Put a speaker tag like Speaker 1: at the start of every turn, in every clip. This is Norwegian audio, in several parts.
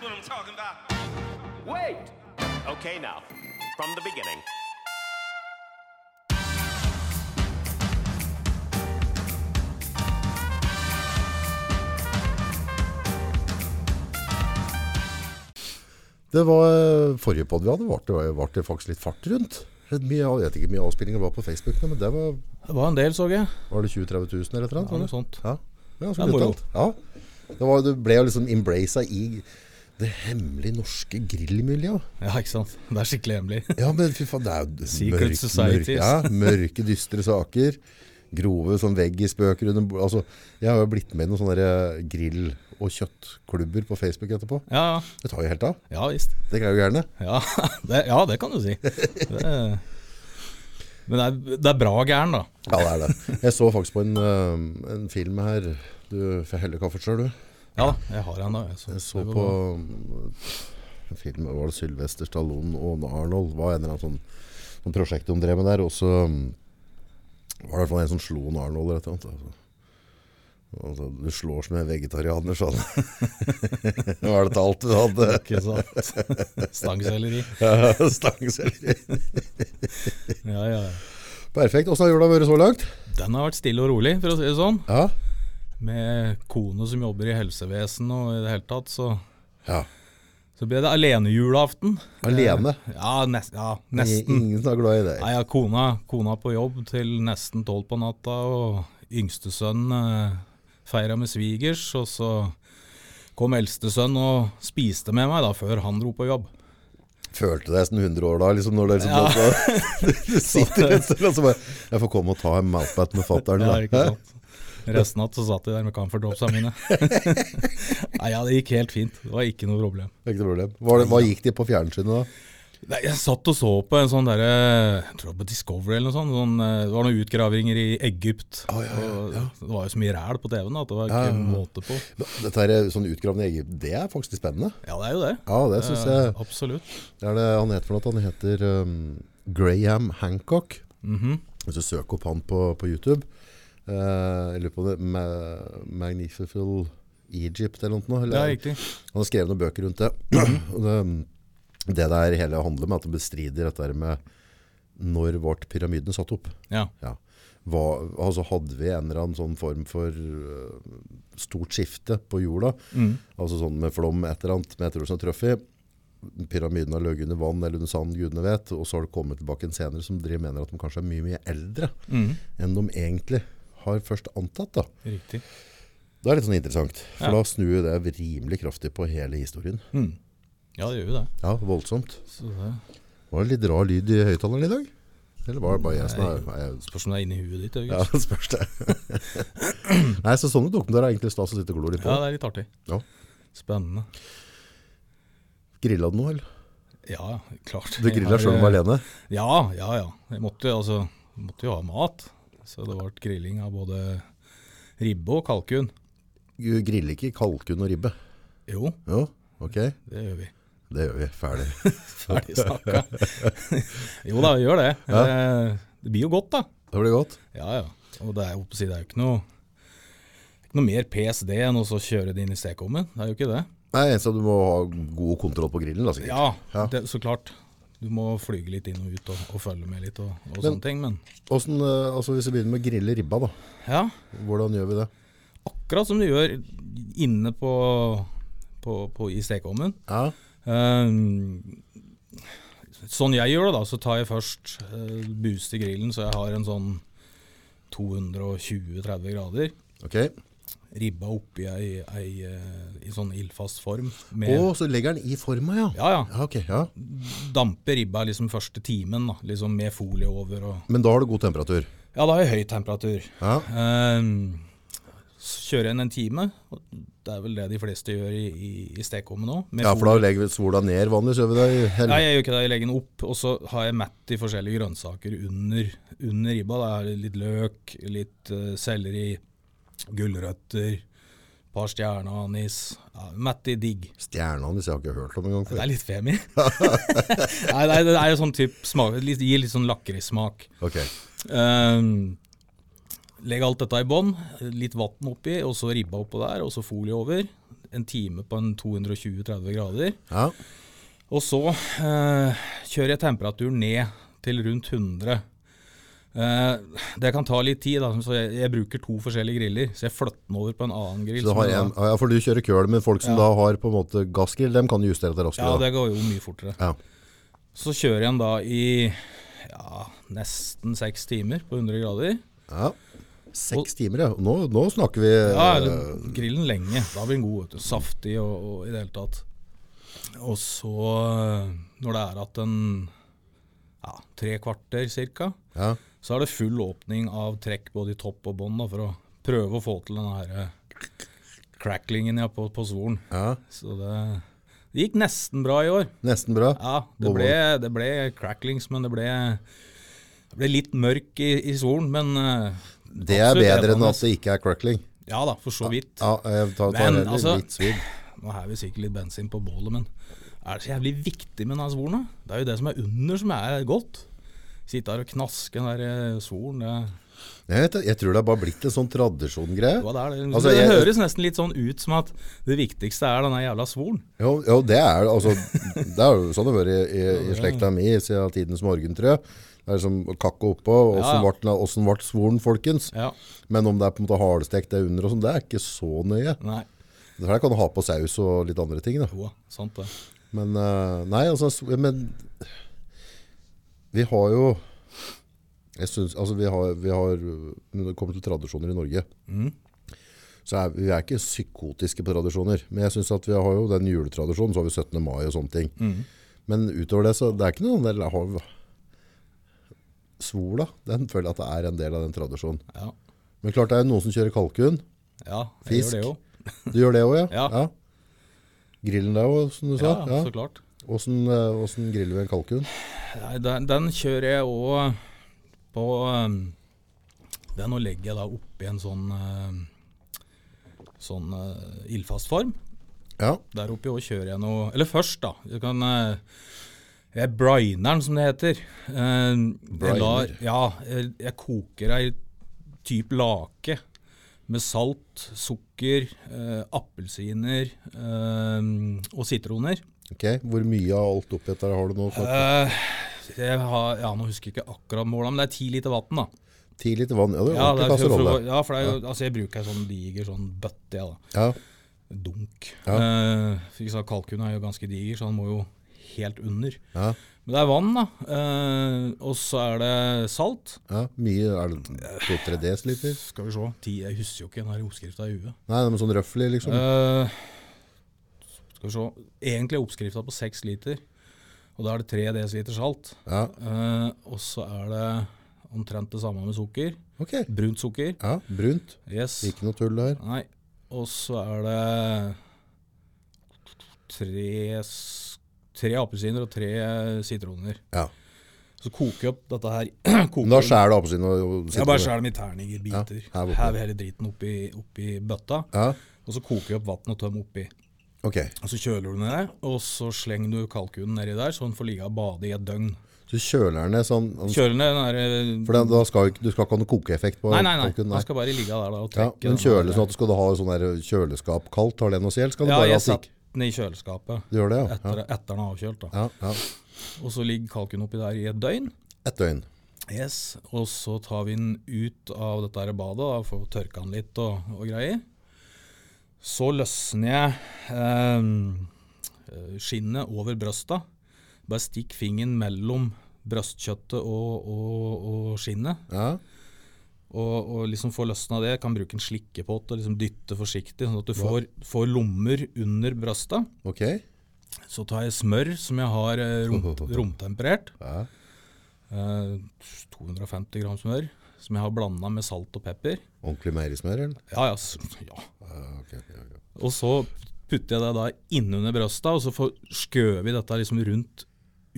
Speaker 1: what I'm talking about.
Speaker 2: Wait! Okay, now, from the beginning.
Speaker 3: Det var eh, forrige podd vi hadde, var det, var det faktisk litt fart rundt. Mye, av- jeg vet ikke mye avspillinger var på Facebook, nå, men det var,
Speaker 4: Det var en del, så jeg.
Speaker 3: var det 20 000-30 000 eller et eller annet?
Speaker 4: Ja,
Speaker 3: var
Speaker 4: noe
Speaker 3: det?
Speaker 4: sånt.
Speaker 3: Ja, det er ganske
Speaker 4: Det er moro.
Speaker 3: brutalt. Ja. Det, var, det ble jo liksom embraced i det hemmelige norske grillmiljøet.
Speaker 4: Ja, ikke sant. Det er skikkelig hemmelig.
Speaker 3: Ja, men fy faen, det er jo
Speaker 4: Secret
Speaker 3: mørke,
Speaker 4: societies.
Speaker 3: ja, mørke, dystre saker. Grove sånn som veggisspøker under bord- altså, Jeg har jo blitt med i noen sånne der eh, grill- og kjøttklubber på Facebook etterpå.
Speaker 4: Ja, ja.
Speaker 3: Det tar jo helt av.
Speaker 4: ja visst.
Speaker 3: Det greier jo gjerne.
Speaker 4: Ja det, ja, det kan du si. Det, men det er, det er bra gæren, da.
Speaker 3: Ja, det er det. Jeg så faktisk på en, eh, en film her. Du får helle kaffen sjøl, du.
Speaker 4: Ja da, jeg har en, da. Jeg så,
Speaker 3: Jeg så
Speaker 4: det var
Speaker 3: på
Speaker 4: bra.
Speaker 3: eh, en film Var det Sylvester Stallone og Arnold? Det var en eller annen sånn, sånn prosjekt de drev med der. Og så mm, var det i hvert fall en som slo en Arnold eller et eller annet. Altså. Altså, du slår som en vegetarianer, sa han. Hva er det til alt du hadde?
Speaker 4: Ikke sant. Stangselleri.
Speaker 3: Stangselleri.
Speaker 4: Ja, ja. ja.
Speaker 3: Perfekt. Åssen har jula vært så langt?
Speaker 4: Den har vært stille og rolig, for å si det sånn.
Speaker 3: Ja.
Speaker 4: Med kone som jobber i helsevesenet og i det hele tatt, så,
Speaker 3: ja.
Speaker 4: så ble det alenejulaften.
Speaker 3: Alene.
Speaker 4: Ja, nes, ja Eh, nesten.
Speaker 3: Ingen som er glad i det.
Speaker 4: Nei, ja, kona, kona på jobb til nesten tolv på natta, og yngstesønn eh, feira med svigers, og så kom eldstesønn og spiste med meg da, før han dro på jobb.
Speaker 3: Følte deg som 100 år da, liksom når det liksom du, du sitter et sted og så bare Jeg får komme og ta en malpat med fatter'n,
Speaker 4: Ja, ikke
Speaker 3: da.
Speaker 4: sant? Resten av natt så satt de der med camferdropsa mine. Nei, ja, det gikk helt fint. Det var ikke noe problem.
Speaker 3: Det er ikke noe problem. Hva, hva gikk de på fjernsynet da?
Speaker 4: Nei, jeg satt og så på en sånn derre Jeg tror det var på Discovery eller noe sånt. Sånn, eh, det var noen utgravinger i Egypt. Og Det var jo så mye ræl på TV-en da, at det var ikke måte på.
Speaker 3: Dette her, er sånn utgravende Egypt, det er faktisk litt spennende.
Speaker 4: Ja, det er jo det.
Speaker 3: Ja, det syns
Speaker 4: Eh,
Speaker 3: jeg.
Speaker 4: Absolutt.
Speaker 3: Det er det han heter for noe. Han heter um, Graham Hancock.
Speaker 4: Mhm.
Speaker 3: Hvis du søker opp han på, på YouTube eh, Jeg lurer på det Ma Magnificent Egypt eller noe. Eller,
Speaker 4: Det er riktig.
Speaker 3: Han har skrevet noen bøker rundt det. Og det, det der hele handler om, er at det bestrider dette her med når ble pyramiden satt opp.
Speaker 4: Ja.
Speaker 3: Ja. Hva, altså hadde vi en eller annen sånn form for øh, stort skifte på jorda,
Speaker 4: Mm,
Speaker 3: altså sånn med flom, et eller annet, meteor som traff i, pyramiden har ligget under vann eller under sand, gudene vet, og så har det kommet tilbake en senere som driver mener at de kanskje er mye, mye eldre
Speaker 4: mm.
Speaker 3: enn de egentlig har først antatt. da.
Speaker 4: Riktig.
Speaker 3: Det er litt sånn interessant, for
Speaker 4: Ja.
Speaker 3: da snur det rimelig kraftig på hele historien.
Speaker 4: Ja, det gjør jo det.
Speaker 3: Ja, voldsomt.
Speaker 4: Så det
Speaker 3: Var det litt rar lyd i høyttaleren i dag? Eller var det bare jeg som er Nei, jeg-
Speaker 4: spørs om det er inni huet ditt.
Speaker 3: Ja,
Speaker 4: Ja.
Speaker 3: det spørs det. Nei, så sånne dokumentarer er egentlig stas å sitte og glo litt
Speaker 4: ja,
Speaker 3: på.
Speaker 4: det er litt artig.
Speaker 3: Ja.
Speaker 4: Spennende.
Speaker 3: Grilla du noe, eller?
Speaker 4: Ja, klart.
Speaker 3: Du grilla sjøl om du var alene?
Speaker 4: Ja, ja, ja. Jeg måtte, jo, altså, måtte jo ha mat. Så det ble grilling av både ribbe og kalkun.
Speaker 3: Du griller ikke kalkun og ribbe?
Speaker 4: Jo,
Speaker 3: Jo, ok.
Speaker 4: det gjør vi.
Speaker 3: Det gjør vi. Ferdig.
Speaker 4: Ferdig snakka. jo da, vi gjør det. Eh, Det blir jo godt, da.
Speaker 3: Det blir godt.
Speaker 4: Ja, ja. Og det er jo, det er jo ikke noe ikke noe mer PSD enn å så kjøre det inn i stekeovnen. Det er jo ikke det.
Speaker 3: Nei, eneste at du må ha god kontroll på grillen, da sikkert.
Speaker 4: Ja, det, så klart. Du må flyge litt inn og ut og, og følge med litt og, og sånne ting, men
Speaker 3: Hvordan, eh, altså Hvis vi begynner med å grille ribba, da.
Speaker 4: ja.
Speaker 3: Hvordan gjør vi det?
Speaker 4: Akkurat som du gjør inne på, på, på i stekeovnen.
Speaker 3: Ja.
Speaker 4: Ehm, sånn jeg gjør det, da, så tar jeg først uh, boost i grillen, så jeg har en sånn 220-30 grader.
Speaker 3: Ok.
Speaker 4: Ribba oppi ei, ei, eh, i sånn ildfast form.
Speaker 3: Å,
Speaker 4: Med,
Speaker 3: så legger den i forma, ja.
Speaker 4: ja, ja.
Speaker 3: Ja, ok. Ja.
Speaker 4: Dampe ribba liksom første timen, da, liksom med folie over og
Speaker 3: Men da har du god temperatur.
Speaker 4: Ja, da har jeg høy temperatur.
Speaker 3: Ja.
Speaker 4: Ehm, så kjører jeg inn en time. og Det er vel det de fleste gjør i, i, i stekeovnen òg.
Speaker 3: Ja, for da legger vi sola ned vanligvis, gjør vi det? i hel-
Speaker 4: Nei, jeg gjør ikke det. Jeg legger den opp, og så har jeg matt i forskjellige grønnsaker under, under ribba. Da er det litt løk, litt eh, selleri, gulrøtter, par stjerneanis. Ja, matt i digg.
Speaker 3: Stjerneanis, jeg har ikke hørt om engang
Speaker 4: Det
Speaker 3: før.
Speaker 4: er litt femi. nei, nei, det er jo sånn typ smak, litt, gir litt sånn lakrissmak.
Speaker 3: Ok.
Speaker 4: Ehm, Legg alt dette i bånn, litt vann oppi, og så ribba oppå der, og så folie over. En time på en 220-30 grader.
Speaker 3: Ja.
Speaker 4: Og så eh, kjører jeg temperaturen ned til rundt 100. Eh, det kan ta litt tid, da, så jeg, jeg bruker to forskjellige griller. Så jeg flytter den over på en annen grill.
Speaker 3: Så du
Speaker 4: som
Speaker 3: har
Speaker 4: er da-
Speaker 3: en, ja, for du kjører køl, men folk som da har på en måte gassgrill, dem kan justere det raskere.
Speaker 4: ja,
Speaker 3: da.
Speaker 4: det går jo mye fortere.
Speaker 3: Ja.
Speaker 4: Så kjører jeg den da i ja, nesten seks timer på 100 grader.
Speaker 3: Ja. Seks timer, ja. Nå, nå snakker vi
Speaker 4: Ja,
Speaker 3: eh,
Speaker 4: eller grillen lenge. Da blir den god. Vet du. Saftig og, og i det hele tatt. Og så, øh, når det er at en ja, tre kvarter cirka,
Speaker 3: ja.
Speaker 4: så er det full åpning av trekk både i topp og bånd da, for å prøve å få til den her øh, cracklingen ja, på, på svoren.
Speaker 3: Ja.
Speaker 4: Så det, det gikk nesten bra i år.
Speaker 3: Nesten bra.
Speaker 4: Ja, det ble, det ble cracklings, men det ble, det ble litt mørk i, i svoren. Men øh,
Speaker 3: Det er
Speaker 4: absolutt
Speaker 3: bedre enn
Speaker 4: eddernes.
Speaker 3: at det ikke er crackling.
Speaker 4: Ja da, for så vidt.
Speaker 3: Ja, jeg tar, tar
Speaker 4: Men,
Speaker 3: heller
Speaker 4: altså-
Speaker 3: litt svidd.
Speaker 4: Nå har vi sikkert litt bensin på bålet, men er det så jævlig viktig med denne svoren? da? Det er jo det som er under som er godt. Sitte her og knaske den der eh, svoren. Det,
Speaker 3: Jeg, vet, det, jeg tror det er bare blitt en sånn tradisjongreie.
Speaker 4: hva det, er, det,
Speaker 3: Altså,
Speaker 4: det
Speaker 3: jeg-
Speaker 4: høres nesten litt sånn ut som at det viktigste er denne jævla svoren.
Speaker 3: Jo, jo, det er det, altså, det er jo sånn det har vært i, i, i slekta mi siden tidens morgen, tror jeg. Det er som kakko oppå. Åssen
Speaker 4: Ja,
Speaker 3: ble den- åssen ble svoren, folkens?
Speaker 4: Ja,
Speaker 3: Men om det er på en måte hardstekt det under, og sånn, det er ikke så nøye.
Speaker 4: nei.
Speaker 3: For der kan du ha på saus og litt andre ting. Da.
Speaker 4: Jo, sant det.
Speaker 3: Men eh, nei, altså s- Men vi har jo Jeg synes, Altså, vi har, vi har Når det kommer til tradisjoner i Norge Så er vi vi er ikke psykotiske på tradisjoner. Men jeg synes at vi har jo den juletradisjonen, så har vi 17. mai og sånne ting. Men utover det, så det er ikke noe del av Svola, den føler jeg at det er en del av den tradisjonen.
Speaker 4: Ja,
Speaker 3: Men klart det er jo noen som kjører kalkun.
Speaker 4: ja jeg
Speaker 3: Fisk.
Speaker 4: gjør det jo.
Speaker 3: Du gjør det òg, ja?
Speaker 4: Ja.
Speaker 3: Grillen der òg, som du
Speaker 4: Ja,
Speaker 3: sa? Ja.
Speaker 4: så klart.
Speaker 3: Åssen eh, åssen griller vi en kalkun?
Speaker 4: Nei, den, den kjører jeg òg på ehm, Den nå legger jeg da oppi en sånn ehm, Sånn eh, ildfast form.
Speaker 3: Ja.
Speaker 4: Der oppe òg kjører jeg noe Eller først, da. Jeg kan eh, Jeg briner den, som det heter. Eh, Jeg lar,
Speaker 3: Briner.
Speaker 4: ja, jeg, jeg koker ei type lake med salt, sukker, eh, appelsiner eh, og sitroner.
Speaker 3: Ok, Hvor mye av alt oppi dette har du nå? snart?
Speaker 4: Eh, jeg har, ja, nå husker jeg ikke akkurat måla, men det er ti liter vann, da.
Speaker 3: Ti liter vann? Ja, det er
Speaker 4: Ja,
Speaker 3: ordentlig
Speaker 4: det er, for, for,
Speaker 3: kasserolle.
Speaker 4: ja, for det er jo, altså, jeg bruker ei sånn diger sånn bøtte, jeg, da.
Speaker 3: Ja.
Speaker 4: dunk.
Speaker 3: Ja.
Speaker 4: Eh, for ikke sant, kalkunen er jo ganske diger, så han må jo helt under.
Speaker 3: Ja.
Speaker 4: Men det er vann, da. Eh, og så er det salt.
Speaker 3: ja. Mye er det to-tre desiliter?
Speaker 4: Skal vi se. Ti, jeg husker jo ikke den her oppskrifta i huet.
Speaker 3: Nei, det er sånn røffelig, liksom.
Speaker 4: Eh, skal vi se. Egentlig er oppskrifta på seks liter. Og da er det tre desiliter salt.
Speaker 3: Ja.
Speaker 4: Eh, og så er det omtrent det samme med sukker.
Speaker 3: Ok.
Speaker 4: Brunt sukker.
Speaker 3: Ja, Brunt.
Speaker 4: Yes.
Speaker 3: Ikke noe tull der.
Speaker 4: Nei. Og så er det tre, s- tre appelsiner og tre sitroner.
Speaker 3: Ja.
Speaker 4: Så koker jeg opp dette her. koker
Speaker 3: Men da
Speaker 4: den-
Speaker 3: skjærer du appelsinen og og
Speaker 4: jeg bare
Speaker 3: sitronen.
Speaker 4: skjærer dem i terninger, biter.
Speaker 3: Ja, her oppe.
Speaker 4: Hever hele driten oppi, oppi bøtta.
Speaker 3: Ja.
Speaker 4: Og så koker jeg opp vann og tøm oppi.
Speaker 3: Ok.
Speaker 4: Og så kjøler du den ned, og så slenger du kalkunen nedi der, så den får ligge og bade i et døgn.
Speaker 3: Så kjøler den ned sånn For
Speaker 4: Kjøler ned den der eh,
Speaker 3: den, da skal jo ikke, du skal ikke ha noen kokeeffekt på
Speaker 4: Nei, nei, nei.
Speaker 3: kalkunen,
Speaker 4: Den skal bare ligge der da,
Speaker 3: Ja,
Speaker 4: og trekke.
Speaker 3: men
Speaker 4: den
Speaker 3: kjøler
Speaker 4: der.
Speaker 3: sånn at du skal ha sånn der kjøleskap kaldt, har det noe å si? Eller skal du
Speaker 4: Ja,
Speaker 3: bare
Speaker 4: jeg
Speaker 3: ha sikk?
Speaker 4: satte den i kjøleskapet
Speaker 3: Du gjør det, ja.
Speaker 4: etter, etter den er avkjølt. da.
Speaker 3: ja. ja, ja.
Speaker 4: Og så ligger kalkunen oppi der i et døgn.
Speaker 3: Et døgn.
Speaker 4: Yes. Og så tar vi den ut av dette her badet da, for å tørke den litt og, og greier. Så løsner jeg ehm, eh, skinnet over brøsta. Bare stikk fingeren mellom brøstkjøttet og, og, og skinnet.
Speaker 3: Ja.
Speaker 4: Og, og liksom få løsna det. Kan bruke en slikkepott og liksom dytte forsiktig, sånn at du får, får lommer under brøsta.
Speaker 3: Ok.
Speaker 4: Så tar jeg smør som jeg har eh, rom, romtemperert.
Speaker 3: Ja.
Speaker 4: Eh, 250 gram smør som jeg har blanda med salt og pepper.
Speaker 3: Ordentlig meierismør, eller?
Speaker 4: Ja, ja, s- ja.
Speaker 3: Ja, ok, ja, ja.
Speaker 4: Og så putter jeg det da innunder brøsta, og så får- skjøver vi dette liksom rundt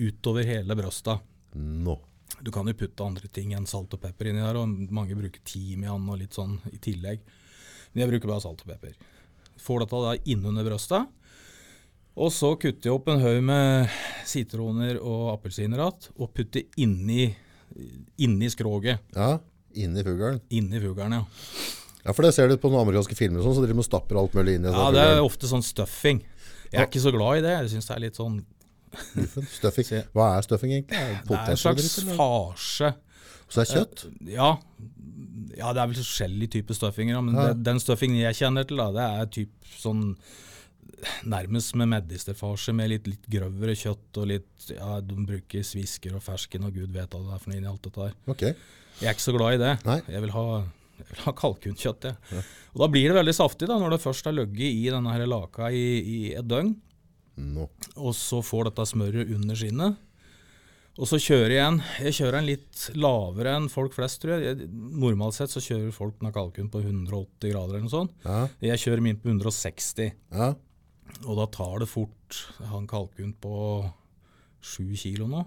Speaker 4: utover hele brøsta.
Speaker 3: Nå.
Speaker 4: Du kan jo putte andre ting enn salt og pepper inni der, og mange bruker timian og litt sånn i tillegg. Men jeg bruker bare salt og pepper. Får dette da innunder brøsta. Og så kutter jeg opp en haug med sitroner og appelsiner att, og putter inni, inni skroget.
Speaker 3: Ja. Inni fuglen.
Speaker 4: Inni fuglen, ja.
Speaker 3: Ja, for det ser du på noen amerikanske filmer og sånn, så driver de og stapper alt mulig inn i
Speaker 4: Ja, det er ofte sånn stuffing. Jeg er ikke så glad i det. Jeg syns det er litt sånn
Speaker 3: Stuffing. Stuffing. Hva er stuffing egentlig? Er det
Speaker 4: Det er en
Speaker 3: poteter,
Speaker 4: slags
Speaker 3: liksom, eller?
Speaker 4: farse.
Speaker 3: Så det er kjøtt?
Speaker 4: Ja, ja det er vel forskjellige typer stuffinger, da, men
Speaker 3: Ja.
Speaker 4: det, den stuffingen jeg kjenner til, da, det er typ sånn Nærmest med medisterfarse med litt, litt grøvere kjøtt og litt ja, De bruker svisker og fersken og gud vet hva det er for noe inni alt dette der.
Speaker 3: Ok.
Speaker 4: Jeg er ikke så glad i det.
Speaker 3: Nei.
Speaker 4: Jeg vil ha, jeg vil ha kalkunkjøtt. Jeg. Og da blir det veldig saftig da, når det først har ligget i denne her laka i, i et døgn,
Speaker 3: Nå.
Speaker 4: og så får dette smøret under skinnet. Og så kjører jeg en Jeg kjører en litt lavere enn folk flest, tror jeg. jeg. Normalt sett så kjører folk denne kalkun på 180 grader eller noe sånt.
Speaker 3: Ja.
Speaker 4: Jeg kjører min på 160,
Speaker 3: Ja.
Speaker 4: og da tar det fort Jeg har en kalkun på 7 kilo nå.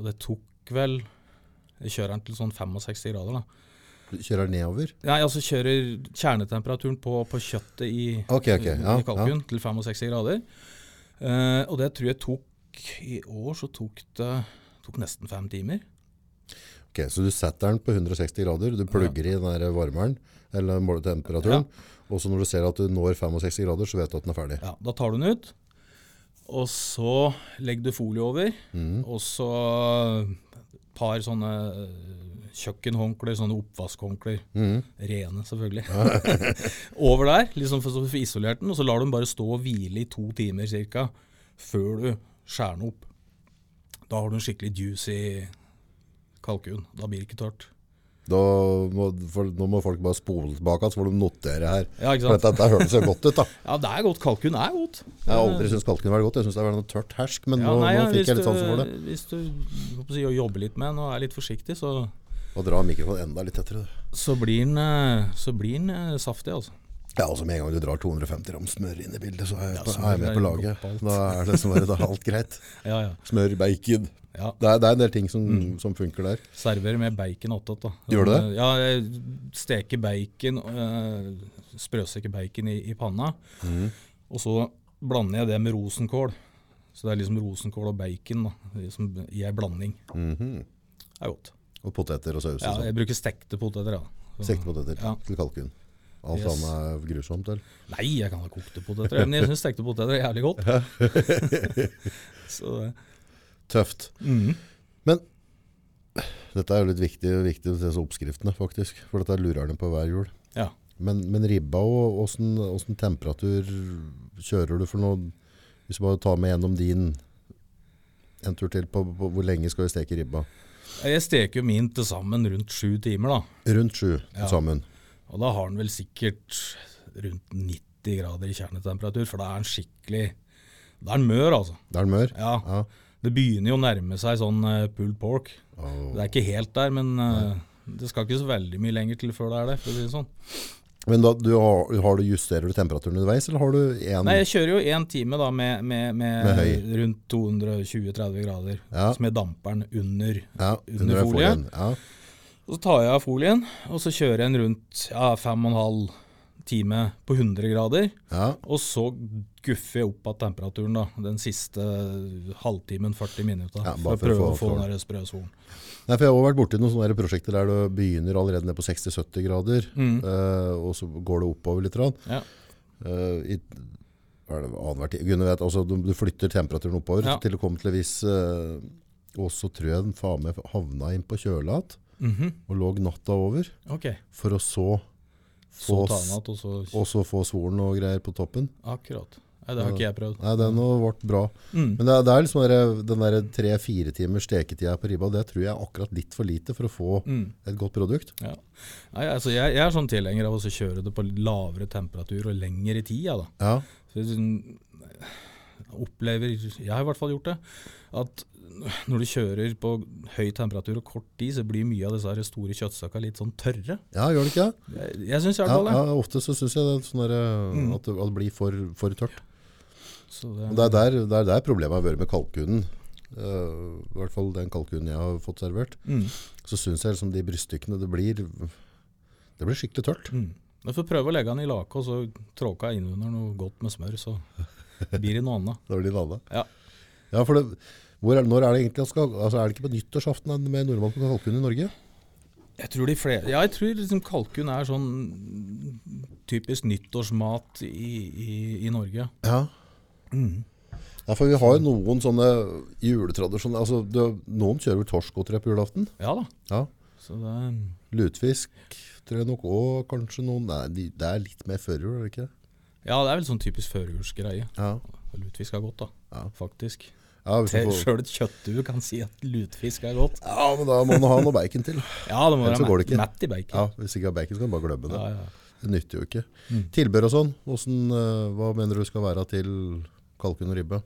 Speaker 4: Og det tok vel Jeg kjører den til sånn 65 grader, da.
Speaker 3: Du kjører nedover?
Speaker 4: Nei, altså kjører kjernetemperaturen på, på kjøttet i,
Speaker 3: Ok, ok, ja,
Speaker 4: Mm, i kalkun til 65 grader. Eh, og det tror jeg tok I år så tok det tok nesten fem timer.
Speaker 3: Ok, Så du setter den på 160 grader, du plugger i den der varmeren, eller måletemperaturen, og så når du ser at du når 65 grader, så vet du at den er ferdig.
Speaker 4: Ja, Da tar du den ut, og så legger du folie over. Og så et par sånne eh, kjøkkenhåndklær, sånne oppvaskhåndklær. Rene, selvfølgelig. over der, liksom for så får du isolert den, og så lar du den bare stå og hvile i to timer cirka, før du skjærer den opp. Da har du en skikkelig juicy kalkun. Da blir det ikke tørt.
Speaker 3: Da må, for, nå må folk bare spole tilbake, så får de notere her.
Speaker 4: Ja,
Speaker 3: For
Speaker 4: ikke sant?
Speaker 3: dette, dette høres jo godt ut, da.
Speaker 4: Ja, det er godt. Kalkun er godt.
Speaker 3: Jeg har aldri syntes kalkun var godt. Jeg syns det var noe tørt hersk, men
Speaker 4: Ja,
Speaker 3: nå,
Speaker 4: nei, ja,
Speaker 3: nå fikk
Speaker 4: hvis
Speaker 3: jeg litt
Speaker 4: du-
Speaker 3: sansen for det.
Speaker 4: Hvis du hva skal jeg si, jobber litt med den og er litt forsiktig, så,
Speaker 3: Og dra mikrofonen enda litt tettere. du.
Speaker 4: så blir den, eh, så blir den eh, saftig, altså.
Speaker 3: Ja, altså Med en gang du drar 250 gram smør inn i bildet, så er jeg,
Speaker 4: Ja, smør
Speaker 3: er jeg med
Speaker 4: er
Speaker 3: på
Speaker 4: godt
Speaker 3: laget.
Speaker 4: på alt.
Speaker 3: Da er det som bare da er alt greit.
Speaker 4: Ja, ja.
Speaker 3: Smør, bacon.
Speaker 4: ja.
Speaker 3: Det er, det er en del ting som,
Speaker 4: Mm.
Speaker 3: som funker der.
Speaker 4: Serverer med bacon attåt, da.
Speaker 3: Gjør du det?
Speaker 4: Ja, jeg steker bacon, eh, sprøsteker bacon i, i panna.
Speaker 3: Mm.
Speaker 4: Og så blander jeg det med rosenkål. Så det er liksom rosenkål og bacon da, liksom i ei blanding.
Speaker 3: Mm-hmm.
Speaker 4: Det er godt.
Speaker 3: Og poteter og saus.
Speaker 4: Ja,
Speaker 3: og sånn.
Speaker 4: jeg bruker stekte poteter, ja. Så-
Speaker 3: Stekte poteter
Speaker 4: Ja.
Speaker 3: til kalkun. Alt
Speaker 4: Yes.
Speaker 3: annet er grusomt. Eller?
Speaker 4: Nei, jeg kan ha kokte poteter, men jeg syns stekte poteter er jævlig godt. så, mm, det-
Speaker 3: Tøft. Men dette er jo litt viktig, viktig å se så oppskriftene, faktisk. For dette lurer de på hver jul.
Speaker 4: ja.
Speaker 3: Men, men ribba, og åssen åssen temperatur kjører du for noe? Hvis du bare tar med gjennom din en tur til på, på hvor lenge skal vi steke ribba?
Speaker 4: Jeg steker jo min til sammen rundt sju timer, da.
Speaker 3: Rundt sju
Speaker 4: Ja.
Speaker 3: til sammen.
Speaker 4: Og da har den vel sikkert rundt 90 grader i kjernetemperatur, for da er den skikkelig Da er den mør, altså.
Speaker 3: Da er den mør?
Speaker 4: Ja.
Speaker 3: Ja.
Speaker 4: Det begynner jo å nærme seg sånn eh, pulled pork.
Speaker 3: Åh.
Speaker 4: Det er ikke helt der, men eh, det skal ikke så veldig mye lenger til før det er det. for å si det sånn.
Speaker 3: Men da, du har, har du, justerer du temperaturen underveis, eller har du én
Speaker 4: Nei, jeg kjører jo én time da med, med, med,
Speaker 3: Med høy.
Speaker 4: rundt 220-30 grader,
Speaker 3: Ja.
Speaker 4: som er damperen under.
Speaker 3: ja,
Speaker 4: under
Speaker 3: under
Speaker 4: folie?
Speaker 3: folien? Ja.
Speaker 4: Og så tar jeg av folien, og så kjører jeg den rundt ja, 5,5 time på 100 grader.
Speaker 3: ja.
Speaker 4: Og så guffer jeg opp av temperaturen da, den siste halvtimen, 40 minutter,
Speaker 3: Ja,
Speaker 4: for
Speaker 3: bare
Speaker 4: å prøve å
Speaker 3: for
Speaker 4: få
Speaker 3: å få
Speaker 4: den der sprø solen.
Speaker 3: Nei, for Jeg har også vært borti noen sånne her prosjekter der du begynner allerede ned på 60-70 grader,
Speaker 4: Mm.
Speaker 3: eh, og så går det oppover litt. grann.
Speaker 4: Ja.
Speaker 3: Eh, i, hva er det, annenhver ti- Gunnar vet, altså, du, du flytter temperaturen oppover
Speaker 4: Ja.
Speaker 3: til å komme til en viss eh, Og så tror jeg den faen meg havna inn på kjøla igjen og lå natta over,
Speaker 4: Mhm. Ok,
Speaker 3: for å så
Speaker 4: så
Speaker 3: få,
Speaker 4: ta
Speaker 3: s-
Speaker 4: den att, og så
Speaker 3: og så få svoren og greier på toppen.
Speaker 4: Akkurat. Nei, det har ikke jeg prøvd. Mm.
Speaker 3: Nei, den har vært bra. Men det er, det er liksom den der- den der tre-fire timers steketida på ribba, det tror jeg er akkurat litt for lite for å få et godt produkt.
Speaker 4: Mm. Ja. Nei, altså jeg, jeg er sånn tilhenger av å så kjøre det på lavere temperatur og lengre tid. Ja, da.
Speaker 3: Ja,
Speaker 4: Så jeg sånn- opplever, jeg har i hvert fall gjort det, at når du kjører på høy temperatur og kort tid, så blir mye av disse her store kjøttsakkene litt sånn tørre.
Speaker 3: ja gjør det ikke det?
Speaker 4: Jeg, jeg syns i hvert
Speaker 3: Ja,
Speaker 4: fall det. Mm.
Speaker 3: ja, ofte så syns jeg det, er sånn der, eh, at, det, at det blir for, for tørt.
Speaker 4: Så det-
Speaker 3: Og det er der, det er der problemet har vært med kalkunen. Eh, I hvert fall den kalkunen jeg har fått servert.
Speaker 4: mm.
Speaker 3: Så syns jeg liksom de bryststykkene det blir Det blir skikkelig tørt.
Speaker 4: Mm. Du får prøve å legge den i lake og så tråka innunder noe godt med smør, så blir det noe annet.
Speaker 3: Det blir alle.
Speaker 4: Ja.
Speaker 3: Ja, for det, hvor er, når er det egentlig han skal altså Er det ikke på nyttårsaften med nordmann på kalkun i Norge?
Speaker 4: Jeg tror de flere Ja, jeg tror liksom kalkun er sånn typisk nyttårsmat i, i, i Norge.
Speaker 3: Ja.
Speaker 4: Mm.
Speaker 3: ja, for vi har jo noen sånne juletradisjoner. Altså, det, noen kjører vel torsk og tre på julaften.
Speaker 4: Ja da.
Speaker 3: Ja.
Speaker 4: Så det er
Speaker 3: Lutfisk tror jeg nok òg kanskje noen Nei, de, det er litt mer førjul, er det ikke det?
Speaker 4: Ja, det er vel sånn typisk førjulsgreie.
Speaker 3: Ja.
Speaker 4: Lutfisk er godt, da. Faktisk.
Speaker 3: Ja, hvis man får-
Speaker 4: Sjøl et kjøttdue kan si at lutfisk er godt.
Speaker 3: ja, men da må man ha noe bacon til.
Speaker 4: Ja, det må
Speaker 3: Ellers så
Speaker 4: være
Speaker 3: går det
Speaker 4: mett,
Speaker 3: ikke.
Speaker 4: mett i bacon.
Speaker 3: Ja, Hvis ikke har bacon, så kan du bare glemme det.
Speaker 4: Ja, ja.
Speaker 3: Det nytter jo ikke. Tilbør og sånn, hvordan, eh, hva mener du skal være til kalkun og ribbe?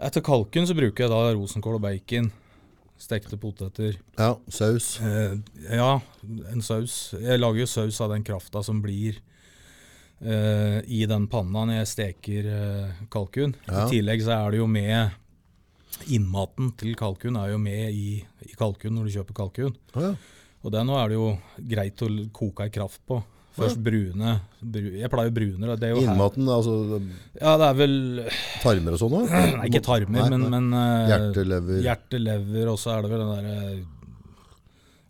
Speaker 4: Etter kalkun så bruker jeg da rosenkål og bacon. Stekte poteter.
Speaker 3: Ja, saus.
Speaker 4: Eh, ja, en saus. Jeg lager jo saus av den krafta som blir eh, i den panna når jeg steker eh, kalkun.
Speaker 3: Ja.
Speaker 4: I tillegg så er det jo med Innmaten til kalkun er jo med i, i kalkun når du kjøper kalkun.
Speaker 3: Å ja.
Speaker 4: Og det nå er det jo greit å l- koke ei kraft på. Først brune. Bru, jeg pleier brune. da. Det er jo her-
Speaker 3: Innmaten, altså
Speaker 4: Ja, det er vel
Speaker 3: tarmer og sånn òg?
Speaker 4: Nei, ikke tarmer, men, men eh,
Speaker 3: Hjerte, lever.
Speaker 4: Hjertelever, og så er det vel den derre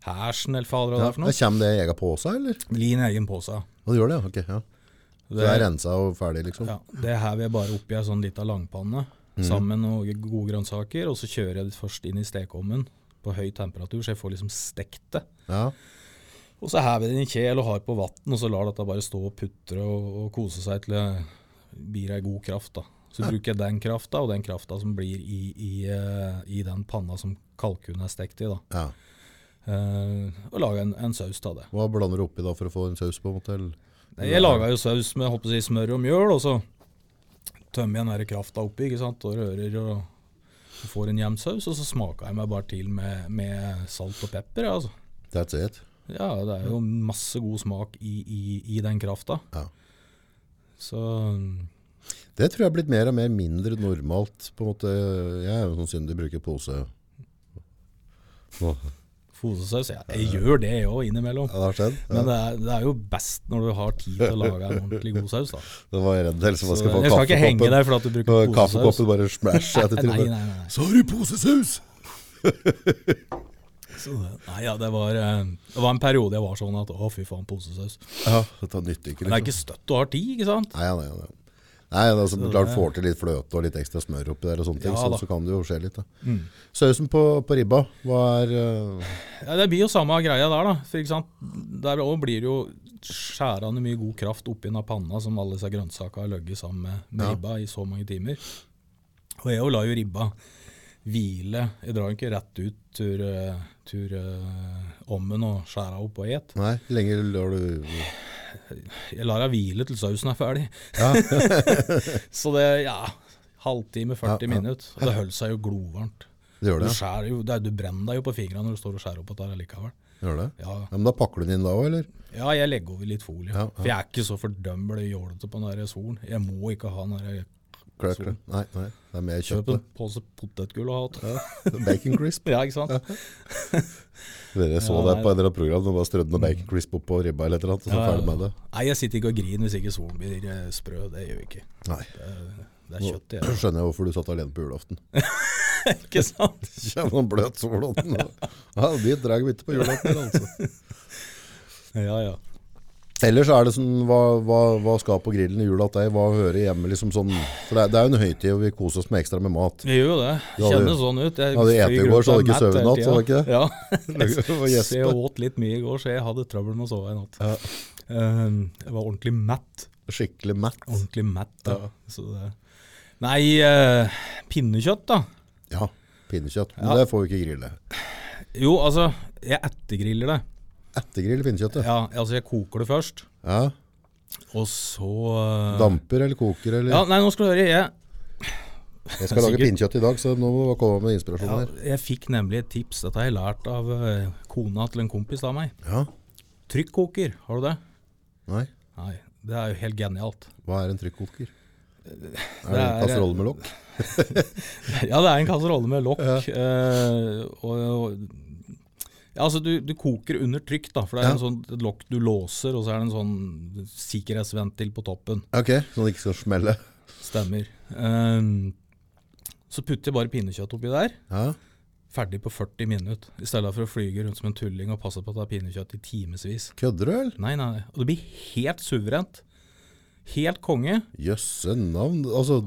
Speaker 4: hersen, eller fader hva det
Speaker 3: Ja,
Speaker 4: er for noe.
Speaker 3: kommer det i egen pose, eller?
Speaker 4: Lin egen på seg.
Speaker 3: Ja, det gjør det, ja. ok. Ja. Så det er rensa og ferdig, liksom?
Speaker 4: ja, Mhm. det hever jeg bare oppi ei sånn lita langpanne sammen med noen gode grønnsaker, og så kjører jeg det først inn i stekeovnen på høy temperatur, så jeg får liksom stekt det.
Speaker 3: Ja.
Speaker 4: Og så hever jeg den i kjel og har på vann, og så lar dette bare stå og putre og, og kose seg til det blir ei god kraft. da. Så bruker jeg den krafta og den krafta som blir i, i, eh, i den panna som kalkunen er stekt i. da.
Speaker 3: ja.
Speaker 4: Eh, og lager en, en saus av det.
Speaker 3: Hva blander du oppi da for å få en saus, på en måte? Eller?
Speaker 4: Nei, Jeg laga jo saus med holdt på å si, smør og mjøl, og så tømmer jeg den der krafta oppi ikke sant? og rører og og får en jevn saus. Og så smaka jeg meg bare til med, med salt og pepper. ja, Altså.
Speaker 3: That's it.
Speaker 4: Ja, det er jo masse god smak i, i, i den krafta.
Speaker 3: Ja.
Speaker 4: Så mm,
Speaker 3: Det tror jeg er blitt mer og mer mindre normalt. på en måte. Jeg er jo sånn syndig bruker pose. Nå.
Speaker 4: fosesaus ja, Jeg gjør det òg innimellom.
Speaker 3: Ja, det har skjedd. Ja.
Speaker 4: Men det er, det er jo best når du har tid til å lage en ordentlig god saus. da.
Speaker 3: Det var jeg redd for.
Speaker 4: Så
Speaker 3: Jeg skal få
Speaker 4: jeg skal ikke henge
Speaker 3: kaffekoppen.
Speaker 4: deg for at du bruker
Speaker 3: Og
Speaker 4: posesaus.
Speaker 3: Kaffekoppen bare smash etter
Speaker 4: Nei, nei,
Speaker 3: trynet.
Speaker 4: nei, nei.
Speaker 3: Sorry, posesaus!
Speaker 4: Så, det- nei, ja, det var, eh, det var en periode jeg var sånn at å, fy faen, posesaus.
Speaker 3: Ja, dette nytter ikke.
Speaker 4: Men det er
Speaker 3: Liksom.
Speaker 4: ikke støtt du har tid, ikke sant?
Speaker 3: Nei, nei, nei. Nei, det er altså, klart får til litt fløte og litt ekstra smør oppi der, og sånne ting,
Speaker 4: Ja,
Speaker 3: så,
Speaker 4: da. Mm.
Speaker 3: så kan det jo skje litt. Da. Sausen på, på ribba, hva er eh,
Speaker 4: Ja, det blir jo samme greia der, da. For, ikke sant? Der også blir det jo skjærende mye god kraft oppi den av panna som alle disse grønnsakene har ligget sammen med, med
Speaker 3: Ja.
Speaker 4: ribba i så mange timer. Og jeg lar jo ribba hvile. Jeg drar jo ikke rett ut tur, eh, tur eh, ommen og skjærer opp og et.
Speaker 3: Nei, hvor lenge lar du
Speaker 4: Jeg lar henne hvile til sausen er ferdig.
Speaker 3: Ja.
Speaker 4: så det, ja, halvtime, 40
Speaker 3: Ja, ja.
Speaker 4: minutter. Og det holdt seg jo glovarmt.
Speaker 3: Det gjør
Speaker 4: Du,
Speaker 3: det, ja.
Speaker 4: skjærer jo, det er- du brenner deg jo på fingrene når du står og skjærer opp dette likevel.
Speaker 3: Gjør det? Ja,
Speaker 4: Ja.
Speaker 3: men da pakker du den inn da òg, eller?
Speaker 4: ja, jeg legger over litt folie.
Speaker 3: Ja, ja.
Speaker 4: For jeg er ikke så fordømmelig jålete på den der solen. Jeg må ikke ha den der
Speaker 3: Klart, klart. Nei, nei, det er mer
Speaker 4: kjøp en
Speaker 3: kjøttet.
Speaker 4: pose potetgull og hat.
Speaker 3: Bacon crisp.
Speaker 4: Ja, ikke sant?
Speaker 3: Dere så
Speaker 4: Ja,
Speaker 3: det
Speaker 4: nei.
Speaker 3: på et eller annet program, de bare strødde noe bacon crisp oppå ribba eller et eller annet, og så
Speaker 4: Ja, ja.
Speaker 3: ferdig med det.
Speaker 4: Nei, jeg sitter ikke og griner hvis ikke solen blir eh, sprø. Det gjør jeg ikke.
Speaker 3: Nei.
Speaker 4: Det er
Speaker 3: Nå
Speaker 4: kjøtt jeg er.
Speaker 3: skjønner jeg hvorfor du satt alene på julaften.
Speaker 4: Ikke sant?
Speaker 3: Kjenner noen bløt sol og den. Ja, dit drar vi ikke på julaften, altså.
Speaker 4: Ja, ja.
Speaker 3: Ellers er det sånn, hva, hva, hva skal på grillen i jula til deg? Hva hører hjemme liksom sånn? For det er, det er jo en høytid, og vi koser oss med ekstra med mat.
Speaker 4: Vi gjør jo det.
Speaker 3: Du hadde-
Speaker 4: Kjennes sånn ut. Jeg
Speaker 3: Ja, du ete i går, så hadde du ikke
Speaker 4: fryker ut
Speaker 3: søvn i natt,
Speaker 4: av mett
Speaker 3: så var det
Speaker 4: hele
Speaker 3: ikke det?
Speaker 4: tida.
Speaker 3: Det var
Speaker 4: Ja.
Speaker 3: gjespe.
Speaker 4: Så jeg åt litt mye i går, så jeg hadde trøbbel med å sove i natt. Eh, jeg var ordentlig mett.
Speaker 3: Skikkelig mett.
Speaker 4: Ordentlig mett. Da. Så det. Nei, eh, pinnekjøtt, da.
Speaker 3: Ja, pinnekjøtt. Men
Speaker 4: Ja.
Speaker 3: det får vi ikke grille.
Speaker 4: Jo, altså, jeg ettergriller det.
Speaker 3: Ettergrill pinnekjøttet.
Speaker 4: Ja, altså, jeg koker det først,
Speaker 3: Ja.
Speaker 4: og så eh,
Speaker 3: Damper eller koker eller
Speaker 4: Ja, nei, nå skal du høre. Jeg,
Speaker 3: Jeg skal lage
Speaker 4: sikkert.
Speaker 3: pinnekjøtt i dag, så nå må du komme med inspirasjon her.
Speaker 4: jeg fikk nemlig et tips. Dette har jeg lært av eh, kona til en kompis av meg.
Speaker 3: Ja.
Speaker 4: Trykkoker, har du det?
Speaker 3: Nei.
Speaker 4: Nei, det er jo helt genialt.
Speaker 3: Hva er en trykkoker? Er det en
Speaker 4: er- eh,
Speaker 3: kasserolle med lokk?
Speaker 4: Ja, det er en kasserolle med lokk. eh, og, og, ja, altså du, du koker under trykk, da, for det er
Speaker 3: Ja.
Speaker 4: en sånn, et lokk du låser, og så er det en sånn sikkerhetsventil på toppen.
Speaker 3: Ok, så det ikke skal smelle.
Speaker 4: Ehm, Stemmer. Eh, så putter jeg bare pinnekjøtt oppi der,
Speaker 3: Ja.
Speaker 4: ferdig på 40 minutter, i stedet for å flyge rundt som en tulling og passe på at det er pinnekjøtt i timevis.
Speaker 3: Kødder du, eller?
Speaker 4: Nei, nei, nei. Og det blir helt suverent. Helt konge.
Speaker 3: Jøsse navn. Altså,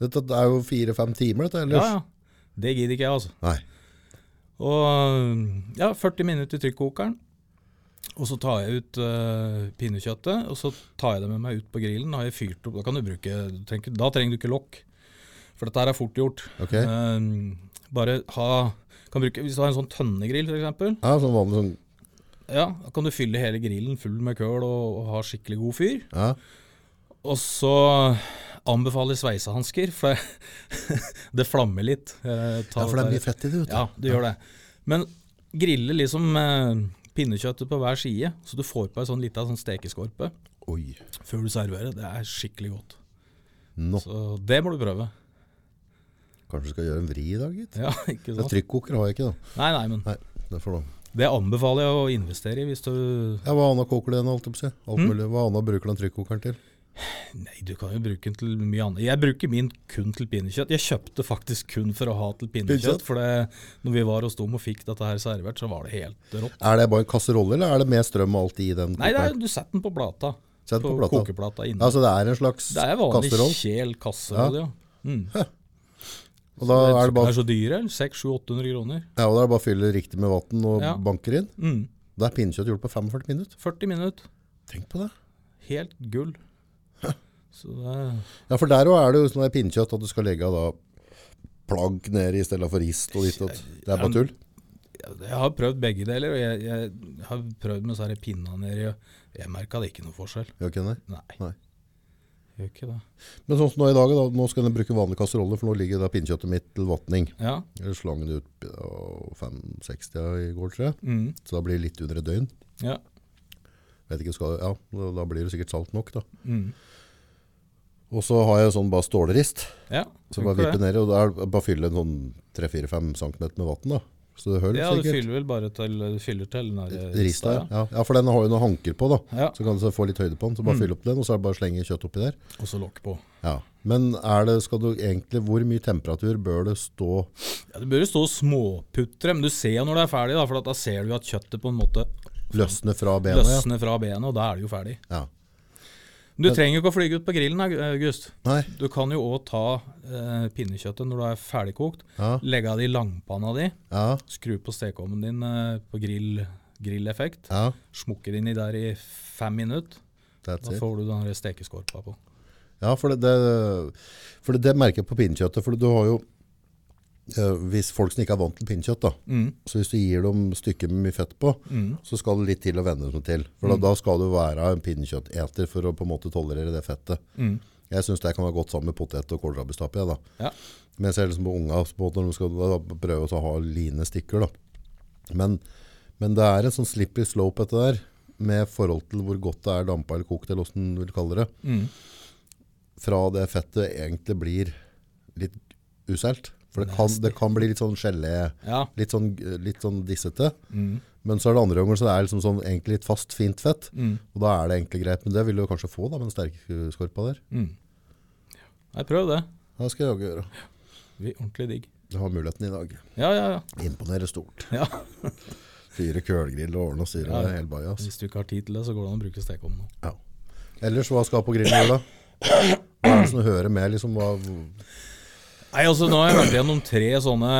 Speaker 3: dette er jo fire-fem timer, dette ellers.
Speaker 4: Ja, ja. Det gidder ikke jeg, altså.
Speaker 3: Nei.
Speaker 4: Og ehm, ja, 40 minutter i trykkokeren. Og så tar jeg ut eh, pinnekjøttet, og så tar jeg det med meg ut på grillen. Da har jeg fyrt opp, da kan du bruke, du trenger, ikke- da trenger du ikke lokk. For dette her er fort gjort.
Speaker 3: Ok.
Speaker 4: Eh, bare ha, kan bruke, hvis du har en sånn tønnegrill for eksempel,
Speaker 3: Ja, sånn vanlig sånn
Speaker 4: ja, da kan du fylle hele grillen full med køl og, og ha skikkelig god fyr.
Speaker 3: ja.
Speaker 4: Og så anbefaler jeg sveisehansker, for det, det flammer litt. Eh, ta
Speaker 3: ja, for det er
Speaker 4: der-
Speaker 3: mye fett i det, vet du.
Speaker 4: ja, det gjør det. Men grille liksom eh, pinnekjøttet på hver side, så du får på ei sånn lita sånn stekeskorpe
Speaker 3: Oi.
Speaker 4: før du serverer. Det er skikkelig godt.
Speaker 3: Nå.
Speaker 4: Så det må du prøve.
Speaker 3: Kanskje du skal gjøre en vri i dag, gitt.
Speaker 4: Ja, ikke
Speaker 3: Ja,
Speaker 4: sant?
Speaker 3: Trykkoker har jeg ikke, da.
Speaker 4: Nei, nei, men
Speaker 3: Nei, det får du.
Speaker 4: det anbefaler jeg å investere i hvis du
Speaker 3: Ja, Hva annet koker du enn alt, jeg på å si? Alt
Speaker 4: Mm.
Speaker 3: mulig. Hva annet bruker du den trykkokeren til?
Speaker 4: Nei, du kan jo bruke den til mye annet. Jeg bruker min kun til pinnekjøtt. Jeg kjøpte faktisk kun for å ha til
Speaker 3: Pinnekjøtt?
Speaker 4: pinnekjøtt, for det, når vi var hos dem og fikk dette her servert, så var det helt rått.
Speaker 3: Er det bare en kasserolle, eller er det med strøm og alt i den?
Speaker 4: Nei, det er,
Speaker 3: kokeren?
Speaker 4: du setter den på plata.
Speaker 3: Sett den på plata.
Speaker 4: kokeplata inne.
Speaker 3: Ja, så altså, det er en slags
Speaker 4: det er vanlig
Speaker 3: kasseroll?
Speaker 4: kjel kasseroll, ja.
Speaker 3: Og da er det
Speaker 4: Det
Speaker 3: bare,
Speaker 4: er så dyre, 600-800 kroner.
Speaker 3: ja, og da er det bare å fylle riktig med vann og
Speaker 4: Ja.
Speaker 3: banker inn?
Speaker 4: Mm.
Speaker 3: Da er pinnekjøtt gjort på 45 minutter.
Speaker 4: 40 minutter,
Speaker 3: Tenk på det.
Speaker 4: helt gull. Så det er
Speaker 3: Ja, for der òg er det jo sånn der pinnekjøtt at du skal legge av da plagg ned i stedet for rist og ditt og datt. Det er bare tull.
Speaker 4: Jeg har prøvd begge deler, og jeg, jeg har prøvd med sånne pinner nedi. og Jeg merka det ikke noe forskjell.
Speaker 3: Gjør ikke det?
Speaker 4: Nei,
Speaker 3: Nei.
Speaker 4: gjør ikke det.
Speaker 3: Men sånn som nå i dag, da, nå skal jeg bruke vanlig kasserolle, for nå ligger da pinnekjøttet mitt til vatning.
Speaker 4: Ja.
Speaker 3: Jeg slang det ut på 560 i går, tror jeg.
Speaker 4: Mm.
Speaker 3: Så da blir det litt under et døgn.
Speaker 4: ja.
Speaker 3: Vet ikke, skal, ja, da- da blir det sikkert salt nok, da.
Speaker 4: Mm.
Speaker 3: Og så har jeg sånn bare stålrist.
Speaker 4: ja.
Speaker 3: Så bare
Speaker 4: funker
Speaker 3: vippe ned, og da er- bare fylle en sånn 3-4-5 cm med vann, da. Så det hører
Speaker 4: Ja, du
Speaker 3: sikkert.
Speaker 4: fyller vel bare til du fyller til den der eh,
Speaker 3: Rista,
Speaker 4: rista, ja.
Speaker 3: ja. ja. For den har jo noen hanker på, da.
Speaker 4: Ja.
Speaker 3: Så kan du så få litt høyde på den. Så
Speaker 4: Mm.
Speaker 3: bare fylle opp den, og så er det bare å slenge kjøtt oppi der.
Speaker 4: Og så lokk på.
Speaker 3: Ja. Men er det, skal du egentlig, hvor mye temperatur bør det stå?
Speaker 4: Ja, det bør jo stå og småputre, men du ser jo når det er ferdig, da, for at da ser du jo at kjøttet på en måte
Speaker 3: Løsne fra benet? ja?
Speaker 4: løsner fra benet, og da er det jo ferdig.
Speaker 3: Ja.
Speaker 4: Men Du trenger jo ikke å flyge ut på grillen, August.
Speaker 3: Nei.
Speaker 4: Du kan jo òg ta eh, pinnekjøttet når det er ferdigkokt,
Speaker 3: Ja.
Speaker 4: legge av det i langpanna di,
Speaker 3: Ja.
Speaker 4: skru på stekeovnen din eh, på grill, grilleffekt,
Speaker 3: Ja.
Speaker 4: smukke det inni der i fem minutter.
Speaker 3: That's
Speaker 4: Da
Speaker 3: it.
Speaker 4: får du den der stekeskorpa på.
Speaker 3: Ja, for det, det, for det, det merker jeg på pinnekjøttet. For du har jo eh, Hvis folk som ikke er vant til pinnekjøtt, da. Så hvis du gir dem stykker med mye fett på, så skal det litt til å venne dem til. For da, da skal du være en pinnekjøtteter for å på en måte tolerere det fettet. Jeg syns det kan være godt sammen med potet og kålrabistappe. jeg, da.
Speaker 4: Ja.
Speaker 3: Men jeg ser liksom på unga på en måte, når de skal da, prøve å ha line stykker. da. Men, men det er en sånn slippery slope dette der, med forhold til hvor godt det er dampa eller kokt, eller hvordan du vil kalle det fra det fettet egentlig blir litt uselt. For det kan, det kan bli litt sånn gelé,
Speaker 4: Ja.
Speaker 3: litt, sånn, litt sånn dissete.
Speaker 4: Mm.
Speaker 3: Men så er det andre ganger så det er liksom sånn egentlig litt fast, fint fett.
Speaker 4: Mm.
Speaker 3: Og da er det egentlig greit. Men det vil du kanskje få da, med den sterke skorpa der.
Speaker 4: Mm. Nei, prøv det.
Speaker 3: Det skal jeg også gjøre.
Speaker 4: Det blir ordentlig digg.
Speaker 3: Jeg har muligheten i dag.
Speaker 4: Ja, ja, ja.
Speaker 3: Imponerer stort.
Speaker 4: ja.
Speaker 3: Fyre kølgrill og ordne og styre
Speaker 4: Ja, ja.
Speaker 3: det hele baia. ass.
Speaker 4: Hvis du ikke har tid til det, så går det an å bruke stekeovnen.
Speaker 3: Ja. Ellers, hva skal på grillen gjøre da? Hva er det som hører med? liksom? Hva,
Speaker 4: Nei, altså nå har jeg vært gjennom tre sånne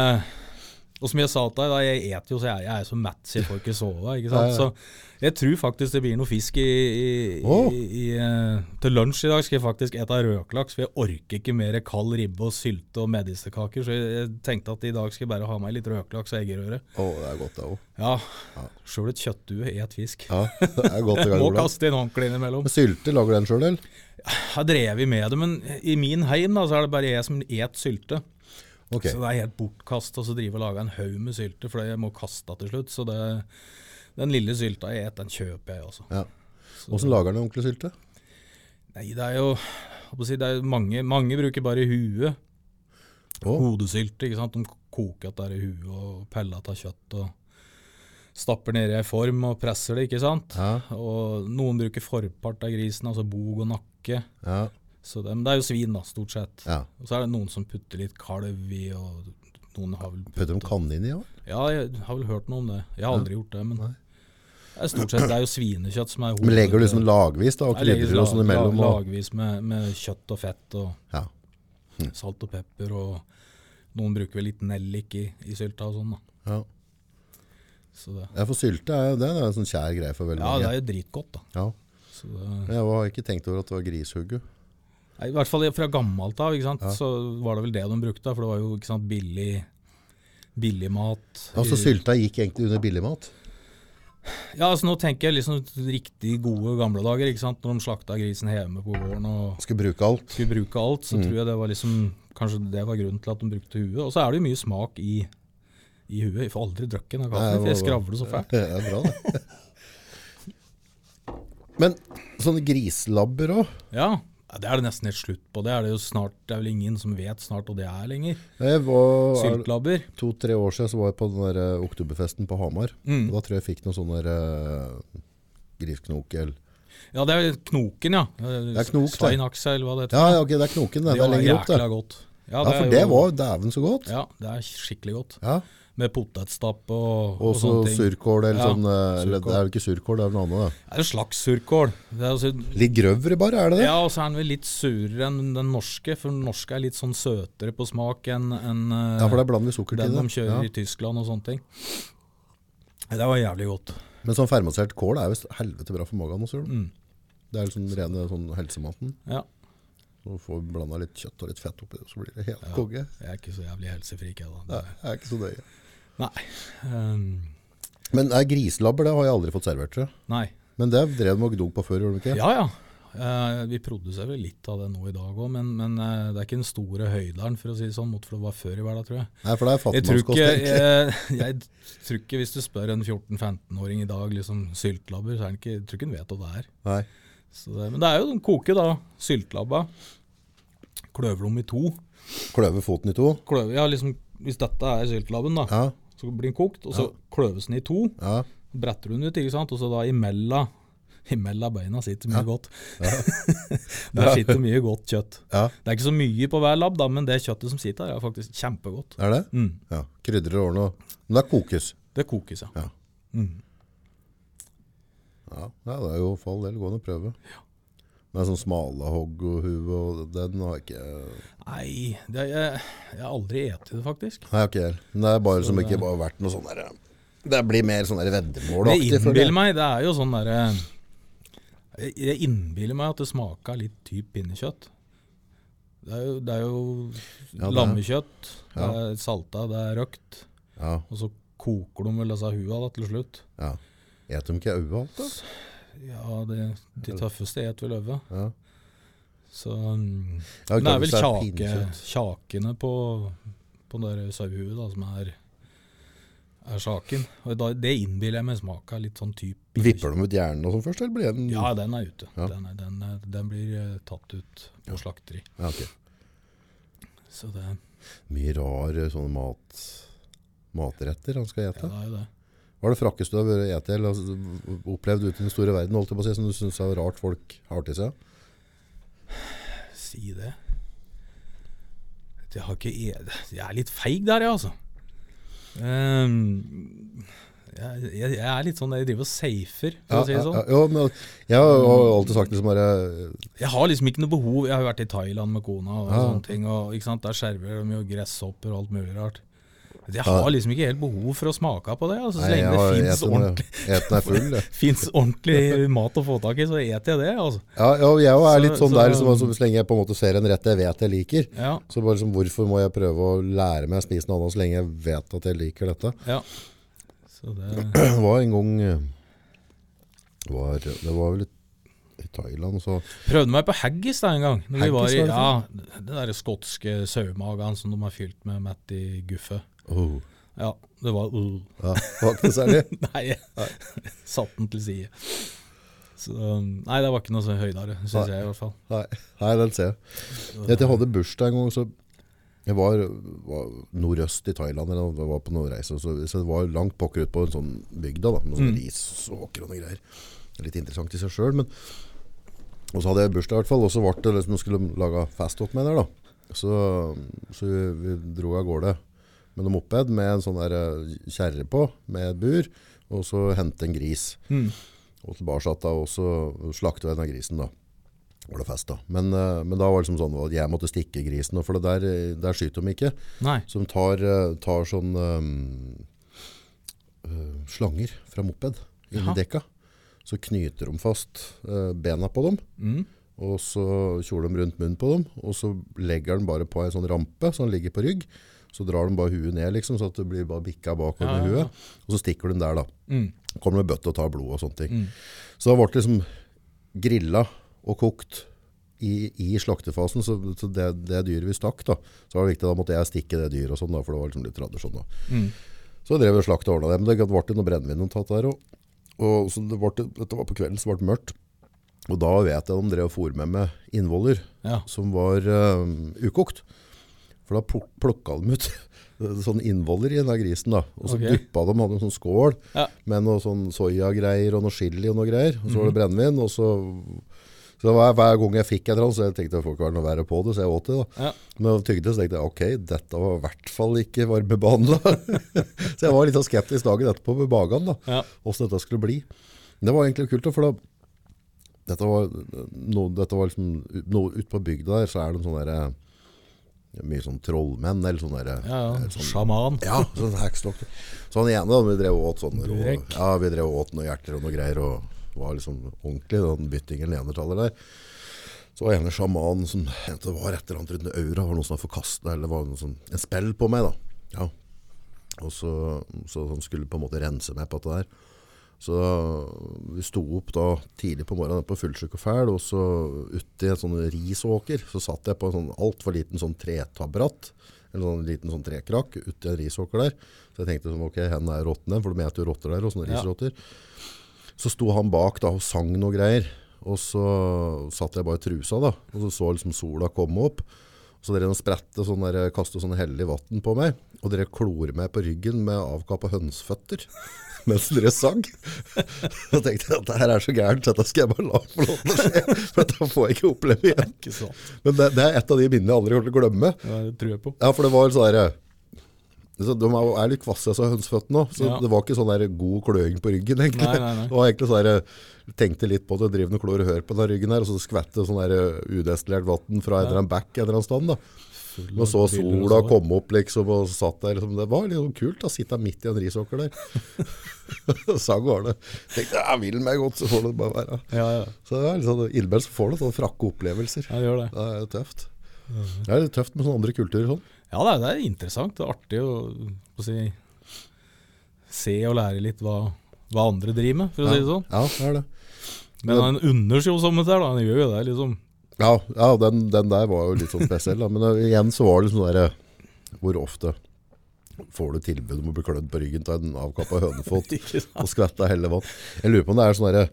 Speaker 4: Og som jeg sa til deg, da, jeg et jo så jeg, jeg er så mett så jeg får ikke sove. ikke sant?
Speaker 3: Ja, ja.
Speaker 4: Så jeg tror faktisk det blir noe fisk i, i,
Speaker 3: Åh.
Speaker 4: i, i eh, Til lunsj i dag skal jeg faktisk ete rødlaks, for jeg orker ikke mer kald ribbe og sylte og medisterkaker. Så jeg, jeg tenkte at i dag skal jeg bare ha meg litt rødlaks og eggerøre.
Speaker 3: å, det er godt, det òg.
Speaker 4: Ja, sjøl et kjøttdue et fisk.
Speaker 3: Ja, det er godt i gang.
Speaker 4: Må
Speaker 3: Olav.
Speaker 4: kaste inn håndkleet innimellom.
Speaker 3: Men Sylte, lager du den sjøl, eller?
Speaker 4: Jeg har drevet med det, men i min heim da, så er det bare jeg som et sylte.
Speaker 3: Ok.
Speaker 4: Så det er helt bortkast å drive og lage en haug med sylte, for jeg må kaste det til slutt. Så det, den lille sylta jeg et, den kjøper jeg også.
Speaker 3: Ja. Hvordan lager han en ordentlig sylte?
Speaker 4: Nei, det er jo jeg holdt på å si, det er jo mange, mange bruker bare huet.
Speaker 3: Å,
Speaker 4: Hodesylte, ikke sant. De koker at det er i huet og peller at det er kjøtt. og Stapper ned i ei form og presser det, ikke sant.
Speaker 3: Ja.
Speaker 4: Og noen bruker forpart av grisen, altså bog og nakke.
Speaker 3: ja.
Speaker 4: Så det, men det er jo svin, da, stort sett.
Speaker 3: ja.
Speaker 4: Og så er det noen som putter litt kalv i, og Noen har vel
Speaker 3: Prøvde de kanin i år?
Speaker 4: Ja, jeg har vel hørt noe om det. Jeg har aldri gjort det, men det er stort sett det er jo svinekjøtt som er
Speaker 3: Men legger du liksom lagvis da, og
Speaker 4: Jeg legger
Speaker 3: krydrer og sånn
Speaker 4: lag-
Speaker 3: imellom?
Speaker 4: lag-
Speaker 3: Og,
Speaker 4: Lagvis med, med kjøtt og fett og
Speaker 3: ja. Mm.
Speaker 4: salt og pepper. Og noen bruker vel litt nellik i, i sylta og sånn. da.
Speaker 3: Ja.
Speaker 4: Så det,
Speaker 3: ja, for sylte er jo det, det er en sånn kjær greie for veldig
Speaker 4: ja, det
Speaker 3: mange.
Speaker 4: er jo dritgodt, da.
Speaker 3: Ja,
Speaker 4: Så det,
Speaker 3: Men Jeg var- har ikke tenkt over at det var grishugge.
Speaker 4: Nei, I hvert fall fra gammelt av, ikke sant? så var det vel det de brukte. da, For det var jo ikke sant, billig, billig mat.
Speaker 3: Altså Sylta gikk egentlig under billigmat.
Speaker 4: Ja, altså Nå tenker jeg liksom riktig gode gamle dager, ikke sant? når de slakta grisen hjemme på gården og
Speaker 3: Skulle bruke alt.
Speaker 4: skulle bruke alt.
Speaker 3: Mm.
Speaker 4: Så tror jeg det var liksom Kanskje det var grunnen til at de brukte huet. Og så er det jo mye smak i, i huet. Jeg får aldri drukket den
Speaker 3: Nei,
Speaker 4: av kaffen, for jeg
Speaker 3: det var-
Speaker 4: skravler så fælt.
Speaker 3: Det er bra, det. Men sånne grislabber òg.
Speaker 4: Ja, det er det nesten helt slutt på. Det er det jo snart, det er vel ingen som vet snart hva det er lenger. Syltlabber.
Speaker 3: To-tre år siden så var jeg på den der eh, oktoberfesten på Hamar.
Speaker 4: Mm.
Speaker 3: Og Da tror jeg jeg fikk noen sånne der, eh, grisknok eller
Speaker 4: Ja, det er knoken, ja. Det
Speaker 3: er knok, det.
Speaker 4: Svein Aksel, hva det heter.
Speaker 3: Ja, ja, ok, det er knoken. Det, det er
Speaker 4: var
Speaker 3: lenger opp, det.
Speaker 4: jækla godt. Ja,
Speaker 3: Ja, for
Speaker 4: er
Speaker 3: det
Speaker 4: jo-
Speaker 3: var dæven så godt.
Speaker 4: Ja, det er skikkelig godt.
Speaker 3: Ja.
Speaker 4: Med potetstapp og,
Speaker 3: Og
Speaker 4: og
Speaker 3: så
Speaker 4: sånne ting.
Speaker 3: surkål eller
Speaker 4: Ja,
Speaker 3: sånn eh, eller,
Speaker 4: surkål.
Speaker 3: Det er jo ikke surkål, det er noe annet.
Speaker 4: Det er en slags surkål. Det er altså,
Speaker 3: Det. Litt grøvere bare, er det det?
Speaker 4: ja, og så er den vel litt surere enn den norske, for den norske er litt sånn søtere på smak enn enn, eh,
Speaker 3: Ja, for der blander vi sukker
Speaker 4: den
Speaker 3: til
Speaker 4: de
Speaker 3: det.
Speaker 4: kjører i
Speaker 3: Ja.
Speaker 4: Tyskland og sånne ting. Det var jævlig godt.
Speaker 3: Men sånn fermentert kål er visst helvete bra for magen også. Mm. Det er liksom rene sånn helsematen.
Speaker 4: Ja.
Speaker 3: Så får vi blanda litt kjøtt og litt fett oppi det, så blir det helt konge.
Speaker 4: Jeg er ikke så jævlig helsefrik, jeg, da.
Speaker 3: Det er ikke så nøye.
Speaker 4: Det- Nei. Um,
Speaker 3: Men nei, griselabber det har jeg aldri fått servert. tror jeg.
Speaker 4: nei.
Speaker 3: Men det drev de og gnog på før, gjorde de ikke?
Speaker 4: Ja, ja. Eh, vi produserer vel litt av det nå i dag òg, men, men eh, det er ikke den store høyderen, for å si det sånn, mot for det var før i verden, tror jeg.
Speaker 3: Nei, for det er
Speaker 4: Jeg tror,
Speaker 3: fattigmannskost.
Speaker 4: ikke,
Speaker 3: egentlig.
Speaker 4: jeg, jeg tror ikke Hvis du spør en 14-15-åring i dag liksom syltlabber, så er han ikke, jeg tror ikke han vet hva det er.
Speaker 3: Nei.
Speaker 4: Så det, men det er jo de koker, da. Syltlabba. Kløver dem i to.
Speaker 3: Kløve foten i to.
Speaker 4: Kløver, ja, liksom, hvis dette er syltlabben, da,
Speaker 3: Ja,
Speaker 4: så blir den kokt, og så kløves den i to.
Speaker 3: ja.
Speaker 4: Bretter du den ut, ikke sant, og så da imella Imella beina sitter mye godt. Der sitter mye godt kjøtt.
Speaker 3: Ja.
Speaker 4: Det er ikke så mye på hver labb, da, men det kjøttet som sitter her, er faktisk kjempegodt.
Speaker 3: Er det?
Speaker 4: Mm.
Speaker 3: Ja. Krydrer og ordner. og- Men det kokes.
Speaker 4: Det kokes, ja.
Speaker 3: Ja. Ja, ja, det er jo for all del gående å prøve. Med sånn smalahogg og hue og den har jeg ikke
Speaker 4: Nei, det, jeg, jeg har aldri spist det, faktisk.
Speaker 3: Nei, ok. Men det er bare som ikke bare vært noe sånn der Det blir mer sånn der
Speaker 4: Det
Speaker 3: veddemålaktig. føler jeg.
Speaker 4: innbiller meg, det er jo sånn derre jeg- Jeg innbiller meg at det smaker litt typ pinnekjøtt. Det er jo, det er jo
Speaker 3: Ja, det er-
Speaker 4: lammekjøtt, det
Speaker 3: Ja.
Speaker 4: er salta, det er røkt.
Speaker 3: Ja,
Speaker 4: Og så koker de vel disse hua da, til slutt.
Speaker 3: ja. Et de ikke øyet alt, da?
Speaker 4: Ja, det, de tøffeste et vel øve.
Speaker 3: Ja.
Speaker 4: Så mm,
Speaker 3: Ja,
Speaker 4: Men det er vel
Speaker 3: hvis
Speaker 4: kjake,
Speaker 3: pinnekjøtt.
Speaker 4: kjakene på, på den der sauehuet da, som er, er sjaken. Og da, det innbiller jeg meg smaker litt sånn typ.
Speaker 3: Vipper de ut hjernen og sånn først, eller blir den
Speaker 4: Ja, den er ute.
Speaker 3: Ja.
Speaker 4: Den, er, den, er- den blir eh, tatt ut på slakteri.
Speaker 3: Ja, ok.
Speaker 4: Så det,
Speaker 3: Mye rare sånne mat, matretter han skal
Speaker 4: ja,
Speaker 3: ete.
Speaker 4: det er jo det.
Speaker 3: Hva er det frakkeste du har vært ete eller altså, opplevd ute i den store verden, holdt jeg på å si, som du syns er rart folk har til seg?
Speaker 4: Si det. Jeg, har ikke, e- jeg er litt feig der, jeg, altså. Ehm, jeg, jeg, jeg er litt sånn Jeg driver og safer, for å si det sånn.
Speaker 3: Ja, ja, jo, men jeg har jo alltid sagt det som bare
Speaker 4: Jeg har liksom ikke noe behov. Jeg har jo vært i Thailand med kona og
Speaker 3: Ja.
Speaker 4: sånne ting. Og, ikke sant? Der skjerver de jo gresshopper og alt mulig rart. Jeg har liksom ikke helt behov for å smake på det. Altså, så
Speaker 3: Nei, jeg
Speaker 4: lenge
Speaker 3: har
Speaker 4: det fins
Speaker 3: eten når
Speaker 4: ordentlig,
Speaker 3: eten er full. jeg.
Speaker 4: finnes ordentlig mat å få tak i, så eter jeg det. Altså.
Speaker 3: Ja, ja, og jeg er litt
Speaker 4: Så-
Speaker 3: sånn der,
Speaker 4: så-
Speaker 3: liksom, altså, så lenge jeg på en måte ser en rett jeg vet jeg liker,
Speaker 4: Ja,
Speaker 3: så bare liksom, hvorfor må jeg prøve å lære meg å spise noe annet så lenge jeg vet at jeg liker dette?
Speaker 4: ja. Så det,
Speaker 3: Det var en gang eh, var, Det var vel i Thailand, så
Speaker 4: prøvde meg på haggis da en gang. Når vi var i,
Speaker 3: Haggis,
Speaker 4: ja,
Speaker 3: hva
Speaker 4: Den derre skotske sauemagen som de har fylt med mett i guffe.
Speaker 3: oh,
Speaker 4: Ja, det var uh.
Speaker 3: ja, det var ikke noe særlig.
Speaker 4: Nei, jeg satte den til side. Så, um, nei, det var ikke noe så høydere, syns jeg i hvert fall.
Speaker 3: Nei, nei, den ser jeg. Jeg, jeg hadde bursdag en gang, så jeg var, var nordøst i Thailand, eller jeg var på nordreise, så, så det var langt pokker ut på en sånn bygda, da, med sånn risåker og noe greier. Det er Litt interessant i seg sjøl, men Og så hadde jeg bursdag i hvert fall, og så ble det liksom, skulle de lage fest åt meg der, da. Så, så vi, vi dro av gårde med noe moped med en sånn der, eh, kjerre på, med et bur, og så hente en gris. Og tilbake satt da, og så slakta jeg den av grisen, da. Var det fest, da. Men, eh, men da var det liksom sånn at jeg måtte stikke grisen, og for det der, eh, der skyter de ikke.
Speaker 4: Nei.
Speaker 3: Så de tar, eh, tar sånn eh, eh, slanger fra moped inni
Speaker 4: Jaha.
Speaker 3: dekka. Så knyter de fast eh, bena på dem,
Speaker 4: Mm.
Speaker 3: og så kjoler de rundt munnen på dem, og så legger de bare på en sånn rampe, så han ligger på rygg. Så drar de bare huet ned, liksom, så at det blir bare bikka bakover
Speaker 4: Ja,
Speaker 3: med
Speaker 4: ja, ja.
Speaker 3: huet. Og så stikker de der, da.
Speaker 4: Mm.
Speaker 3: Kommer med bøtte og tar blod og sånne ting. Så da ble det liksom grilla og kokt i, i slaktefasen. Så, så det, det dyret vi stakk, da, så var det viktig da måtte jeg stikke det dyret, og sånn da, for det var liksom litt tradisjon. da. Så drev vi og slakta og ordna det. Men det ble noe brennevin tatt der òg. Og så det ble, dette var på kvelden, så ble det mørkt. Og da vet jeg de drev og fôr med meg innvoller
Speaker 4: Ja.
Speaker 3: som var eh, ukokt. For da pluk plukka de ut sånn innvoller i den der grisen. da. Og så
Speaker 4: Ok.
Speaker 3: duppa de, hadde en sånn skål
Speaker 4: Ja.
Speaker 3: med noe sånn soyagreier og noe chili og noe greier. Og så
Speaker 4: Mhm.
Speaker 3: var det brennevin. og så... Så hver, hver gang jeg fikk et eller annet, så jeg tenkte jeg får ikke være noe verre på det, så jeg åt det. da.
Speaker 4: Ja.
Speaker 3: Men jeg tygde, så tenkte jeg ok, dette var i hvert fall ikke varmebehandla. så jeg var litt sånn skeptisk dagen etterpå med magen, da,
Speaker 4: Ja.
Speaker 3: åssen dette skulle bli. Men det var egentlig kult, da, for da dette var, noe, dette var liksom noe, Ute på bygda der så er det sånne der, mye sånn trollmenn eller sånne der,
Speaker 4: Ja, ja.
Speaker 3: eller sånn-
Speaker 4: Sjaman.
Speaker 3: ja, sånn heksedoktor. Så han ene da, vi drev og åt sånn rå,
Speaker 4: Burek.
Speaker 3: ja, vi drev og åt noen hjerter og noe greier, og var liksom ordentlig, den byttingen enertaler der. Så var ene sjamanen som mente det var et eller annet rundt øra, var noen som hadde forkastet, eller var noe sånn, en spill på meg da. Ja. Og så, så han skulle på en måte rense meg på dette der. Så vi sto opp da tidlig på morgenen på fullsjuk og fæl, og så ute i en sånn risåker, så satt jeg på en sånn altfor liten sånn tretabbratt, eller sånn liten sånn trekrakk, ute i en risåker der. Så jeg tenkte sånn, ok, hendene er råttene, for de heter jo rotter der, og sånne
Speaker 4: Ja.
Speaker 3: risrotter. Så sto han bak da og sang noe greier, og så satt jeg bare i trusa da, og så så liksom sola komme opp, så dere sprette sånn der, kaste sånn hellig vatten på meg, og dere klor meg på ryggen med avkappa hønsføtter mens dere sang. Da tenkte jeg at det her er så gærent, dette skal jeg bare la få lov til å skje. For dette får jeg ikke oppleve igjen.
Speaker 4: Ikke sant.
Speaker 3: Men det, det er et av de minnene jeg aldri kommer til å glemme.
Speaker 4: Ja, det tror jeg på.
Speaker 3: Ja, for det var sånn der, så De er jo- er litt kvasse, så hønsføttene òg. Så
Speaker 4: Ja.
Speaker 3: det var ikke sånn der god kløing på ryggen, egentlig.
Speaker 4: Nei, nei, nei.
Speaker 3: Det var egentlig sånn der, tenkte litt på det, driver noe klor og hører på den der ryggen her, og så skvette sånn der udestillert vann fra en eller annen bekk en eller annen stand. da. Og så sola
Speaker 4: sånn.
Speaker 3: komme opp liksom, og satt der. Liksom. Det var litt sånn kult da, sitte midt i en risåker der. Sang og Arne. Tenkte jeg vil meg godt, så får det bare være.
Speaker 4: Ja, ja.
Speaker 3: Så det er litt sånn, innimellom så får du sånne frakke opplevelser.
Speaker 4: ja, det gjør det.
Speaker 3: Det er jo tøft. Det er litt tøft med sånne andre kulturer sånn.
Speaker 4: Ja, det er, det er interessant. Det er artig å, å si, se og lære litt hva, hva andre driver med, for å si det sånn.
Speaker 3: Ja, det er det.
Speaker 4: Men han unner seg jo sånt der, da. Han gjør jo det, liksom.
Speaker 3: Ja, ja den, den der var jo litt sånn spesiell, da. men eh, igjen så var det liksom der eh, Hvor ofte får du tilbud om å bli klødd på ryggen av en avkappa hønefot
Speaker 4: Ikke sant?
Speaker 3: og skvette hellig vann? Jeg lurer på om det er sånn derre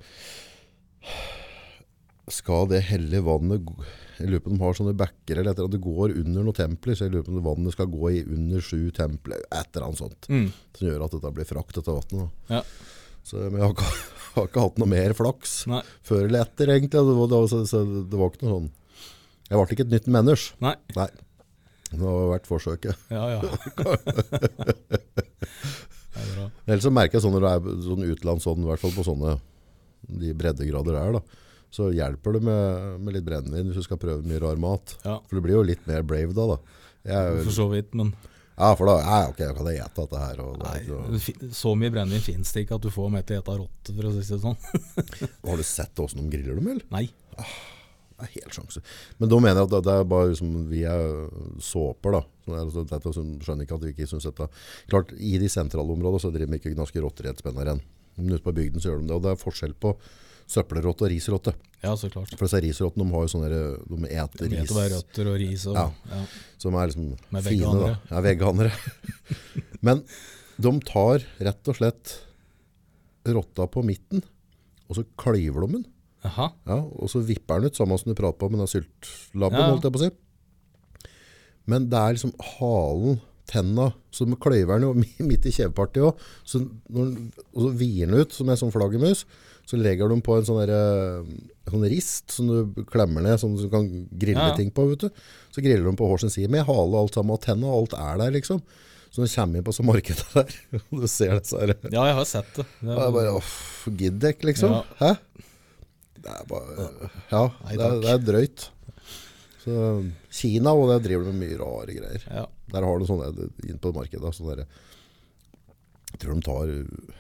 Speaker 3: Skal det hellige vannet gå- Jeg lurer på om de har sånne bekker eller et eller annet. Det går under noen templer, så jeg lurer på om det vannet skal gå i under sju templer, et eller annet sånt.
Speaker 4: Mm.
Speaker 3: Som gjør at dette blir frakt, dette vannet. da.
Speaker 4: Ja.
Speaker 3: Så, men jeg har ikke, har ikke hatt noe mer flaks
Speaker 4: Nei.
Speaker 3: før eller etter, egentlig. Det var, det var, så, så det var ikke noe sånn Jeg ble ikke et nytt menneske.
Speaker 4: Nei.
Speaker 3: Nei. Det har vært forsøket.
Speaker 4: Ja, ja. det er bra.
Speaker 3: Ellers så merker jeg sånn når det er sånn utland, sånn, i hvert fall på sånne de breddegrader det er, da, så hjelper det med, med litt brennevin hvis du skal prøve mye rar mat.
Speaker 4: Ja,
Speaker 3: For du blir jo litt mer brave da. da. Jeg, er
Speaker 4: for
Speaker 3: jo-
Speaker 4: så vidt, men
Speaker 3: ja, for da ja, ok, da kan jeg ete dette her. Og, det er ikke noe-
Speaker 4: det fin- så mye brennevin finnes det ikke at du får med til å ete rotte, for å si det sånn.
Speaker 3: har du sett åssen de griller dem, eller?
Speaker 4: Nei.
Speaker 3: Det er helt sjanse. Men da mener jeg at det- det er bare liksom, vi er såper, da. Sånn er det, så dette som- skjønner ikke at vi ikke synes dette. Klart, i de sentrale områdene så driver vi ikke gnaske rotter i et spenn her enn. Men ute på bygden så gjør de det, og det er forskjell på søppelrotte og risrotte.
Speaker 4: Ja, så klart.
Speaker 3: For disse risrottene, de har jo sånne, der- de eter
Speaker 4: Det
Speaker 3: ris
Speaker 4: heter bare røtter og ris og ja.
Speaker 3: Ja. som er liksom
Speaker 4: Med
Speaker 3: fine da.
Speaker 4: veganere.
Speaker 3: Ja, veganere. Men de tar rett og slett rotta på midten, og så klyver de den.
Speaker 4: Jaha.
Speaker 3: Ja, og så vipper den ut, samme som du prater på med den syltlabben,
Speaker 4: Ja, ja.
Speaker 3: holdt jeg på å si. Men det er liksom halen, tenna, så de kløyver den jo mi- midt i kjevepartiet òg. Så når den, og så vier den ut som en sånn flaggermus. Så legger de på en sånn, derre, eh, sånn rist som du klemmer ned, sånn som du kan grille
Speaker 4: Ja, ja.
Speaker 3: ting på. vet du. Så griller de på hver sin side med hale og alt sammen, og tenna og alt er der, liksom. Så når du kommer inn på så markedet der, og du ser disse her og
Speaker 4: Ja, jeg har sett det. det
Speaker 3: Jeg bare Uff, gidder ikke, liksom.
Speaker 4: Ja.
Speaker 3: Hæ? Det er bare Ja, det er,
Speaker 4: Nei, takk.
Speaker 3: det er drøyt. Så Kina og der driver de med mye rare greier.
Speaker 4: ja.
Speaker 3: Der har du sånne inn på markedet. da, Sånne der, jeg tror de tar uh,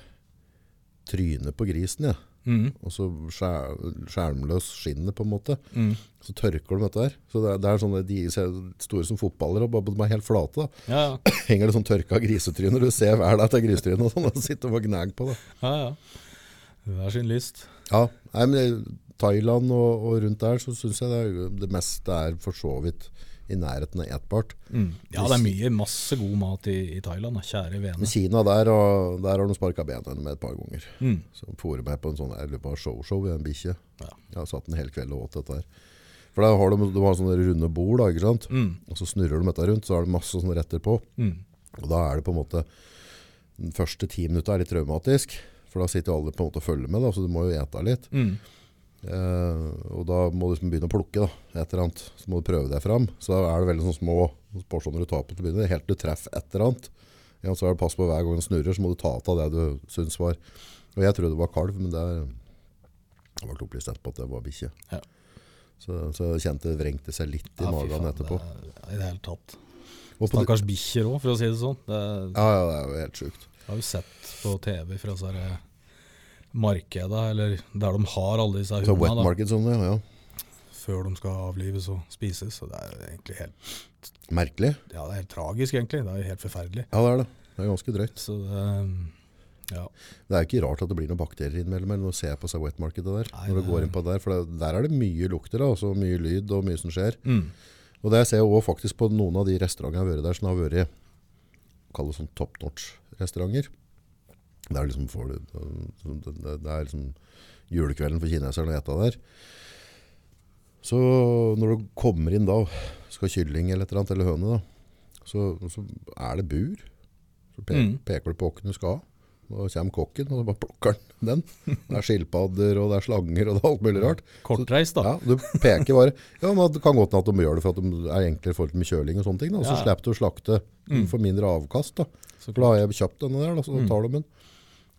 Speaker 3: trynet på grisen, ja.
Speaker 4: Mhm,
Speaker 3: og så skjær, skjermløs skinnet, på en måte.
Speaker 4: mhm.
Speaker 3: Så tørker de dette her. Så det er, det er sånne de ser store som fotballer, og bare, de er helt flate. da.
Speaker 4: ja, ja.
Speaker 3: Henger det sånn tørka grisetryner, du ser hver dag til grisetrynet, og sånn, og sitter og gnag på det.
Speaker 4: ja, ja. Hver sin lyst.
Speaker 3: Ja, nei, men det- Thailand og, og rundt der, så syns jeg det, er, jo- det meste er for så vidt i nærheten av etbart.
Speaker 4: Mm. Ja, det er mye, masse god mat i, i Thailand, da. kjære vene.
Speaker 3: Men Kina der, og der har de sparka bena med et par ganger.
Speaker 4: Mm.
Speaker 3: Så de fôrer meg på en sånn jeg lurer på, show-show i en bikkje.
Speaker 4: Ja.
Speaker 3: Jeg har satt en hel kveld og åt dette her. For da har de, de har sånne runde bord, da, ikke sant? og så snurrer de dette rundt, så har de masse sånne retter på.
Speaker 4: Mm.
Speaker 3: Og da er det på en måte Den første ti minutta er litt traumatisk, for da sitter jo alle på en måte og følger med, da, så du må jo ete litt.
Speaker 4: Mm.
Speaker 3: Eh, og da må du liksom begynne å plukke, da, et eller annet. Så må du prøve deg fram. Så da er det veldig sånn små porsjoner du tar på til å begynne, helt til du treffer et eller annet. Ja, så er det pass på hver gang den snurrer, så må du ta ut av det du syns var Og jeg trodde det var kalv, men det er- jeg ble opplyst etterpå at det var bikkje.
Speaker 4: Ja.
Speaker 3: Så, så jeg kjente det vrengte seg litt i
Speaker 4: Ja, fy
Speaker 3: magen
Speaker 4: faen,
Speaker 3: etterpå.
Speaker 4: Det er, I det hele tatt.
Speaker 3: Og på det,
Speaker 4: Stakkars bikkjer òg, for å si det sånn. Det er,
Speaker 3: ja, ja, det er jo helt sjukt.
Speaker 4: jeg har jo sett på TV fra så her markeda, eller der de har alle disse
Speaker 3: Så wet
Speaker 4: hundene, da,
Speaker 3: market sånn, ja. ja.
Speaker 4: før de skal avlives og spises. Så det er jo egentlig helt,
Speaker 3: Merkelig.
Speaker 4: ja, det er helt tragisk, egentlig. Det er jo helt forferdelig.
Speaker 3: Ja, det er det. Det er ganske drøyt.
Speaker 4: Så det Ja.
Speaker 3: Det er ikke rart at det blir noen bakterier innimellom eller når du ser på seg wet marketet der.
Speaker 4: Nei,
Speaker 3: når du
Speaker 4: det-
Speaker 3: går inn på der, For det, der er det mye lukter, da, altså mye lyd og mye som skjer.
Speaker 4: Mm.
Speaker 3: Og det ser jeg også faktisk på noen av de restaurantene jeg har vært der, som har vært kall det sånn top notch-restauranter. Det er liksom for, det, det, det er liksom julekvelden for kineserne å ete der. Så når du kommer inn da, skal ha kylling eller et eller annet, eller høne da, så, så er det bur. Så pe
Speaker 4: Mm.
Speaker 3: peker du på åkken du skal ha. Da kommer kokken, og så bare plukker han den. Det er skilpadder, og det er slanger, og det er alt mulig rart.
Speaker 4: Kortreist, da.
Speaker 3: Ja, du peker bare Ja, men det kan godt hende at de gjør det for at de er enklere i forhold til med kjøling og sånne ting. Da. Så
Speaker 4: Ja. Mm.
Speaker 3: slipper du å slakte Du får mindre avkast. Da.
Speaker 4: Så Mm.
Speaker 3: For da har jeg kjøpt denne der, da, så tar du den.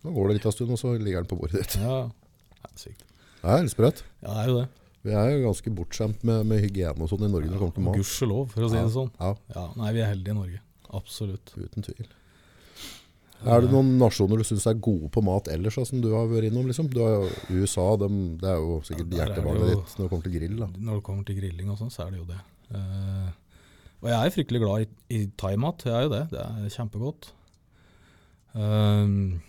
Speaker 3: Da går det litt av stund, og så ligger den på bordet ditt.
Speaker 4: Ja, det er sykt.
Speaker 3: Det er litt sprøtt.
Speaker 4: Ja, det er jo det.
Speaker 3: Vi er jo ganske bortskjemt med, med hygiene og sånn i Norge når det kommer til mat.
Speaker 4: Gudskjelov, for å si det sånn.
Speaker 3: Ja,
Speaker 4: Ja, nei, vi er heldige i Norge. Absolutt.
Speaker 3: uten tvil. Er det noen nasjoner du syns er gode på mat ellers, da, som du har vært innom? Liksom? Du har jo USA, dem, det er jo sikkert
Speaker 4: Ja, der er det
Speaker 3: hjertebarnet
Speaker 4: jo-
Speaker 3: ditt når det kommer til grill. Da.
Speaker 4: Når det kommer til grilling og sånn, så er det jo det. Eh, og jeg er fryktelig glad i, i thaimat, jeg er jo det. Det er kjempegodt. Eh,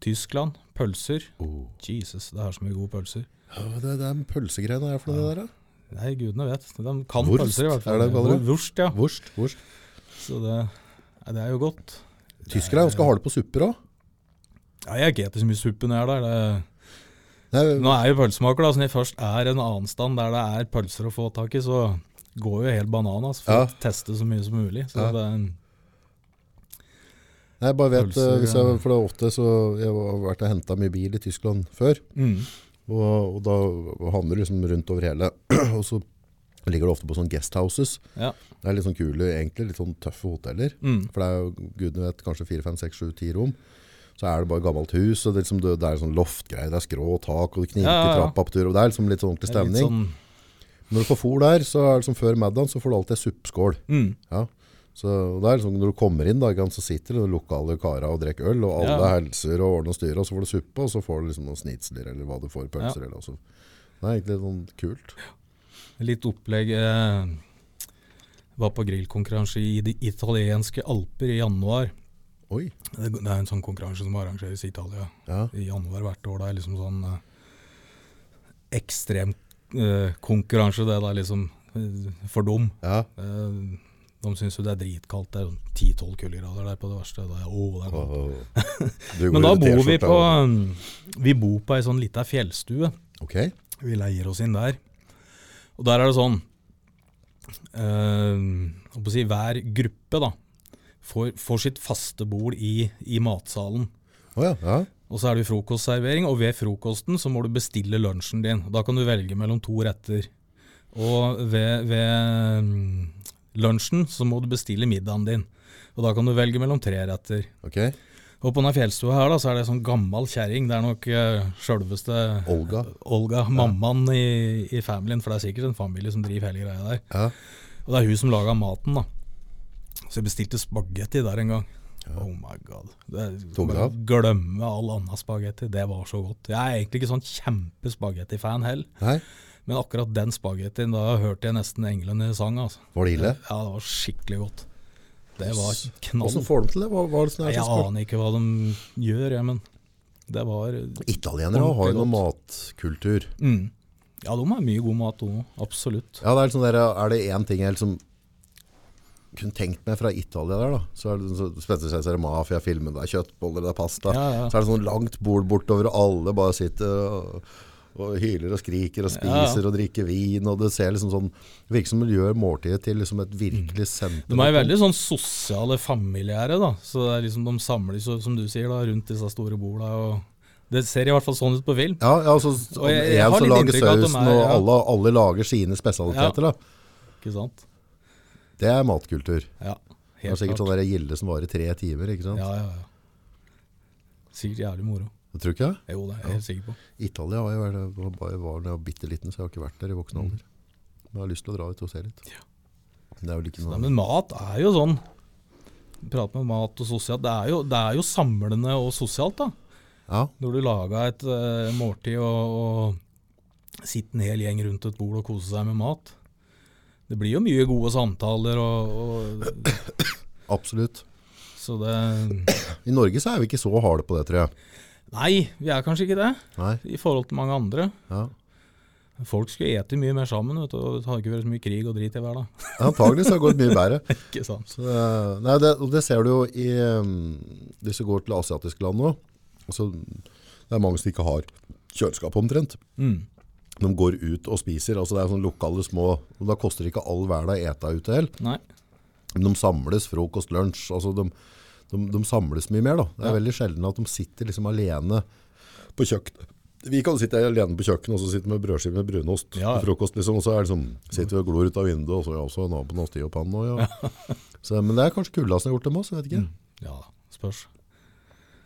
Speaker 4: Tyskland, pølser. Jesus, det er så mye gode pølser.
Speaker 3: Ja, det, det er pølsegreiene her for noe det der, da.
Speaker 4: Nei, gudene vet. De kan
Speaker 3: Wurst,
Speaker 4: pølser i hvert fall.
Speaker 3: er det det kaller det?
Speaker 4: Wurst, ja.
Speaker 3: Vorst, vorst.
Speaker 4: Så det, ja, det er jo godt.
Speaker 3: Tyskere er ganske harde på supper òg.
Speaker 4: Ja, jeg er ikke så mye suppe når jeg er der. Det,
Speaker 3: Nei,
Speaker 4: Nå er jo pølsemaker, da, så når jeg først er en annen stand der det er pølser å få tak i, så går jo helt bananas for
Speaker 3: Ja.
Speaker 4: å teste så mye som mulig. Så
Speaker 3: Ja.
Speaker 4: det er en,
Speaker 3: jeg bare vet,
Speaker 4: Pølser,
Speaker 3: eh, hvis jeg, for det er ofte så Jeg har vært og henta mye bil i Tyskland før,
Speaker 4: mm,
Speaker 3: og, og da havner du liksom rundt over hele. og så ligger det ofte på sånne guesthouses.
Speaker 4: ja.
Speaker 3: Det er litt sånn kule, egentlig litt sånn tøffe hoteller.
Speaker 4: Mm.
Speaker 3: For det er jo, gudene vet, kanskje 4, 5, 6, 7, 10 rom. Så er det bare gammelt hus, og det er, liksom, det det er sånn loftgreier, det er skrå og tak, og det kniker
Speaker 4: Ja, ja, ja.
Speaker 3: trappa på tur, og det er liksom litt sånn ordentlig
Speaker 4: Det er litt
Speaker 3: stemning.
Speaker 4: sånn-
Speaker 3: Når du får fôr der, så er det som før middagen, så får du alltid en suppeskål.
Speaker 4: mm,
Speaker 3: Ja. Så det er liksom, Når du kommer inn, da, ikke sant, så sitter de lokale kara og drikker øl, og alle
Speaker 4: Ja.
Speaker 3: helser og ordner og styrer, og så får du suppe, og så får du liksom noen snitsler eller hva du får, pølser eller altså. Det er egentlig sånn kult.
Speaker 4: litt opplegg eh, Var på grillkonkurranse i de italienske alper i januar.
Speaker 3: Oi.
Speaker 4: Det det er en sånn konkurranse som arrangeres i Italia
Speaker 3: Ja.
Speaker 4: i januar hvert år. Det er liksom sånn eh, ekstrem eh, konkurranse, det. Det er liksom eh, for dum.
Speaker 3: ja.
Speaker 4: Eh, De syns jo det er dritkaldt. Det er sånn 10-12 kuldegrader der på det verste. Da, er jeg, «Åh, det er kaldt».
Speaker 3: Og- Du går
Speaker 4: Men da
Speaker 3: ut i
Speaker 4: bor vi
Speaker 3: T-skjorta
Speaker 4: på um,
Speaker 3: og-
Speaker 4: Vi bor på ei sånn lita fjellstue.
Speaker 3: Ok.
Speaker 4: Vi leier oss inn der. Og der er det sånn eh, hva skal jeg si, Hver gruppe da får, får sitt faste bord i, i matsalen.
Speaker 3: Å ja. ja.
Speaker 4: Og så er det jo frokostservering, og ved frokosten så må du bestille lunsjen din. Da kan du velge mellom to retter. Og ved, ved mm, lunsjen, så må du bestille middagen din. Og da kan du velge mellom tre retter.
Speaker 3: Ok,
Speaker 4: Og på denne fjellstua her da, så er det en sånn gammel kjerring. Det er nok eh, sjølveste
Speaker 3: Olga.
Speaker 4: Olga, mammaen i, i familien, for det er sikkert en familie som driver hele greia der.
Speaker 3: Ja.
Speaker 4: Og det er hun som laga maten, da. Så jeg bestilte spagetti der en gang. Oh my god. Det,
Speaker 3: Tok det
Speaker 4: bare
Speaker 3: av?
Speaker 4: Glemme all annen spagetti. Det var så godt. Jeg er egentlig ikke sånn kjempespagettifan heller,
Speaker 3: Nei,
Speaker 4: men akkurat den spagettien, da hørte jeg nesten englene sang, altså.
Speaker 3: var det ille?
Speaker 4: Ja, det var skikkelig godt. Det var
Speaker 3: Hvordan
Speaker 4: knall.
Speaker 3: får de til det? Hva, hva er det som er så
Speaker 4: Jeg
Speaker 3: smart?
Speaker 4: aner ikke hva de gjør, jeg, men det var
Speaker 3: Italienere har jo noe matkultur.
Speaker 4: mm. Ja, de har mye god mat, de òg. Absolutt.
Speaker 3: Ja, det er, litt sånn der, er det én ting jeg liksom kunne tenkt meg fra Italia der, da Så er det sånn- så spesielt seg ser mafia, filmer, det er kjøttboller, det er pasta.
Speaker 4: Ja, ja.
Speaker 3: Så er det sånn langt bord bortover, og alle bare sitter og, og hyler og skriker og
Speaker 4: Ja,
Speaker 3: spiser og drikker vin, og det ser liksom sånn Det virker som det gjør måltidet til liksom et virkelig
Speaker 4: Mm. De
Speaker 3: senter.
Speaker 4: er jo veldig sånn sosiale familiære, da. Så det er liksom de samles, jo, som du sier, da, rundt disse store borda. Og det ser i hvert fall sånn ut på film.
Speaker 3: Ja, ja, så
Speaker 4: Og jeg- jeg
Speaker 3: en
Speaker 4: har
Speaker 3: som
Speaker 4: litt
Speaker 3: lager
Speaker 4: inntrykk av at de
Speaker 3: sausen,
Speaker 4: er-
Speaker 3: og
Speaker 4: ja.
Speaker 3: alle, alle lager sine spesialiteter, da.
Speaker 4: Ikke sant?
Speaker 3: Det er matkultur.
Speaker 4: Ja,
Speaker 3: Det er
Speaker 4: helt
Speaker 3: sikkert
Speaker 4: klart.
Speaker 3: sånn der gilde som varer i tre timer, ikke sant?
Speaker 4: Ja, ja, ja. Sikkert jævlig moro.
Speaker 3: Tror du ikke det?
Speaker 4: Jo, det er jeg helt sikker på.
Speaker 3: Italia har jeg vært, var- var- var da jeg var bitte liten, så jeg har ikke vært der i voksen alder. Men jeg har lyst til å dra ut og se litt. Men Det er vel ikke noe
Speaker 4: Nei, men mat er jo sånn Prate med mat og sosialt. Det er jo, det er jo samlende og sosialt, da.
Speaker 3: Ja,
Speaker 4: Når du lager et eh, måltid og, og sitter en hel gjeng rundt et bord og koser seg med mat. Det blir jo mye gode samtaler og, og
Speaker 3: absolutt.
Speaker 4: Så det
Speaker 3: I Norge så er vi ikke så harde på det, tror jeg.
Speaker 4: Nei, vi er kanskje ikke det,
Speaker 3: Nei,
Speaker 4: i forhold til mange andre.
Speaker 3: ja.
Speaker 4: Folk skulle ete mye mer sammen, vet du, og det hadde ikke vært så mye krig og drit i hver dag.
Speaker 3: Antagelig så har det gått mye bedre.
Speaker 4: ikke sant?
Speaker 3: Så, det- nei, det, og det ser du jo i um, Hvis du går til asiatiske land nå, så det er mange som ikke har kjøleskap omtrent.
Speaker 4: Mm.
Speaker 3: De går ut og spiser. altså Det er sånne lokale små og Da koster det ikke all hverdag å ete ute heller.
Speaker 4: Nei.
Speaker 3: Men de samles frokost, lunsj. Altså de, de, de samles mye mer. da. Det er veldig sjelden at de sitter liksom alene på kjøkkenet. Vi kan sitte alene på kjøkkenet og så sitte med brødskive med brunost
Speaker 4: Ja.
Speaker 3: på frokost. liksom, Og så er det sånn, sitter vi og glor ut av vinduet, og så er det også naboen og stiger opp han. Og, ja. så, men det er kanskje kuldasen jeg har gjort det med oss. jeg vet
Speaker 4: Mm.
Speaker 3: ikke.
Speaker 4: Ja, spørs.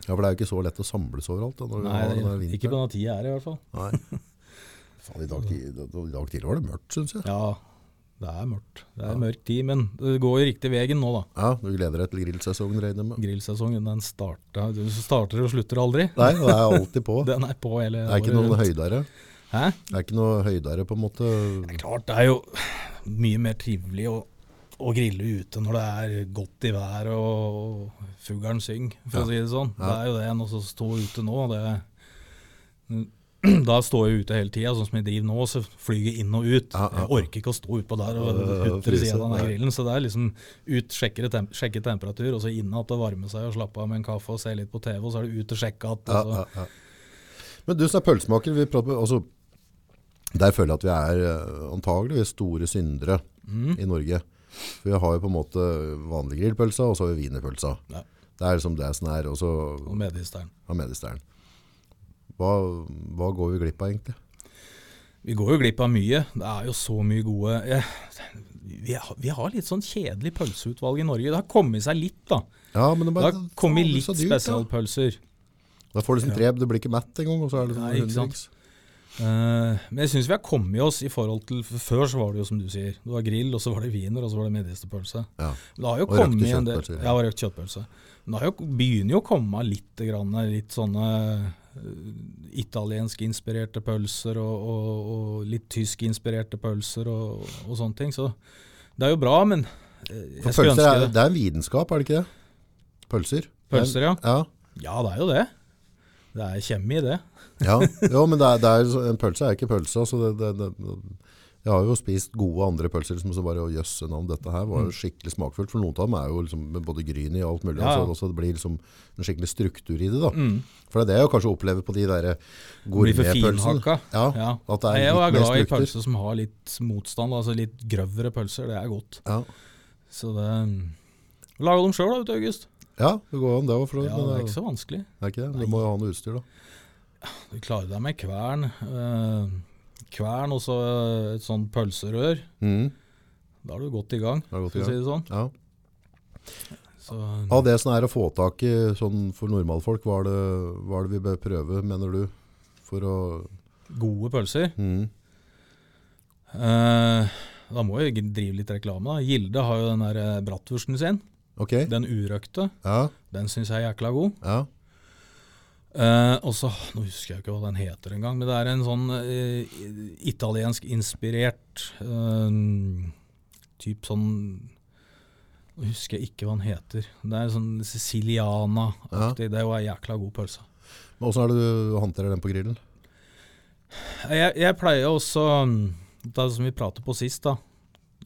Speaker 3: Ja, For det er jo ikke så lett å samles overalt. da, når
Speaker 4: Nei,
Speaker 3: vi har
Speaker 4: det,
Speaker 3: den
Speaker 4: ikke på denne tida er det i hvert fall.
Speaker 3: Nei. Faen, I dag, tid- I dag tidlig var det mørkt, syns jeg.
Speaker 4: Ja, det er mørkt. Det er mørk tid, men det går jo riktig veien nå, da.
Speaker 3: Ja, Du gleder deg til grillsesongen, regner jeg med?
Speaker 4: Grillsesongen den starta, du starter og slutter aldri.
Speaker 3: Nei, det er alltid på. Det
Speaker 4: Den er på hele
Speaker 3: er ikke
Speaker 4: året
Speaker 3: noen
Speaker 4: rundt.
Speaker 3: høydere.
Speaker 4: Hæ?
Speaker 3: Det er ikke noe høydere, på en måte.
Speaker 4: Det er klart, det er jo mye mer trivelig å, å grille ute når det er godt i været og fuglen synger, for å si det sånn. Det er jo det enn å stå ute nå. Det, da står jeg ute hele tida, sånn som jeg driver nå, så flyr jeg inn og ut.
Speaker 3: Ja, ja.
Speaker 4: Jeg orker ikke å stå utpå der og
Speaker 3: Øh,
Speaker 4: hutre
Speaker 3: fryse,
Speaker 4: sida av den der
Speaker 3: nei.
Speaker 4: grillen. Så det er liksom ut, sjekke, det tem sjekke temperatur, og så inn igjen og varme seg og slappe av med en kaffe og se litt på TV, og så er det ut og sjekke at
Speaker 3: Ja,
Speaker 4: og så-
Speaker 3: ja, ja. Men du som er pølsemaker, vi prater, altså, der føler jeg at vi er eh, antageligvis store syndere
Speaker 4: Mm.
Speaker 3: i Norge. For vi har jo på en måte vanlig grillpølse, og så har vi wienerpølse.
Speaker 4: Ja.
Speaker 3: Det er liksom det som er, og så
Speaker 4: og mediesteren.
Speaker 3: har medisternen. Hva, hva går vi glipp av egentlig?
Speaker 4: Vi går jo glipp av mye. Det er jo så mye gode eh, vi, har- vi har litt sånn kjedelig pølseutvalg i Norge. Det har kommet seg litt, da.
Speaker 3: Ja, men det,
Speaker 4: Det
Speaker 3: bare,
Speaker 4: har kommet
Speaker 3: faen,
Speaker 4: litt
Speaker 3: så dyrt, da.
Speaker 4: spesialpølser.
Speaker 3: Da får du liksom tre, du blir ikke mett engang, og så er det
Speaker 4: Nei, ikke
Speaker 3: liksom
Speaker 4: sant.
Speaker 3: hundrings.
Speaker 4: Eh, men jeg syns vi har kommet oss i forhold til for Før så var det jo som du sier. Det var grill, og så var det wiener, og så var det medisterpølse.
Speaker 3: Ja.
Speaker 4: Men det har jo
Speaker 3: Og røkte
Speaker 4: kommet en del
Speaker 3: kjøttpølser.
Speaker 4: Ja, og røkt kjøttpølse. Men det har jo, begynner jo å komme litt, grann, litt sånne eh, italienskinspirerte pølser og, og, og litt tyskinspirerte pølser og, og sånne ting. Så det er jo bra, men eh, jeg
Speaker 3: For
Speaker 4: skulle
Speaker 3: pølser er,
Speaker 4: ønske det.
Speaker 3: det er en videnskap, er det ikke det? Pølser?
Speaker 4: Pølser, ja.
Speaker 3: Ja.
Speaker 4: Ja, det er jo det. Det er kjemi i det.
Speaker 3: Ja, jo, men det er, det er, en pølse er ikke pølse. Altså det, det, det, jeg har jo spist gode andre pølser som så bare «Å, jøsse navn, dette her
Speaker 4: Mm.
Speaker 3: var jo skikkelig smakfullt. For noen av dem er jo liksom, med både gryn i og alt mulig.
Speaker 4: Ja, ja. Mm.
Speaker 3: Altså, altså det blir liksom en skikkelig struktur i det. da. For det er det jeg kanskje opplever på de der eh,
Speaker 4: Blir for
Speaker 3: gourmetpølsene.
Speaker 4: finhakka.
Speaker 3: Ja,
Speaker 4: Ja.
Speaker 3: At det
Speaker 4: Nei,
Speaker 3: er
Speaker 4: jeg er
Speaker 3: litt
Speaker 4: glad
Speaker 3: mer
Speaker 4: i
Speaker 3: struktur.
Speaker 4: pølser som har litt motstand, altså litt grøvere pølser. Det er godt.
Speaker 3: Ja.
Speaker 4: Så det Laga dem sjøl, da, vet du, August.
Speaker 3: ja, det går an det òg, for
Speaker 4: Ja,
Speaker 3: ja,
Speaker 4: det er
Speaker 3: men
Speaker 4: ikke
Speaker 3: det
Speaker 4: så vanskelig.
Speaker 3: det er ikke det. Du må jo ha noe utstyr, da.
Speaker 4: Du klarer deg med kvern. eh, kvern og så eh, et sånt pølserør. Da er du godt i gang,
Speaker 3: Da er det godt i
Speaker 4: for å si det sånn.
Speaker 3: Ja.
Speaker 4: Så, eh,
Speaker 3: Av det som er å få tak i sånn for normalfolk, hva er det, hva er det vi bør prøve, mener du? For å
Speaker 4: gode pølser.
Speaker 3: mm,
Speaker 4: Eh, da må jeg drive litt reklame. da. Gilde har jo den der eh, bratwursten sin.
Speaker 3: Ok.
Speaker 4: Den urøkte.
Speaker 3: Ja,
Speaker 4: Den syns jeg er jækla god.
Speaker 3: ja.
Speaker 4: Eh, og så, Nå husker jeg ikke hva den heter engang, men det er en sånn eh, italiensk-inspirert eh, type sånn Nå husker jeg ikke hva den heter. Det er sånn siciliana-aktig. Det er jo ei jækla god pølse.
Speaker 3: Men Åssen er det du håndterer den på grillen?
Speaker 4: Jeg, jeg pleier også, mm, det er som vi pratet på sist, da,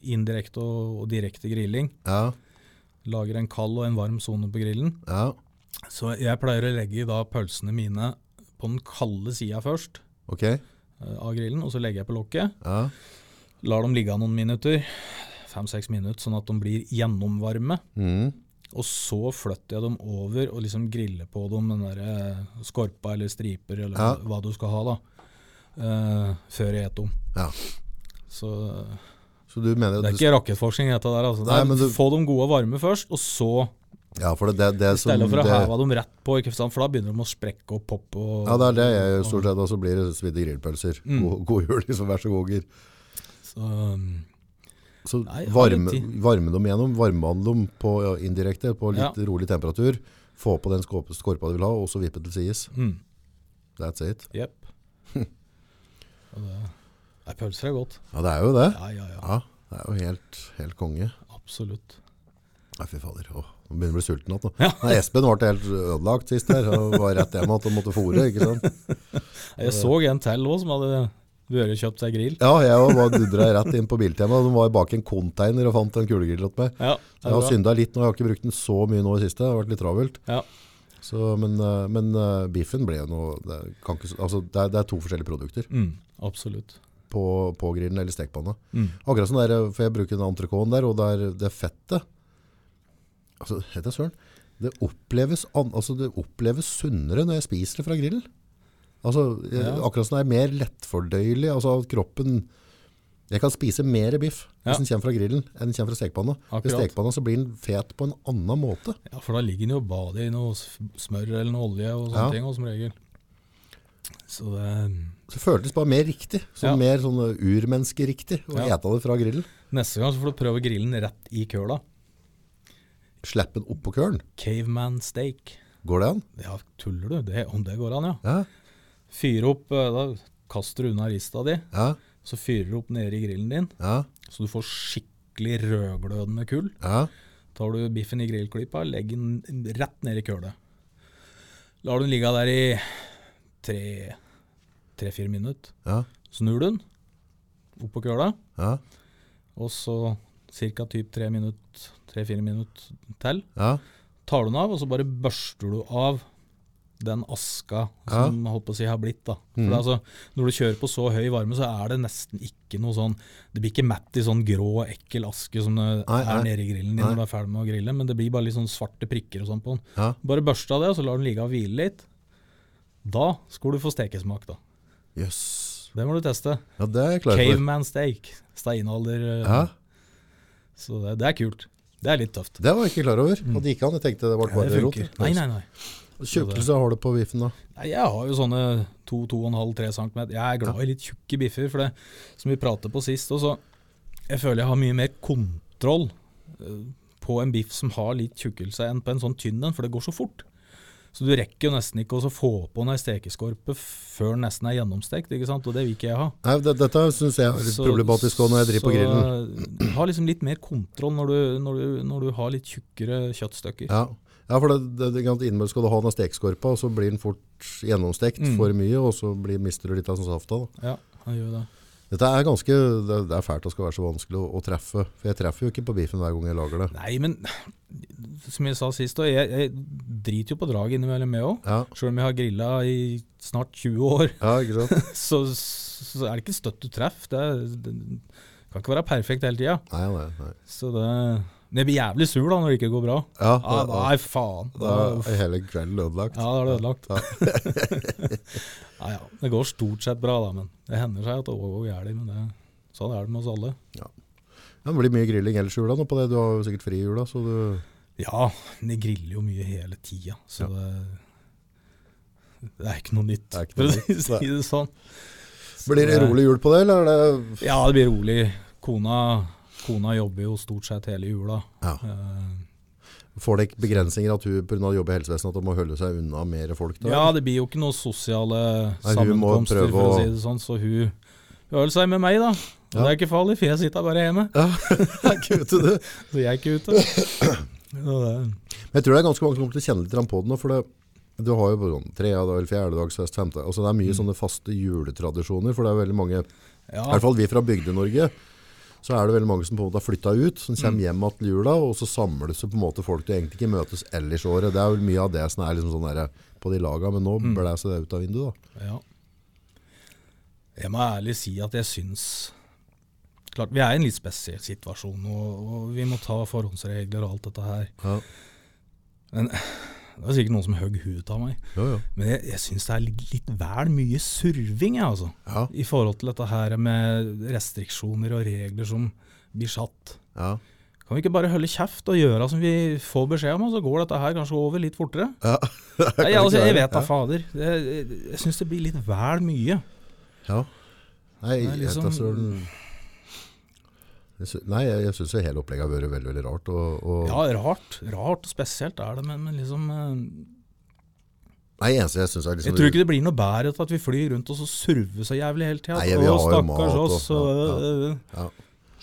Speaker 4: indirekte og, og direkte grilling.
Speaker 3: Ja,
Speaker 4: Lager en kald og en varm sone på grillen.
Speaker 3: ja,
Speaker 4: Så jeg pleier å legge da pølsene mine på den kalde sida først
Speaker 3: ok.
Speaker 4: eh, av grillen, og så legger jeg på lokket.
Speaker 3: Ja,
Speaker 4: Lar dem ligge noen minutter, fem-seks minutter, sånn at de blir gjennomvarme.
Speaker 3: mm,
Speaker 4: Og så flytter jeg dem over og liksom griller på dem den der eh, skorpa eller striper eller
Speaker 3: Ja.
Speaker 4: hva du skal ha, da. eh, før jeg eter dem.
Speaker 3: ja.
Speaker 4: Så
Speaker 3: Så du mener
Speaker 4: det er
Speaker 3: at du,
Speaker 4: ikke rakettforskning, dette der. Altså. Det
Speaker 3: Nei, men
Speaker 4: er,
Speaker 3: du-
Speaker 4: Få dem gode og varme først, og så
Speaker 3: Ja, for det, det, det
Speaker 4: I
Speaker 3: som
Speaker 4: stedet for å
Speaker 3: det-
Speaker 4: heve dem rett på, ikke sant? for da begynner de å sprekke og poppe. Og,
Speaker 3: Ja, det er det jeg gjør stort sett. Og så blir det svidde grillpølser.
Speaker 4: Mm.
Speaker 3: God, god jul, liksom. Vær så god, gir.
Speaker 4: Så, um,
Speaker 3: Så
Speaker 4: Nei, ha litt
Speaker 3: varme,
Speaker 4: tid.
Speaker 3: varme dem gjennom, varmebehandle dem på, ja, indirekte på litt rolig temperatur. Få på den skåp- skorpa du vil ha, og så vippe til sides.
Speaker 4: Mm.
Speaker 3: That's it.
Speaker 4: Jepp. Og det- Nei, pølser er godt.
Speaker 3: Ja, det er jo det.
Speaker 4: Ja, ja, ja.
Speaker 3: Ja, det er jo helt, helt konge.
Speaker 4: Absolutt.
Speaker 3: Nei, fy fader. Åh, nå begynner jeg å bli sulten igjen. nå.
Speaker 4: Ja.
Speaker 3: Nei, Espen ble helt ødelagt sist her. Og var rett hjem igjen og måtte fôre, ikke sant?
Speaker 4: Jeg så en til òg som hadde vært og kjøpt seg grill.
Speaker 3: Ja, jeg òg var dudra rett inn på biltema. De var bak en container og fant en kulegrill åt meg.
Speaker 4: Ja, det er
Speaker 3: Jeg har
Speaker 4: bra.
Speaker 3: synda litt nå, jeg har ikke brukt den så mye nå i siste. Det har vært litt travelt.
Speaker 4: Ja.
Speaker 3: Så, men, eh, men eh, biffen ble jo noe det, kan ikke, s- altså, det, er, det er to forskjellige produkter
Speaker 4: Mm, absolutt.
Speaker 3: på, på grillen eller stekepanna.
Speaker 4: Mm.
Speaker 3: Akkurat som der, for jeg bruker den entrecôten der, og der, det fettet altså, Vet jeg søren. Det oppleves, an, altså, det oppleves sunnere når jeg spiser det fra grillen. Altså, jeg,
Speaker 4: Ja.
Speaker 3: Akkurat som det er mer lettfordøyelig. Altså at kroppen Jeg kan spise mer biff
Speaker 4: Ja.
Speaker 3: hvis den kommer fra grillen enn den kommer fra stekepanna. Ved
Speaker 4: Akkurat.
Speaker 3: stekepanna så blir den fet på en annen måte.
Speaker 4: Ja, For da ligger den jo og bader i noe s- smør eller noe olje og sånne
Speaker 3: Ja.
Speaker 4: ting, og som regel. Så det
Speaker 3: Så føltes bare mer riktig. Sånn
Speaker 4: Ja.
Speaker 3: Mer sånn urmenneskeriktig å
Speaker 4: Ja.
Speaker 3: ete det fra grillen.
Speaker 4: Neste gang så får du prøve grillen rett i køla.
Speaker 3: Slipp den oppå kølen.
Speaker 4: Caveman steak.
Speaker 3: Går det an?
Speaker 4: Ja, tuller du? Det, om det går an, ja.
Speaker 3: Ja.
Speaker 4: Fyr opp, eh, da kaster du unna rista di,
Speaker 3: Ja.
Speaker 4: så fyrer du opp nede i grillen din.
Speaker 3: Ja.
Speaker 4: Så du får skikkelig rødglødende kull.
Speaker 3: ja.
Speaker 4: Tar du biffen i grillklypa, legg den rett ned i kølet. Lar du den ligge der i tre- tre-fire minutter.
Speaker 3: ja.
Speaker 4: Snur du den opp på køla,
Speaker 3: ja.
Speaker 4: og så ca. typ tre minutter, tre-fire minutter til.
Speaker 3: ja.
Speaker 4: Tar du den av, og så bare børster du av den aska
Speaker 3: Ja. Mm.
Speaker 4: som holdt på å si har blitt. da. For det er altså, Når du kjører på så høy varme, så er det nesten ikke noe sånn Det blir ikke mett i sånn grå, ekkel aske som det
Speaker 3: Nei,
Speaker 4: er
Speaker 3: nei.
Speaker 4: nede i grillen din
Speaker 3: Nei.
Speaker 4: når du er ferdig med å grille, men det blir bare litt sånn svarte prikker og sånn på den.
Speaker 3: ja.
Speaker 4: Bare børste av det, og så lar den ligge og hvile litt. Da skal du få stekesmak, da.
Speaker 3: Jøss.
Speaker 4: Det må du teste.
Speaker 3: Ja, det er jeg klar for.
Speaker 4: Caveman steak. Steinalder. eh,
Speaker 3: Ja.
Speaker 4: Så det, det er kult. Det er litt tøft.
Speaker 3: Det var jeg ikke klar over. At det gikk an. Jeg tenkte det ble
Speaker 4: Ja,
Speaker 3: bare
Speaker 4: det
Speaker 3: rot.
Speaker 4: funker. Nei, nei, nei.
Speaker 3: Tjukkelse har du på biffen, da.
Speaker 4: Nei, Jeg har jo sånne 2-2,5-3 cm. Jeg er glad i litt tjukke biffer, for det som vi pratet på sist også, Jeg føler jeg har mye mer kontroll eh, på en biff som har litt tjukkelse, enn på en sånn tynn en, for det går så fort. Så du rekker jo nesten ikke å så få på ei stekeskorpe før den nesten er gjennomstekt, ikke sant? og det vil ikke jeg ha.
Speaker 3: Nei, det, dette syns jeg er litt
Speaker 4: Så-
Speaker 3: problematisk også når jeg driver på
Speaker 4: så,
Speaker 3: grillen.
Speaker 4: eh, Ha liksom litt mer kontroll når du, når du, når du har litt tjukkere kjøttstykker.
Speaker 3: Ja. ja, for det, det, det, kan- innimellom skal du ha den stekeskorpa, og så blir den fort gjennomstekt
Speaker 4: Mm.
Speaker 3: for mye, og så blir, mister du litt av sånn safta. Da.
Speaker 4: Ja, jeg gjør det.
Speaker 3: Dette er ganske, det, det er fælt å skal være så vanskelig å, å treffe. For jeg treffer jo ikke på biffen hver gang jeg lager det.
Speaker 4: Nei, men som jeg sa sist, og jeg, jeg driter jo på draget innimellom meg òg.
Speaker 3: Ja,
Speaker 4: Sjøl om jeg har grilla i snart 20 år,
Speaker 3: ja ikke sant?
Speaker 4: så, så er det ikke støtt du treffer. Det, er- det kan ikke være perfekt hele tida.
Speaker 3: Nei, nei, nei.
Speaker 4: Så det Men jeg blir jævlig sur da når det ikke går bra.
Speaker 3: Ja,
Speaker 4: Ja,
Speaker 3: da,
Speaker 4: Ah, nei, faen.
Speaker 3: da
Speaker 4: Da, uff.
Speaker 3: er hele kvelden ødelagt.
Speaker 4: ja, da er det ødelagt.
Speaker 3: Ja.
Speaker 4: Ja, ja. Det går stort sett bra, da, men det hender seg at det òg går gærent. Men det, sånn er det med oss alle.
Speaker 3: det blir mye grilling ellers i jula nå på det. Du har jo sikkert fri i jula, så du
Speaker 4: Ja, men de griller jo mye hele tida, så det, det er ikke noe nytt,
Speaker 3: Det er ikke
Speaker 4: for
Speaker 3: noe
Speaker 4: å
Speaker 3: nytt,
Speaker 4: si det sånn.
Speaker 3: Blir det
Speaker 4: Så det-
Speaker 3: rolig jul på det, eller er det
Speaker 4: Ja, det blir rolig. Kona, kona jobber jo stort sett hele jula.
Speaker 3: Ja.
Speaker 4: Eh,
Speaker 3: Får det ikke begrensninger at hun pga. jobb i helsevesenet at hun må holde seg unna mer folk da?
Speaker 4: Ja, det blir jo ikke noen sosiale
Speaker 3: Nei, hun må
Speaker 4: sammenkomster,
Speaker 3: prøve
Speaker 4: for å
Speaker 3: å-
Speaker 4: si det sånn, så hun hun holder seg med meg, da.
Speaker 3: Ja.
Speaker 4: Og Det er ikke farlig, for jeg sitter bare hjemme,
Speaker 3: Ja, det er ikke ute, du.
Speaker 4: så jeg er ikke ute. Så det-
Speaker 3: Men jeg tror det er ganske mange som kommer til å kjenne litt grann på det nå. For det, du har jo på sånn tredje dag, fjerde dags fest, femte altså Det er mye sånne faste juletradisjoner. For det er veldig mange, i
Speaker 4: Ja,
Speaker 3: hvert fall vi fra Bygde-Norge, så er det veldig mange som på en måte har flytta ut. Som kommer hjem igjen til jula, og så samles det på en måte folk du egentlig ikke møtes ellers i året. Det er vel mye av det som er liksom sånn der, på de laga, men nå blæser det ut av vinduet, da.
Speaker 4: ja. Jeg må ærlig si at jeg syns Klart, Vi er i en litt spesiell situasjon, og, og vi må ta forhåndsregler og alt dette her.
Speaker 3: Ja.
Speaker 4: Men det er sikkert noen som høgg huet av meg.
Speaker 3: Jo, jo.
Speaker 4: Men jeg, jeg syns det er litt, litt vel mye surving, jeg, altså.
Speaker 3: Ja,
Speaker 4: i forhold til dette her med restriksjoner og regler som blir satt.
Speaker 3: ja,
Speaker 4: Kan vi ikke bare holde kjeft og gjøre som vi får beskjed om, og så går dette her kanskje over litt fortere?
Speaker 3: ja.
Speaker 4: Nei,
Speaker 3: ikke
Speaker 4: altså, jeg
Speaker 3: være.
Speaker 4: vet da fader. Jeg, jeg, jeg syns det blir litt vel mye.
Speaker 3: ja. Nei,
Speaker 4: Det er
Speaker 3: jeg
Speaker 4: liksom-
Speaker 3: vet da søren. Jeg sy- Nei, jeg, jeg syns hele opplegget har vært veldig veldig rart. Og, og
Speaker 4: Ja, rart. Rart og spesielt er det, men, men liksom eh,
Speaker 3: Nei, eneste jeg syns er liksom
Speaker 4: Jeg tror ikke det blir noe bedre til at vi flyr rundt og så surver så jævlig hele tida.
Speaker 3: Nei, vi
Speaker 4: Å,
Speaker 3: har jo mat
Speaker 4: stakkars
Speaker 3: og-
Speaker 4: oss. Og,
Speaker 3: ja,
Speaker 4: øh,
Speaker 3: ja.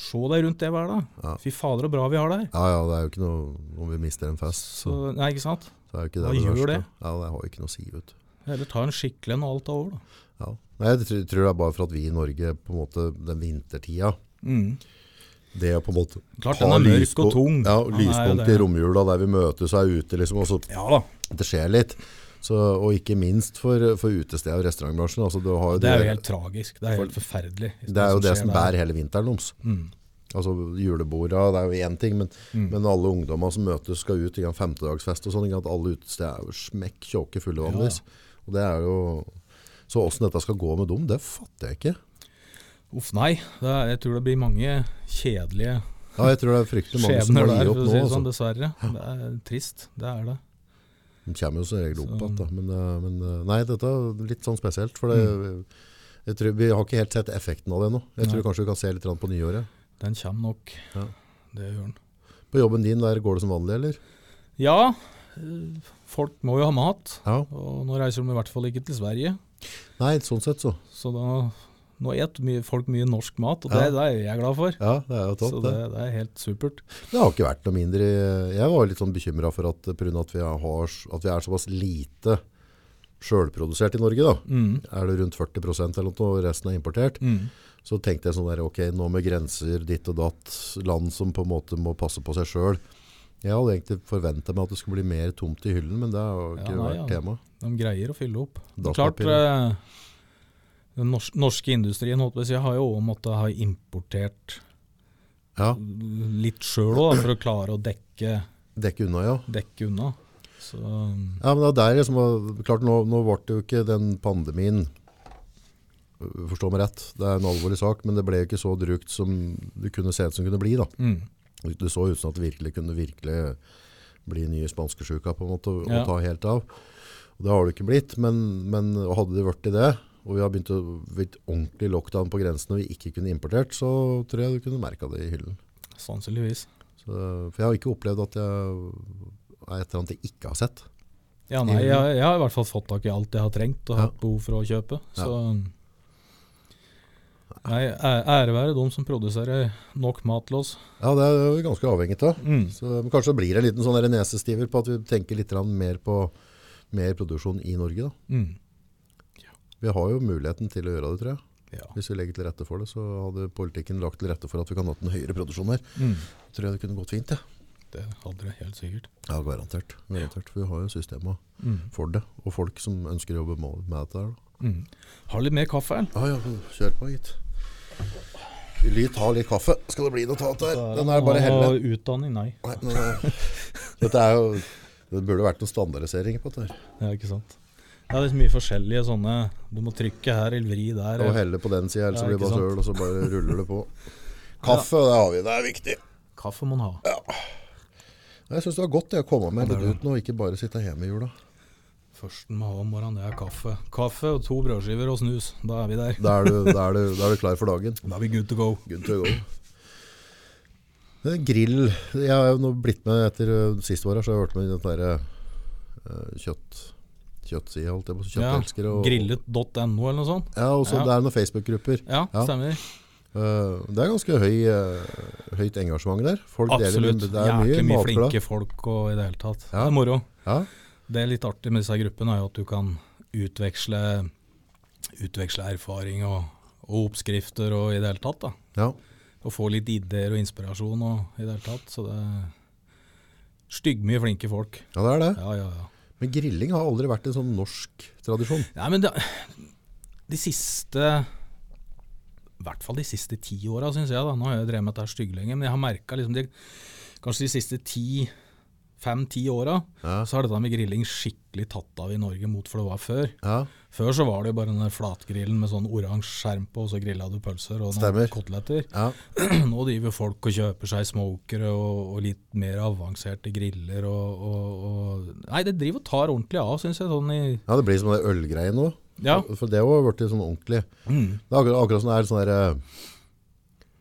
Speaker 4: Se deg rundt det hver dag.
Speaker 3: Ja.
Speaker 4: Fy fader, så bra vi har det her.
Speaker 3: Ja, ja, det er jo ikke noe Om vi mister en fest, så,
Speaker 4: Så, nei, ikke sant?
Speaker 3: så er jo ikke det
Speaker 4: hva
Speaker 3: det
Speaker 4: gjør
Speaker 3: verste.
Speaker 4: det?
Speaker 3: Ja, det har jo ikke noe å si, vet du.
Speaker 4: Heller ta en skikkelig en og alt er over, da.
Speaker 3: Ja. Nei, jeg tror, tror det er bare for at vi i Norge, på en måte, den vintertida
Speaker 4: Mm.
Speaker 3: det å på en måte
Speaker 4: Klart,
Speaker 3: ha
Speaker 4: den er mørk
Speaker 3: lyspunkt-
Speaker 4: og tung.
Speaker 3: Ja,
Speaker 4: Den er jo
Speaker 3: lyspunkt
Speaker 4: det.
Speaker 3: i romjula der vi møtes og er ute, liksom, og så
Speaker 4: Ja da.
Speaker 3: det skjer litt. Så, og ikke minst for, for utested- og restaurantbransjen. Altså, du har jo
Speaker 4: Det er jo helt tragisk. Det er helt forferdelig.
Speaker 3: Det er jo det
Speaker 4: skjer Mm.
Speaker 3: som
Speaker 4: der.
Speaker 3: bærer hele vinteren deres. Altså juleborda, det er jo én ting, men,
Speaker 4: Mm.
Speaker 3: men alle ungdommer som møtes skal ut i en femtedagsfest og sånn, ikke sant? alle utesteder er jo smekk tjåke fulle vanligvis. Og det er jo... Så åssen dette skal gå med dem, det fatter jeg ikke.
Speaker 4: Uff, nei. Det er, jeg tror det blir mange kjedelige
Speaker 3: Ja, jeg tror det er fryktelig mange som
Speaker 4: skjebner
Speaker 3: må gi
Speaker 4: der, for
Speaker 3: opp
Speaker 4: å
Speaker 3: nå.
Speaker 4: si det sånn.
Speaker 3: Altså.
Speaker 4: Dessverre. Det er trist. Det er det.
Speaker 3: De kommer jo som regel opp
Speaker 4: Så-
Speaker 3: igjen, da. Men, eh, men eh, nei, dette er litt sånn spesielt. For det, jeg tror, vi har ikke helt sett effekten av det ennå. Jeg tror kanskje vi kan se litt grann på nyåret.
Speaker 4: Den kommer nok.
Speaker 3: Ja.
Speaker 4: Det gjør den.
Speaker 3: På jobben din der går det som vanlig, eller?
Speaker 4: Ja, eh, folk må jo ha mat.
Speaker 3: Ja.
Speaker 4: Og nå reiser de i hvert fall ikke til Sverige.
Speaker 3: Nei, sånn sett så.
Speaker 4: Så da nå et mye, folk mye norsk mat, og
Speaker 3: Ja.
Speaker 4: det, det er jeg glad for.
Speaker 3: Ja, det er jo topp,
Speaker 4: Så det, det er helt supert.
Speaker 3: Det har ikke vært noe mindre Jeg var litt sånn bekymra for at pga. At, vi har- at vi er såpass lite sjølprodusert i Norge, da.
Speaker 4: Mm.
Speaker 3: Er det rundt 40 eller noe, og resten er importert. Så tenkte jeg sånn der Ok, nå med grenser ditt og datt, land som på en måte må passe på seg sjøl. Jeg hadde egentlig forventa meg at det skulle bli mer tomt i hyllen, men det har jo ikke
Speaker 4: Ja, nei,
Speaker 3: vært
Speaker 4: ja.
Speaker 3: tema.
Speaker 4: De greier å fylle opp. Det er klart,
Speaker 3: Dasspapir.
Speaker 4: eh, den norske, norske industrien holdt på å si, har jo også måttet ha importert
Speaker 3: Ja,
Speaker 4: litt sjøl òg, for å klare å dekke,
Speaker 3: Dekke unna, ja.
Speaker 4: dekke unna. Så, mm,
Speaker 3: Ja, men det er der liksom, var- klart nå, nå ble det jo ikke den pandemien øh, Forstå meg rett, det er en alvorlig sak, men det ble jo ikke så drukt som det kunne se ut som det kunne bli. da.
Speaker 4: mm,
Speaker 3: Det så ut som at det virkelig kunne virkelig bli nye spanskesjuka på en måte, og
Speaker 4: Ja.
Speaker 3: ta helt av. Og det har det ikke blitt, men, men og hadde det vært i det, og vi har begynt å blitt ordentlig lockdown på grensen og vi ikke kunne importert, så tror jeg du kunne merka det i hyllen.
Speaker 4: sannsynligvis.
Speaker 3: Så, for jeg har ikke opplevd at jeg er et eller annet jeg ikke har sett.
Speaker 4: Ja, nei, jeg, jeg har i hvert fall fått tak i alt jeg har trengt og hatt behov for å kjøpe.
Speaker 3: Ja.
Speaker 4: Så nei, æ- ære være de som produserer nok mat til oss.
Speaker 3: Ja, det er vi ganske avhengig av.
Speaker 4: Mm.
Speaker 3: Så, men kanskje det blir en liten sånn der nesestiver på at vi tenker litt grann mer på mer produksjon i Norge. Da.
Speaker 4: Mm.
Speaker 3: Vi har jo muligheten til å gjøre det, tror jeg.
Speaker 4: Ja.
Speaker 3: Hvis vi legger til rette for det, så hadde politikken lagt til rette for at vi kan ha en høyere produksjon her.
Speaker 4: Mm.
Speaker 3: Tror jeg det kunne gått fint, jeg.
Speaker 4: Det hadde det helt sikkert.
Speaker 3: Ja, garantert. garantert. For vi har jo systemer
Speaker 4: Mm.
Speaker 3: for det, og folk som ønsker å jobbe med med dette her. Da.
Speaker 4: Mm. Har litt mer kaffe, eller?
Speaker 3: Ja, ja, kjør på, gitt. Vil du ta litt kaffe? Skal det bli noe tatt her? Den er bare helle.
Speaker 4: Og Utdanning, nei.
Speaker 3: Nei, den er- Dette er jo Det burde vært noen standardiseringer på dette her.
Speaker 4: Ja, ikke sant. Ja, det er så mye forskjellige sånne Du må trykke her eller vri der.
Speaker 3: Og helle på den sida, ellers
Speaker 4: Ja,
Speaker 3: så blir det
Speaker 4: ikke
Speaker 3: bare
Speaker 4: sant?
Speaker 3: søl, og så bare ruller det på. Kaffe, det har vi. Det er viktig.
Speaker 4: Kaffe må en ha.
Speaker 3: Jeg syns det var godt det å komme meg litt ut nå, ikke bare sitte hjemme i jula.
Speaker 4: Først en må ha om morgenen, det er kaffe. Kaffe og to brødskiver og snus. Da er vi der.
Speaker 3: Da er du, da er du, da er du klar for dagen.
Speaker 4: Da er vi good to go.
Speaker 3: Good to go. Eh, Grill. Jeg har jo nå blitt med etter eh, siste året, så har jeg vært med i den derre eh, kjøtt... Kjøttsida, holdt jeg på å si. Kjøttelskere. og-
Speaker 4: Grillet.no eller noe sånt.
Speaker 3: Ja, og så
Speaker 4: Ja.
Speaker 3: det er noen Facebook-grupper.
Speaker 4: Ja,
Speaker 3: Ja.
Speaker 4: stemmer.
Speaker 3: Eh, det er ganske høy, eh, høyt engasjement der. Folk
Speaker 4: Absolutt.
Speaker 3: Deler, det er
Speaker 4: Jæklig mye
Speaker 3: matglad.
Speaker 4: flinke folk og i det hele tatt.
Speaker 3: Ja.
Speaker 4: Det er moro.
Speaker 3: Ja.
Speaker 4: Det er litt artig med disse gruppene, er jo at du kan utveksle, utveksle erfaring og, og oppskrifter og i det hele tatt. da.
Speaker 3: Ja.
Speaker 4: Og få litt ideer og inspirasjon og i det hele tatt. Så det er styggmye flinke folk.
Speaker 3: ja, det er det.
Speaker 4: Ja, ja, ja.
Speaker 3: Men grilling har aldri vært en sånn norsk tradisjon.
Speaker 4: Nei, men det, de siste I hvert fall de siste ti åra, syns jeg. da, Nå har jeg drevet med dette her stygge lenge, men jeg har merka liksom de, kanskje de siste ti fem-ti åra,
Speaker 3: Ja.
Speaker 4: så har dette med grilling skikkelig tatt av i Norge mot for det var før.
Speaker 3: Ja,
Speaker 4: Før så var det jo bare den der flatgrillen med sånn oransje skjerm på, og så grilla du pølser og
Speaker 3: Stemmer.
Speaker 4: noen koteletter.
Speaker 3: ja,
Speaker 4: Nå driver folk og kjøper seg smokere og, og litt mer avanserte griller og, og, og Nei, det driver og tar ordentlig av, syns jeg. sånn i...
Speaker 3: ja det blir som det ølgreie nå.
Speaker 4: Ja. Mm.
Speaker 3: For det har vært sånn ordentlig. Det er akkurat, akkurat som det er sånn der,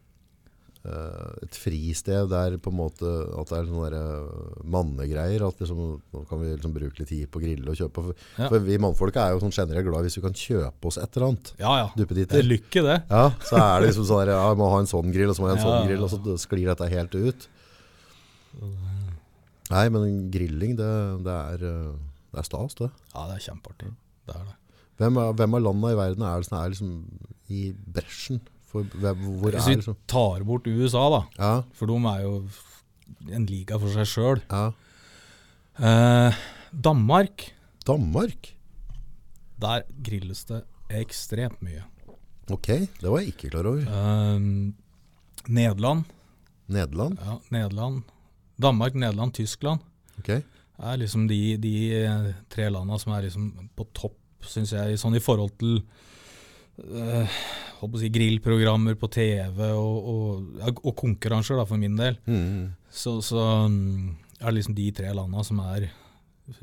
Speaker 3: eh, et fristed der på en måte at det er sånne der, eh, mannegreier. At liksom, nå kan vi liksom bruke litt tid på å grille og kjøpe. For,
Speaker 4: Ja.
Speaker 3: for vi mannfolka er jo sånn generelt glad hvis vi kan kjøpe oss et eller annet.
Speaker 4: Ja ja.
Speaker 3: Duppeditter.
Speaker 4: Det er lykke, det.
Speaker 3: Ja, så er det liksom sånn der, ja, jeg må ha en sånn grill, og så må jeg ha en
Speaker 4: Ja.
Speaker 3: sånn grill, og så sklir dette helt ut. Nei, men grilling, det, det, er, eh, det er stas, det.
Speaker 4: Ja, det er kjempeartig. Det er det.
Speaker 3: Hvem, er- hvem av landene i verden er det som er liksom i bresjen? For, hvem, hvor er
Speaker 4: Hvis vi
Speaker 3: liksom?
Speaker 4: tar bort USA, da,
Speaker 3: Ja,
Speaker 4: for de er jo en liga for seg sjøl.
Speaker 3: ja.
Speaker 4: Eh, Danmark,
Speaker 3: Danmark?
Speaker 4: der grilles det ekstremt mye.
Speaker 3: Ok, det var jeg ikke klar over.
Speaker 4: Eh, Nederland,
Speaker 3: Nederland?
Speaker 4: ja, Nederland. Danmark, Nederland, Tyskland
Speaker 3: Ok.
Speaker 4: er liksom de, de eh, tre landa som er liksom på topp, syns jeg, sånn i forhold til eh, holdt på å si grillprogrammer på TV og, og, ja, og konkurranser, da, for min del.
Speaker 3: Mm.
Speaker 4: Så, så mm, er det liksom de tre landa som er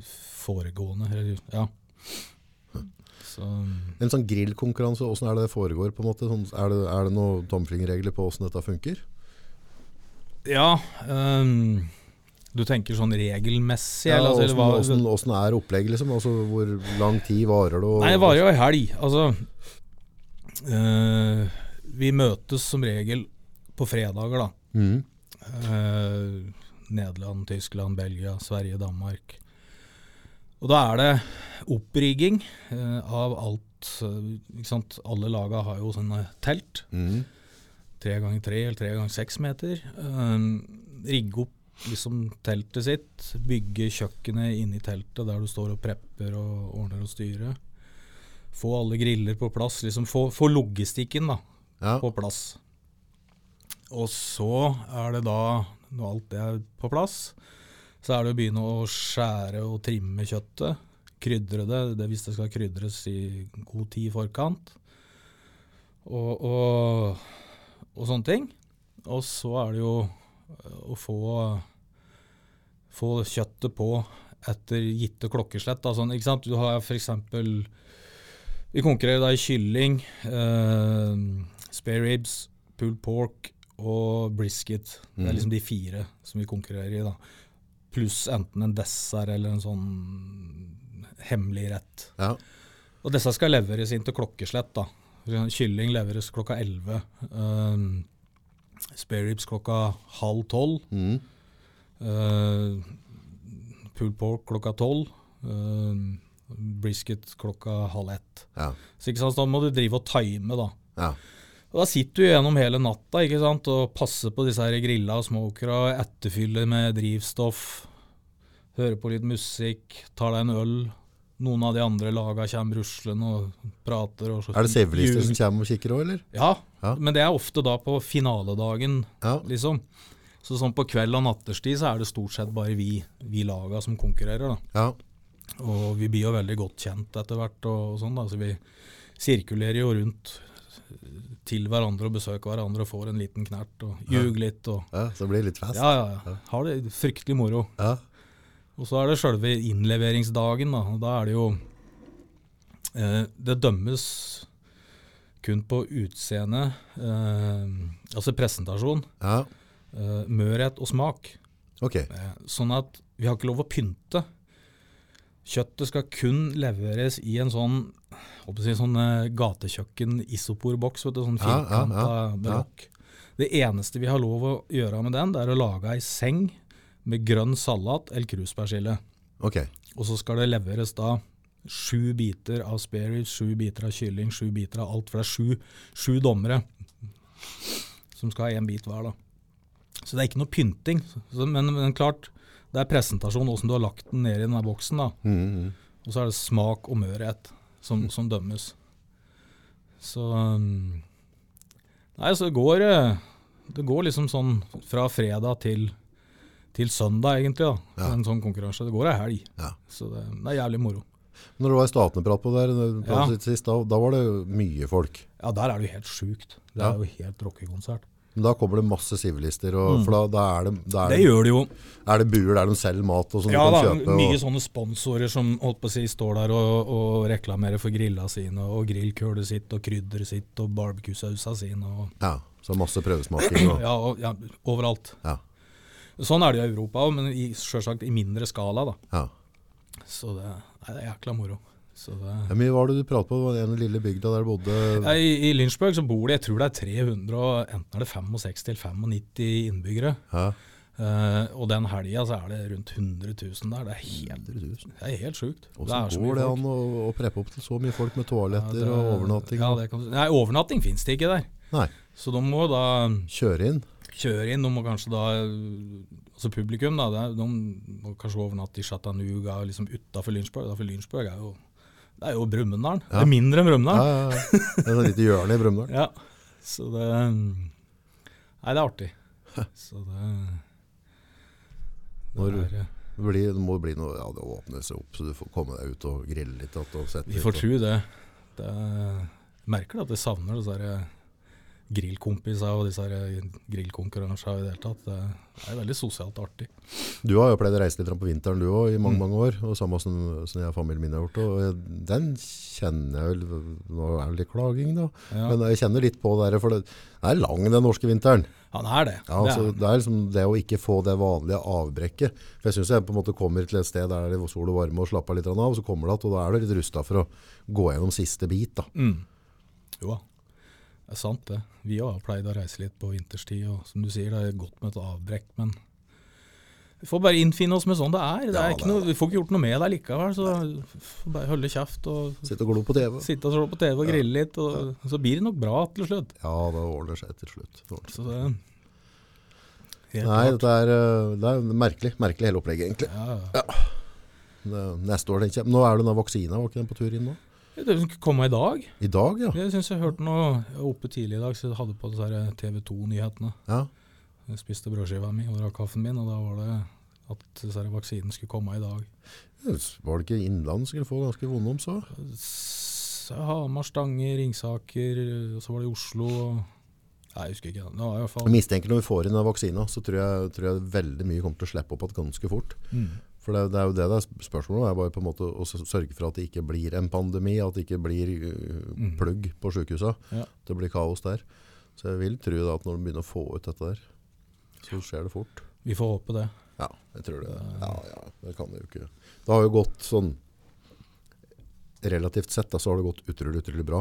Speaker 4: foregående. Eller, ja. Så, mm,
Speaker 3: En sånn grillkonkurranse, hvordan er det det foregår på en måte? Sånn, er, det, er det noen tomflingeregler på hvordan dette funker?
Speaker 4: ja ehm, du tenker sånn regelmessig?
Speaker 3: Ja,
Speaker 4: eller, altså,
Speaker 3: hvordan,
Speaker 4: eller hva,
Speaker 3: hvordan, hvordan er opplegget liksom? Altså, hvor lang tid varer det? og-
Speaker 4: Nei, det varer jo ei helg. Altså eh, Vi møtes som regel på fredager, da.
Speaker 3: Mhm.
Speaker 4: Eh, Nederland, Tyskland, Belgia, Sverige, Danmark. Og da er det opprigging eh, av alt. eh, ikke sant? Alle laga har jo sånne telt.
Speaker 3: Mhm.
Speaker 4: Tre ganger tre eller tre ganger seks meter. Eh, rigge opp liksom teltet sitt. Bygge kjøkkenet inni teltet der du står og prepper og ordner og styrer. Få alle griller på plass. liksom Få, få logistikken, da
Speaker 3: Ja.
Speaker 4: på plass. Og så er det da, når alt det er på plass, så er det å begynne å skjære og trimme kjøttet. Krydre det, det hvis det skal krydres i god tid i forkant. Og, og, og sånne ting. Og så er det jo eh, å få, få kjøttet på etter gitte klokkeslett. Da, sånn, ikke sant? Du har f.eks. Vi konkurrerer da i kylling, eh, spare ribs, pulled pork og brisket. Det er liksom de fire som vi konkurrerer i. da. Pluss enten en dessert eller en sånn hemmelig rett.
Speaker 3: ja.
Speaker 4: Og disse skal leveres inn til klokkeslett. da. For eksempel Kylling leveres klokka 11. Um, spare ribs klokka halv tolv.
Speaker 3: Mhm.
Speaker 4: Uh, pulled pork klokka tolv. Um, brisket klokka halv ett.
Speaker 3: ja.
Speaker 4: Så ikke sant, så da må du drive og time, da.
Speaker 3: ja.
Speaker 4: Og da sitter du gjennom hele natta ikke sant, og passer på disse her grilla og smokere, etterfyller med drivstoff, hører på litt musikk, tar deg en øl. Noen av de andre laga kommer ruslende og prater. Og så,
Speaker 3: Er det sevelister som
Speaker 4: Jul-
Speaker 3: kommer og kikker òg, eller?
Speaker 4: Ja,
Speaker 3: Ja.
Speaker 4: men det er ofte da på finaledagen,
Speaker 3: Ja.
Speaker 4: liksom. Så sånn på kveld og natterstid så er det stort sett bare vi, vi laga som konkurrerer, da.
Speaker 3: Ja.
Speaker 4: Og vi blir jo veldig godt kjent etter hvert, og, og sånn da, så vi sirkulerer jo rundt til hverandre og besøker hverandre og får en liten knert og ljuger litt. Og,
Speaker 3: Ja, så det blir litt fest.
Speaker 4: ja, ja, ja. Har det fryktelig moro.
Speaker 3: Ja.
Speaker 4: Og så er det sjølve innleveringsdagen. Da, og da er det jo eh, Det dømmes kun på utseende, eh, altså presentasjon,
Speaker 3: ja.
Speaker 4: eh, mørhet og smak.
Speaker 3: Ok.
Speaker 4: Eh, sånn at vi har ikke lov å pynte. Kjøttet skal kun leveres i en sånn, hva skal jeg si, sånn eh, gatekjøkken-isoporboks, vet du, sånn
Speaker 3: Ja, ja,
Speaker 4: firkanta
Speaker 3: ja, ja.
Speaker 4: brokk. Det eneste vi har lov å gjøre med den, det er å lage ei seng med grønn salat eller kruspersille.
Speaker 3: Ok.
Speaker 4: Og så skal det leveres da sju biter av spareribs, sju biter av kylling, sju biter av alt. For det er sju, sju dommere som skal ha én bit hver. da. Så det er ikke noe pynting. Så, men, men klart, det er presentasjon, åssen du har lagt den ned i denne boksen. da. Og så er det smak og mørhet
Speaker 3: Mm.
Speaker 4: som, som dømmes. Så um, Nei, så det går eh, Det går liksom sånn fra fredag til, til søndag, egentlig. da.
Speaker 3: Ja.
Speaker 4: En sånn konkurranse. Det går ei helg.
Speaker 3: Ja.
Speaker 4: Så det, det er jævlig moro.
Speaker 3: Når du var i Statene prat på der, pratet
Speaker 4: Ja.
Speaker 3: litt sist, da, da var det mye folk.
Speaker 4: Ja, der er det jo helt sjukt. Det
Speaker 3: Ja.
Speaker 4: er jo helt rockekonsert.
Speaker 3: Men da kommer det masse sivilister, og, for da, da, er, det, da
Speaker 4: Mm. Det
Speaker 3: er,
Speaker 4: gjør det jo.
Speaker 3: det, er det buer der de selger mat og som
Speaker 4: Ja
Speaker 3: du
Speaker 4: da,
Speaker 3: kan kjøpe.
Speaker 4: mye
Speaker 3: og,
Speaker 4: sånne sponsorer som holdt på å si står der og, og reklamerer for grilla sine, og grillkølet sitt, og krydderet sitt, og barbecue-sausa sine, og
Speaker 3: ja, så masse prøvesmaking. Og,
Speaker 4: ja, og, ja, overalt.
Speaker 3: ja.
Speaker 4: Sånn er det jo i Europa òg, men i- sjølsagt i mindre skala, da.
Speaker 3: Ja.
Speaker 4: Så det, nei, det er jækla moro. Så det,
Speaker 3: Hvor mye var det du pratet på? Det var den lille bygda der du bodde?
Speaker 4: ja, I, I Lynchburg så bor det, jeg tror det er 300, og enten er det 65 eller 95 innbyggere.
Speaker 3: Ja.
Speaker 4: Eh, og den helga så er det rundt 100 000 der. Det er helt, det er helt sjukt. Det er
Speaker 3: Hvordan
Speaker 4: så mye
Speaker 3: går det
Speaker 4: folk.
Speaker 3: an å, å preppe opp til så mye folk med
Speaker 4: Ja,
Speaker 3: toaletter
Speaker 4: det-
Speaker 3: og overnatting?
Speaker 4: Ja,
Speaker 3: og-
Speaker 4: det kan, du si. nei, overnatting fins det ikke der.
Speaker 3: Nei,
Speaker 4: Så de må da
Speaker 3: kjøre inn.
Speaker 4: kjøre inn. De må kanskje da Altså publikum, da. det er- De må kanskje overnatte i Chattanooga, liksom utafor Lynsborg. For Lynsborg er jo Det er jo Brumunddal. Det er mindre enn
Speaker 3: Ja,
Speaker 4: Brumunddal.
Speaker 3: ja, ja. Det er et lite hjørne i Brumunddal.
Speaker 4: Ja. Så det Nei, det er artig. Så det
Speaker 3: Når-
Speaker 4: det er,
Speaker 3: Det, blir- det må bli noe, ja, det åpner seg opp, så du får komme deg ut og grille litt. at Og sette
Speaker 4: Vi
Speaker 3: litt,
Speaker 4: får
Speaker 3: og-
Speaker 4: tro det. det er- merker det at jeg savner disse her eh, grillkompisene og disse her eh, grillkonkurransene i det hele tatt. Det er veldig sosialt artig.
Speaker 3: Du har jo pleid å reise litt grann på vinteren du òg, i
Speaker 4: Mm.
Speaker 3: mange mange år. og Samme som, som jeg og familien min har gjort. og jeg- Den kjenner jeg vel Nå er det litt klaging, da.
Speaker 4: Ja.
Speaker 3: Men jeg kjenner litt på det. her, For det er lang, den norske vinteren.
Speaker 4: Han er det.
Speaker 3: Ja,
Speaker 4: det
Speaker 3: altså,
Speaker 4: er,
Speaker 3: det er liksom det å ikke få det vanlige avbrekket. For jeg syns jeg på en måte kommer til et sted der det er sol og varme og slapper litt av, og så kommer det igjen, og da er du litt rusta for å gå gjennom siste bit. da.
Speaker 4: han. jo, da. det er sant det. Vi òg har pleid å reise litt på vinterstid, og som du sier, det er godt med et avbrekk, men vi får bare innfinne oss med sånn det er. Det
Speaker 3: Ja,
Speaker 4: er
Speaker 3: det
Speaker 4: ikke
Speaker 3: er
Speaker 4: noe, vi får ikke gjort noe med det likevel, så får bare holde kjeft og
Speaker 3: Sitte og glo på TV.
Speaker 4: sitte og se på TV og grille litt, og så blir det nok bra til slutt.
Speaker 3: Ja, det ordner seg til slutt. Det ordner seg.
Speaker 4: Så det Helt
Speaker 3: Nei, dette er, eh, det er merkelig. Merkelig hele opplegget, egentlig.
Speaker 4: Ja, ja.
Speaker 3: Det, neste år, tenker jeg. Nå er det den vaksina, var ikke den på tur inn nå?
Speaker 4: Det som skulle komme i dag.
Speaker 3: I dag, ja.
Speaker 4: Jeg syns jeg hørte noe jeg var oppe tidlig i dag, så jeg hadde på disse her TV 2-nyhetene.
Speaker 3: ja.
Speaker 4: Jeg spiste brødskiva mi og drakk kaffen min, og da var det at disse her vaksinen skulle komme i dag.
Speaker 3: Var det ikke Innlandet skulle få ganske vonde om, så?
Speaker 4: S- Hamar, Stange, Ringsaker, og så var det i Oslo og Nei, jeg husker ikke. Det var i hvert fall
Speaker 3: Jeg mistenker når vi får inn den vaksina, så tror jeg, tror jeg veldig mye kommer til å slippe opp igjen ganske fort. For det, det er jo det det er sp- spørsmålet om, er bare på en måte å s- sørge for at det ikke blir en pandemi, at det ikke blir øh, plugg på sykehusene.
Speaker 4: Ja.
Speaker 3: Det blir kaos der. Så jeg vil tro da at når de begynner å få ut dette der, så skjer det fort.
Speaker 4: Vi får håpe det.
Speaker 3: Ja, jeg tror det. Ja, ja, det kan det jo ikke. Det har jo gått sånn, relativt sett da, så har det gått utrolig, utrolig bra.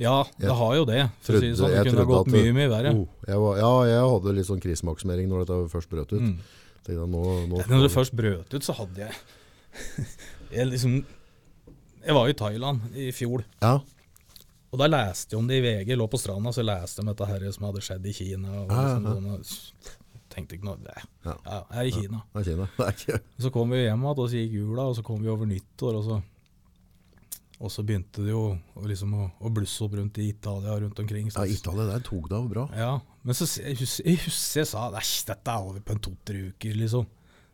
Speaker 4: Ja, det har jo det. For å si det sånn. Det
Speaker 3: jeg
Speaker 4: kunne ha
Speaker 3: trodde
Speaker 4: gått
Speaker 3: at det-
Speaker 4: mye, mye verre.
Speaker 3: Oh, jeg var, ja, jeg hadde litt sånn krisemaksimering når dette først brøt ut. Tenkte jeg, nå, nå,
Speaker 4: Mm. Når det først brøt ut, så hadde jeg Jeg liksom Jeg var i Thailand i fjor.
Speaker 3: Ja,
Speaker 4: Og da leste jeg om det i VG, lå på stranda, så leste jeg om dette her som hadde skjedd i Kina. Og
Speaker 3: Ja, ja,
Speaker 4: liksom, sånn, og tenkte ikke noe, nei,
Speaker 3: Ja.
Speaker 4: ja. jeg er i Kina.
Speaker 3: det er Kina. Det er ikke...
Speaker 4: Så kom vi hjem igjen, og så gikk jula, og så kom vi over nyttår, og så, og så begynte det jo å, liksom, å, å blusse opp rundt i Italia og rundt omkring.
Speaker 3: Ja,
Speaker 4: Så,
Speaker 3: Italia der tok det av bra.
Speaker 4: ja, men så s- jeg husker jeg, husker jeg sa, nei, dette er over på en to-tre uker, liksom.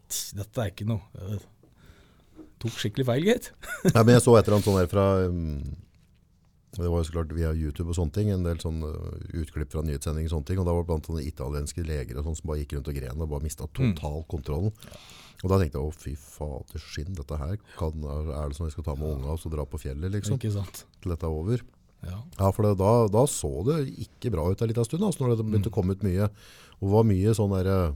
Speaker 4: Tss, Dette er ikke noe. Jeg tok skikkelig feil, gitt.
Speaker 3: Nei, men jeg så et eller annet sånn her fra um, Og Det var jo så klart via YouTube og sånne ting, en del sånne utklipp fra nyhetssendinger og sånne ting. Og da var det blant annet italienske leger og sånn som bare gikk rundt og gren og bare mista
Speaker 4: Mm.
Speaker 3: total kontrollen. Og da tenkte jeg å fy fader skinn, dette her kan, er det som vi skal ta med unga og så dra på fjellet liksom,
Speaker 4: Ikke sant?
Speaker 3: til dette er over.
Speaker 4: Ja.
Speaker 3: Ja, for det, da, da så det ikke bra ut en liten stund, altså, når det
Speaker 4: Mm.
Speaker 3: begynte å komme ut mye. Og det var mye sånn derre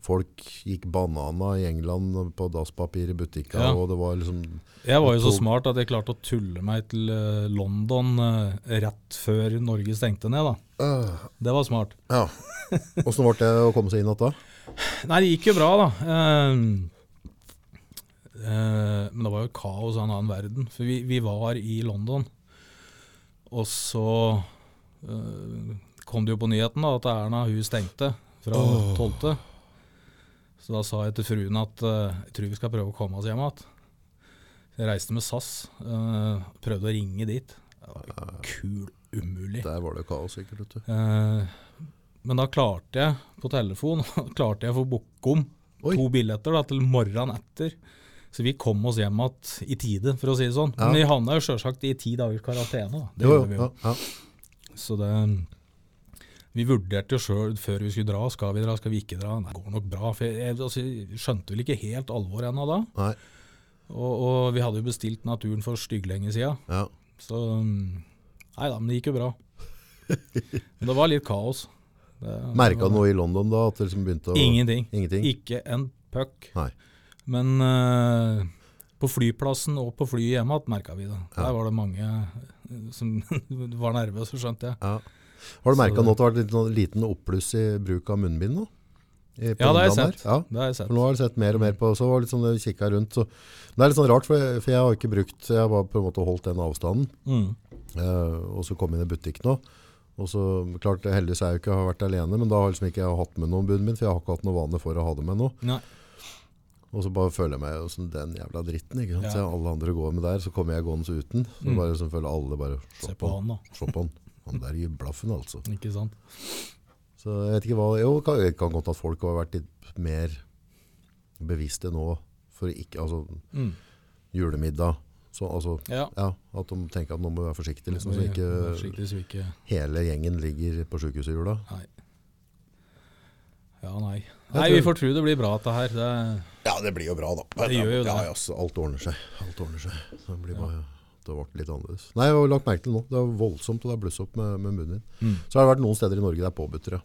Speaker 3: Folk gikk banana i England på dasspapir i butikker,
Speaker 4: Ja.
Speaker 3: og det var liksom
Speaker 4: Jeg var jo så
Speaker 3: Tog.
Speaker 4: smart at jeg klarte å tulle meg til eh, London eh, rett før Norge stengte ned, da.
Speaker 3: øh,
Speaker 4: Det var smart.
Speaker 3: Ja. Åssen ble det å komme seg inn igjen da?
Speaker 4: Nei, det gikk jo bra, da. Ehm, eh, men det var jo kaos av en annen verden. For vi, vi var i London, og så eh, kom det jo på nyheten da, at Erna hun stengte fra
Speaker 3: Åh.
Speaker 4: 12. Så da sa jeg til fruen at eh, jeg tror vi skal prøve å komme oss hjem igjen. Så Jeg reiste med SAS, eh, prøvde å ringe dit. Det var kul umulig.
Speaker 3: Der var det kaos, sikkert. vet du.
Speaker 4: Eh, men da klarte jeg på telefon klarte jeg å få booke om
Speaker 3: Oi.
Speaker 4: to billetter da, til morgenen etter. Så vi kom oss hjem igjen i tide, for å si det sånn.
Speaker 3: Ja.
Speaker 4: Men vi havna jo sjølsagt i ti dagers karantene. da. Det
Speaker 3: Jo,
Speaker 4: gjorde
Speaker 3: jo,
Speaker 4: vi
Speaker 3: ja,
Speaker 4: jo.
Speaker 3: ja.
Speaker 4: Så det Vi vurderte jo sjøl før vi skulle dra. Skal vi dra, skal vi ikke dra? Nei, det går nok bra. For jeg, jeg, altså, jeg skjønte vel ikke helt alvoret ennå da.
Speaker 3: Nei,
Speaker 4: Og, og vi hadde jo bestilt naturen for stygglenge sida.
Speaker 3: ja.
Speaker 4: Så um, Nei da, men det gikk jo bra. Men det var litt kaos. Det-
Speaker 3: Merka du noe i London da? At det liksom begynte å
Speaker 4: Ingenting.
Speaker 3: Ingenting?
Speaker 4: Ikke en puck.
Speaker 3: Nei.
Speaker 4: Men eh, på flyplassen og på flyet hjemme igjen merka vi det. Der var det mange eh, som var nervøse, skjønte jeg.
Speaker 3: Ja. Har du merka
Speaker 4: Så-
Speaker 3: nå at det har vært litt sånn liten oppbluss i bruk av munnbind nå? I- på
Speaker 4: Ja, det har jeg
Speaker 3: ungdom her?
Speaker 4: sett.
Speaker 3: Ja.
Speaker 4: Det har jeg sett.
Speaker 3: For nå har jeg sett mer og mer på så var det litt sånn, jeg kikket rundt, så Det er litt sånn rart, for jeg, for jeg har ikke brukt Jeg har bare på en måte holdt den avstanden.
Speaker 4: Mm.
Speaker 3: Eh, og så kom jeg inn i butikk nå. Og så, klart, Heldigvis er jeg jo ikke jeg har vært alene, men da har liksom ikke jeg hatt med noen bunnen min, for jeg har ikke hatt noe vane for å ha det med nå.
Speaker 4: Nei.
Speaker 3: Og så bare føler jeg meg jo som den jævla dritten. ikke sant?
Speaker 4: Ja. Mm.
Speaker 3: Så alle andre går med der, så kommer jeg gående uten. Så bare liksom føler alle bare
Speaker 4: Se på han, da.
Speaker 3: Se på han. Han der gir blaffen, altså.
Speaker 4: Ikke sant.
Speaker 3: Så jeg vet ikke hva Jo, kan- det kan godt at folk har vært litt mer bevisste nå for ikke Altså,
Speaker 4: Mm.
Speaker 3: julemiddag. Så altså
Speaker 4: Ja.
Speaker 3: ja, at de tenker at nå må vi være forsiktige, liksom, så
Speaker 4: Vi- vær
Speaker 3: ikke
Speaker 4: forsiktig, så vi ikke
Speaker 3: hele gjengen ligger på sjukehuset i jula.
Speaker 4: Nei. Ja, nei.
Speaker 3: Jeg
Speaker 4: Nei,
Speaker 3: tror-
Speaker 4: vi får tro det blir bra, dette her. Det,
Speaker 3: Ja, det blir jo bra, da.
Speaker 4: Det gjør jo det.
Speaker 3: Ja, ja, så alt ordner seg. Alt ordner seg. Så det blir bare... Det har vært litt annerledes. Nei, jeg har lagt merke til det nå. Det er voldsomt, og det er bluss opp med, med munnen din. Så har det vært noen steder i Norge det er påbudt, ja.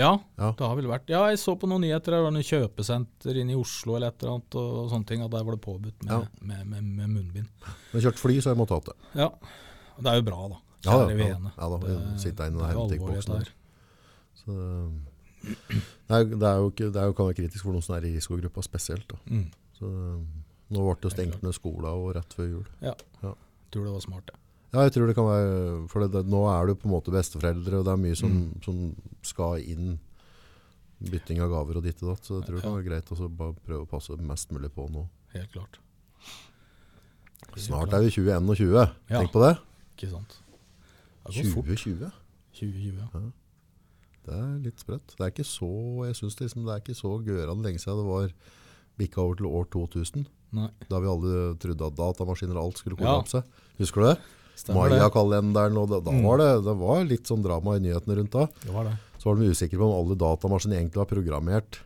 Speaker 4: ja,
Speaker 3: Ja.
Speaker 4: det har vel vært Ja, jeg så på noen nyheter, det var noe kjøpesenter inne i Oslo eller et eller annet, og, og sånne ting, at der var det påbudt med,
Speaker 3: Ja.
Speaker 4: med, med, med munnbind.
Speaker 3: Men jeg har kjørt fly, så jeg måtte ha det.
Speaker 4: Ja. Og det er jo bra, da.
Speaker 3: Ja,
Speaker 4: Kjære
Speaker 3: ja, ja.
Speaker 4: vene.
Speaker 3: Ja da, vi sitter inne i den
Speaker 4: det er jo
Speaker 3: hemtikkboksen
Speaker 4: alvorlig, dette
Speaker 3: her.
Speaker 4: her.
Speaker 3: Så det, det, er, det, er jo ikke, det er jo kan være kritisk for noen som er i risikogruppa spesielt. Da.
Speaker 4: Mm.
Speaker 3: Så eh, nå ble det jo stengt ned skolen og rett før jul.
Speaker 4: Ja.
Speaker 3: Ja.
Speaker 4: Tror det var smart, det.
Speaker 3: Ja, jeg tror det kan være For det, det, nå er du på en måte besteforeldre, og det er mye som,
Speaker 4: Mm.
Speaker 3: som skal inn. Bytting av gaver og ditt og datt. Så jeg tror det kan være greit å så bare prøve å passe mest mulig på nå.
Speaker 4: Helt klart.
Speaker 3: Snart er vi 2021.
Speaker 4: Ja.
Speaker 3: Tenk på det.
Speaker 4: Ikke sant. Det har gått fort.
Speaker 3: 2020.
Speaker 4: 2020, ja.
Speaker 3: Det er litt sprøtt. Det er ikke så jeg synes det, liksom, det er ikke så gørande lenge siden det var bikka over til år 2000.
Speaker 4: Nei,
Speaker 3: Da vi alle trodde at datamaskiner og alt skulle
Speaker 4: Ja.
Speaker 3: kollapse. Husker du det?
Speaker 4: stemmer det. Mm.
Speaker 3: Maya-kalenderen og da, da var det, det var litt sånn drama i nyhetene rundt da.
Speaker 4: Det var det.
Speaker 3: så var de usikre på om alle datamaskiner egentlig var programmert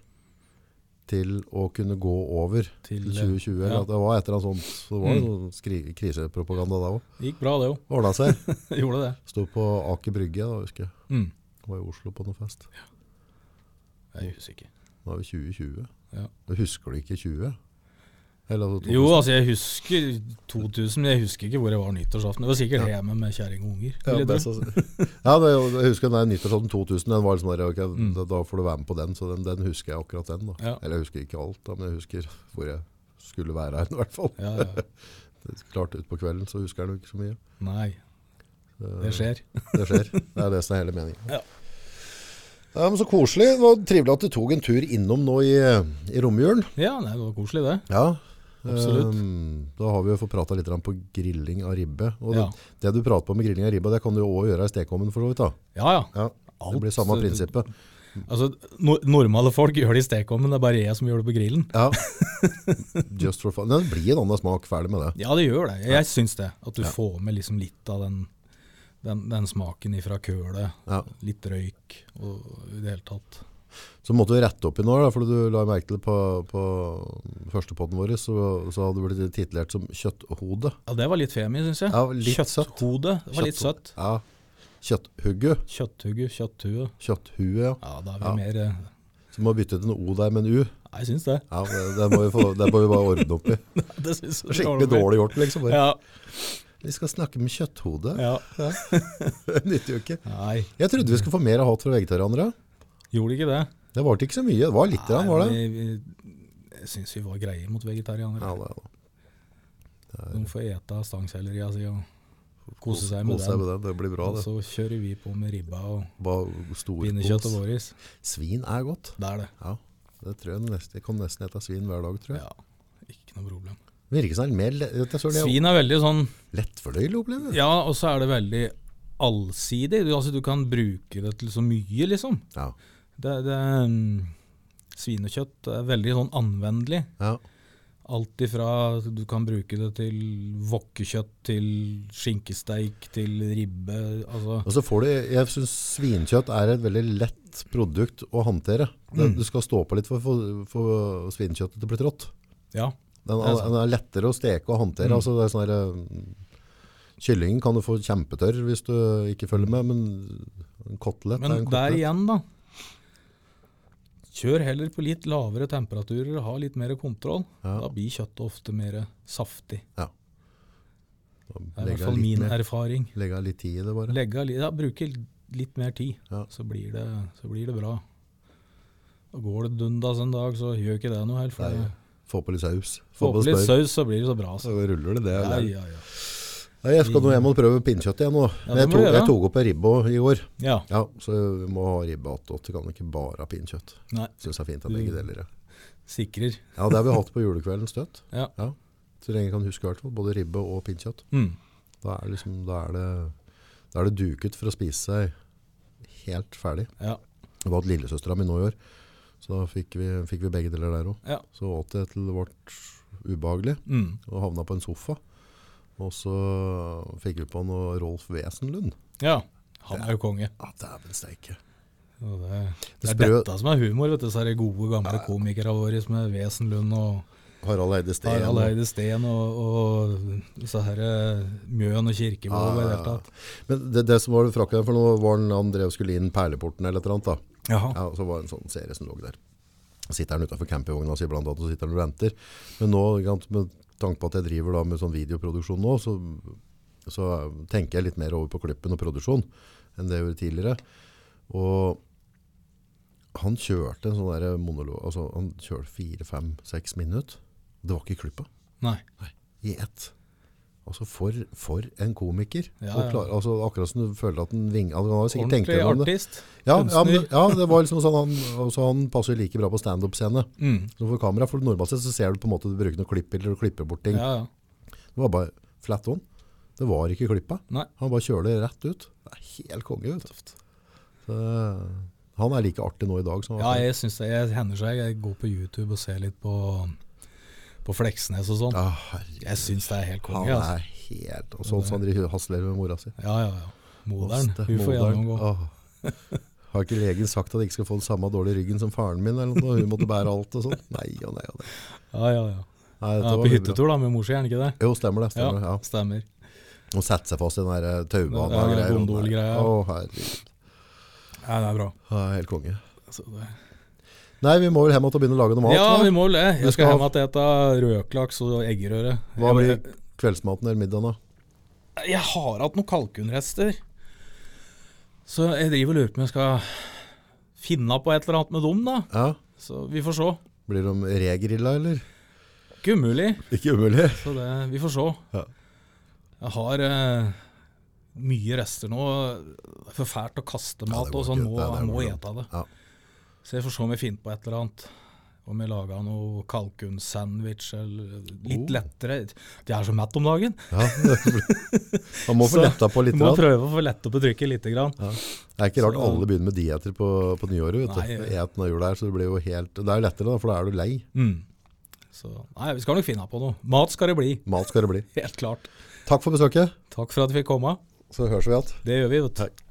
Speaker 3: til å kunne gå over
Speaker 4: Til,
Speaker 3: til 2020.
Speaker 4: ja. Mm.
Speaker 3: eller at Det var et eller annet sånt, så det var jo noen skri krisepropaganda da òg.
Speaker 4: Det gikk bra, det òg.
Speaker 3: Ordna seg.
Speaker 4: Gjorde det.
Speaker 3: Sto på Aker Brygge, da, husker jeg.
Speaker 4: Mm.
Speaker 3: Var i Oslo på noen fest.
Speaker 4: Jeg er usikker.
Speaker 3: Nå er vi 2020.
Speaker 4: Ja.
Speaker 3: Du husker du ikke 20? Eller altså
Speaker 4: Jo, altså, jeg husker 2000, men jeg husker ikke hvor jeg var nyttårsaften. Det var sikkert hjemme med kjerring og unger. vil
Speaker 3: Ja,
Speaker 4: jeg
Speaker 3: det,
Speaker 4: tro.
Speaker 3: ja, det, jeg husker den der nyttårsaften 2000. Den var liksom der, ok, da, da får du være med på den, så den, den husker jeg akkurat den. da.
Speaker 4: Mm. Ja.
Speaker 3: Eller jeg husker ikke alt, da, men jeg husker hvor jeg skulle være her i hvert fall.
Speaker 4: Ja, ja.
Speaker 3: Det er Klart utpå kvelden så husker jeg nok ikke så mye.
Speaker 4: Nei, det skjer.
Speaker 3: Det skjer. Det er det som er hele meningen.
Speaker 4: Ja.
Speaker 3: Ja, men Så koselig. Det var Trivelig at du tok en tur innom nå i, i romjulen.
Speaker 4: Ja, nei, det var koselig, det.
Speaker 3: Ja,
Speaker 4: Absolutt.
Speaker 3: ehm, da har vi jo fått prata litt grann på grilling av ribbe. Og
Speaker 4: Ja.
Speaker 3: det, det du prater på med grilling av ribbe, det kan du jo òg gjøre i stekeovnen for så vidt. da.
Speaker 4: Ja, ja.
Speaker 3: Ja,
Speaker 4: Alt,
Speaker 3: det blir samme
Speaker 4: så-
Speaker 3: prinsippet.
Speaker 4: Altså, no normale folk gjør det i stekeovnen, det er bare jeg som gjør det på grillen.
Speaker 3: Ja, Just for fun. Nei, Det blir en annen smak, ferdig med det.
Speaker 4: Ja, det gjør det. Jeg syns det. At du får med liksom litt av den, den, den smaken ifra kølet.
Speaker 3: Ja.
Speaker 4: Litt røyk og i det hele tatt.
Speaker 3: Så måtte du rette opp i noe, da, for du la merke til på, på førstepotten vår, så, så hadde du blitt titulert som kjøtthode.
Speaker 4: Ja, det var litt femi, syns jeg.
Speaker 3: Ja, litt søtt.
Speaker 4: Kjøtthode det var litt søtt.
Speaker 3: Ja. Kjøtthugge.
Speaker 4: Kjøtthugge, kjøtthue.
Speaker 3: Kjøtthue, ja.
Speaker 4: Ja, da er vi mer eh,
Speaker 3: Så må bytte ut en O der med en U.
Speaker 4: Nei, jeg syns det.
Speaker 3: Ja, det, det, må vi få, det må vi bare ordne opp i.
Speaker 4: det synes jeg
Speaker 3: Skikkelig dårlig gjort, liksom. Bare.
Speaker 4: Ja,
Speaker 3: Vi skal snakke med kjøtthode.
Speaker 4: ja.
Speaker 3: Det nytter jo ikke.
Speaker 4: Nei,
Speaker 3: Jeg trodde vi skulle få mer hat fra vegetarianere.
Speaker 4: gjorde ikke det.
Speaker 3: Det varte ikke så mye. Det var litt, grann, var det?
Speaker 4: Nei, vi, vi, jeg syns vi var greie mot vegetarianere.
Speaker 3: Ja, det, ja.
Speaker 4: De får ete stangselleria si og kose seg med
Speaker 3: Kos seg
Speaker 4: den.
Speaker 3: med det. Det blir bra,
Speaker 4: Og
Speaker 3: det.
Speaker 4: så kjører vi på med ribba og
Speaker 3: Bare
Speaker 4: pinnekjøtt og
Speaker 3: storkos.
Speaker 4: våris.
Speaker 3: Svin er godt.
Speaker 4: Det er det.
Speaker 3: Ja, det tror jeg nesten. Jeg kan nesten ete svin hver dag, tror jeg.
Speaker 4: Ja, ikke noe problem.
Speaker 3: Virker som det er mer le- vet du, så er det
Speaker 4: Svin er veldig sånn
Speaker 3: lettfordøyelig å oppleve.
Speaker 4: Ja, og så er det veldig allsidig. Du, altså, du kan bruke det til så mye, liksom.
Speaker 3: Ja.
Speaker 4: Det, det, mm, svinekjøtt er veldig sånn anvendelig.
Speaker 3: ja.
Speaker 4: Alt ifra du kan bruke det til wokkekjøtt, til skinkesteik, til ribbe altså,
Speaker 3: Og så får du, jeg synes svinkjøtt er et veldig lett produkt å håndtere.
Speaker 4: Mm.
Speaker 3: Det, Du skal stå på litt for å få- få svinkjøttet til å bli trått.
Speaker 4: Ja. Mm.
Speaker 3: Den
Speaker 4: Det er
Speaker 3: er, den er lettere å steke og håndtere. Altså, det er sånn her, eh, kyllingen kan du få kjempetørr hvis du ikke følger med, men en kotelett er
Speaker 4: Men
Speaker 3: en
Speaker 4: der
Speaker 3: kotelett.
Speaker 4: igjen, da. Kjør heller på litt lavere temperaturer, ha litt mer kontroll.
Speaker 3: Ja.
Speaker 4: Da blir kjøttet ofte mer saftig.
Speaker 3: Ja.
Speaker 4: Det er i
Speaker 3: Legger
Speaker 4: hvert fall
Speaker 3: litt
Speaker 4: min
Speaker 3: mer-
Speaker 4: erfaring.
Speaker 3: Legger litt tid i det bare.
Speaker 4: Legge, av li- ja, bruke litt mer tid,
Speaker 3: Ja.
Speaker 4: så, blir det, så blir det bra. Og går det dundas en dag, så gjør ikke det noe helt. For
Speaker 3: Nei,
Speaker 4: det-
Speaker 3: Få på litt saus.
Speaker 4: Få på litt
Speaker 3: smør.
Speaker 4: saus, så blir det så bra. Så.
Speaker 3: Så ruller det, det. er-
Speaker 4: Ja, ja, ja.
Speaker 3: Nei, jeg skal nå hjem og prøve pinnekjøtt igjen nå.
Speaker 4: Ja,
Speaker 3: Men
Speaker 4: det
Speaker 3: jeg, tok,
Speaker 4: må du gjøre.
Speaker 3: jeg tok opp en ribbe i år.
Speaker 4: ja.
Speaker 3: Ja, så vi må ha ribbe attåt. Det kan ikke bare ha pinnekjøtt.
Speaker 4: Nei,
Speaker 3: Syns det er fint at begge deler er.
Speaker 4: sikrer.
Speaker 3: Ja, det har vi hatt på julekvelden støtt.
Speaker 4: Ja.
Speaker 3: Så lenge jeg kan huske i hvert fall. Både ribbe og pinnekjøtt.
Speaker 4: Mm.
Speaker 3: Da er, liksom, da, er det, da er det duket for å spise seg helt ferdig.
Speaker 4: Ja.
Speaker 3: Det var et lillesøstera mi nå i år, så da fikk vi, fikk vi begge deler der òg.
Speaker 4: Ja.
Speaker 3: Så åt jeg til det ble ubehagelig,
Speaker 4: Mm.
Speaker 3: og havna på en sofa. Og så fikk vi på noe Rolf Wesenlund.
Speaker 4: ja. Han er jo konge.
Speaker 3: Ja, dæven steike.
Speaker 4: Og det, det
Speaker 3: Det
Speaker 4: er
Speaker 3: sprø-
Speaker 4: dette som er humor, vet du. Så er det gode, gamle komikere våre som er Wesenlund og
Speaker 3: Harald Eide Steen.
Speaker 4: Harald
Speaker 3: og-
Speaker 4: Eide Steen og, og disse her eh, Mjøen og Kirkevold og i det hele tatt.
Speaker 3: Men det, det som var det frakken, for nå var han, han drev og skulle inn Perleporten eller et eller annet da.
Speaker 4: Jaha.
Speaker 3: Ja, og så var det en sånn serie som lå der. Sitter han utenfor campingvogna si blant annet, og sitter han og renter. Men nå, ikke sant, med tanke på at jeg driver da med sånn videoproduksjon nå, så, så tenker jeg litt mer over på klippen og produksjon enn det jeg gjorde tidligere. Og han kjørte en sånn der monolog, altså han kjørte fire, fem, seks minutter. Det var ikke klippet
Speaker 4: Nei.
Speaker 3: i ett. Altså for, for en komiker.
Speaker 4: Ja,
Speaker 3: Og
Speaker 4: ja.
Speaker 3: Klar, altså akkurat som du føler at den vinger Han har jo sikkert tenkt
Speaker 4: Ordentlig
Speaker 3: gjennom det.
Speaker 4: artist.
Speaker 3: Ja, ja, men,
Speaker 4: kunstner.
Speaker 3: ja, det var liksom sånn han, altså han passer jo like bra på standup-scene.
Speaker 4: Mm.
Speaker 3: Så for kamera, for normalt sett så ser du på en måte du bruker noen klippbilder og klipper bort ting.
Speaker 4: Ja, ja.
Speaker 3: Det var bare flat on. Det var ikke klippa.
Speaker 4: Nei.
Speaker 3: Han bare kjører det rett ut. Det er helt konge, vet du. Så, han er like artig nå i dag som han
Speaker 4: Ja,
Speaker 3: var før.
Speaker 4: jeg syns det. Jeg hender seg jeg går på YouTube og ser litt på, på Fleksnes og sånn.
Speaker 3: Ja, Ah, herregud.
Speaker 4: Jeg syns det er helt
Speaker 3: Han
Speaker 4: konge. Altså.
Speaker 3: er helt Og sånn som han driver hasler med mora si.
Speaker 4: Ja, ja, ja. Moderen.
Speaker 3: Oste,
Speaker 4: Hun får
Speaker 3: moderen.
Speaker 4: gjennomgå.
Speaker 3: Åh. Har ikke legen sagt at jeg ikke skal få den samme dårlige ryggen som faren min? Eller noe? Hun måtte bære alt og sånn. Nei og nei og nei.
Speaker 4: Ja, ja, ja.
Speaker 3: nei dette var
Speaker 4: Ja, på
Speaker 3: veldig bra.
Speaker 4: hyttetur da, med mor si, er han ikke det?
Speaker 3: Jo, stemmer det. Stemmer, det,
Speaker 4: Ja,
Speaker 3: ja.
Speaker 4: stemmer.
Speaker 3: Og sette seg fast i den der eh, taubanen
Speaker 4: Ja,
Speaker 3: og greier.
Speaker 4: gondolgreia.
Speaker 3: Å, herregud.
Speaker 4: Ja, det er bra.
Speaker 3: Ja, helt konge.
Speaker 4: Altså, det...
Speaker 3: Nei, vi må vel hjem og begynne å lage noe mat.
Speaker 4: Ja,
Speaker 3: da.
Speaker 4: vi må vel det.
Speaker 3: Du
Speaker 4: Jeg
Speaker 3: skal
Speaker 4: skal hjem og ete rødklaks og eggerøre.
Speaker 3: Hva
Speaker 4: Jeg-
Speaker 3: blir kveldsmaten eller middagen, da?
Speaker 4: Jeg har hatt noen kalkunrester. Så jeg driver og lurer på om jeg skal finne på et eller annet med dem, da.
Speaker 3: Ja.
Speaker 4: Så vi får se.
Speaker 3: Blir de regrilla, eller?
Speaker 4: Ikke umulig.
Speaker 3: Ikke umulig.
Speaker 4: Så det, vi får se.
Speaker 3: Ja.
Speaker 4: Jeg har eh, mye rester nå. Det er for fælt å kaste mat,
Speaker 3: det går
Speaker 4: og så
Speaker 3: ikke.
Speaker 4: nå
Speaker 3: Nei, det er
Speaker 4: jeg må
Speaker 3: bra.
Speaker 4: ete det.
Speaker 3: Ja.
Speaker 4: Så jeg får se om jeg finner på et eller annet. Om jeg lager noe kalkunsandwich eller
Speaker 3: Oh.
Speaker 4: litt lettere. De er så mett om dagen.
Speaker 3: ja. Man må få
Speaker 4: Så-
Speaker 3: letta på litt.
Speaker 4: Du må
Speaker 3: grann.
Speaker 4: prøve å få lette på trykket lite grann.
Speaker 3: Det er ikke rart
Speaker 4: Så-
Speaker 3: alle begynner med dieter på, på nyåret. vet du.
Speaker 4: Nei.
Speaker 3: Eten av jula her, så det blir jo helt... Det er jo lettere, da, for da er du lei.
Speaker 4: Mm. Så nei, vi skal nok finne på noe. Mat skal det bli,
Speaker 3: Mat skal det bli.
Speaker 4: helt klart.
Speaker 3: Takk for besøket.
Speaker 4: Takk for at vi fikk komme.
Speaker 3: Så høres vi igjen.
Speaker 4: Det gjør vi, vet du.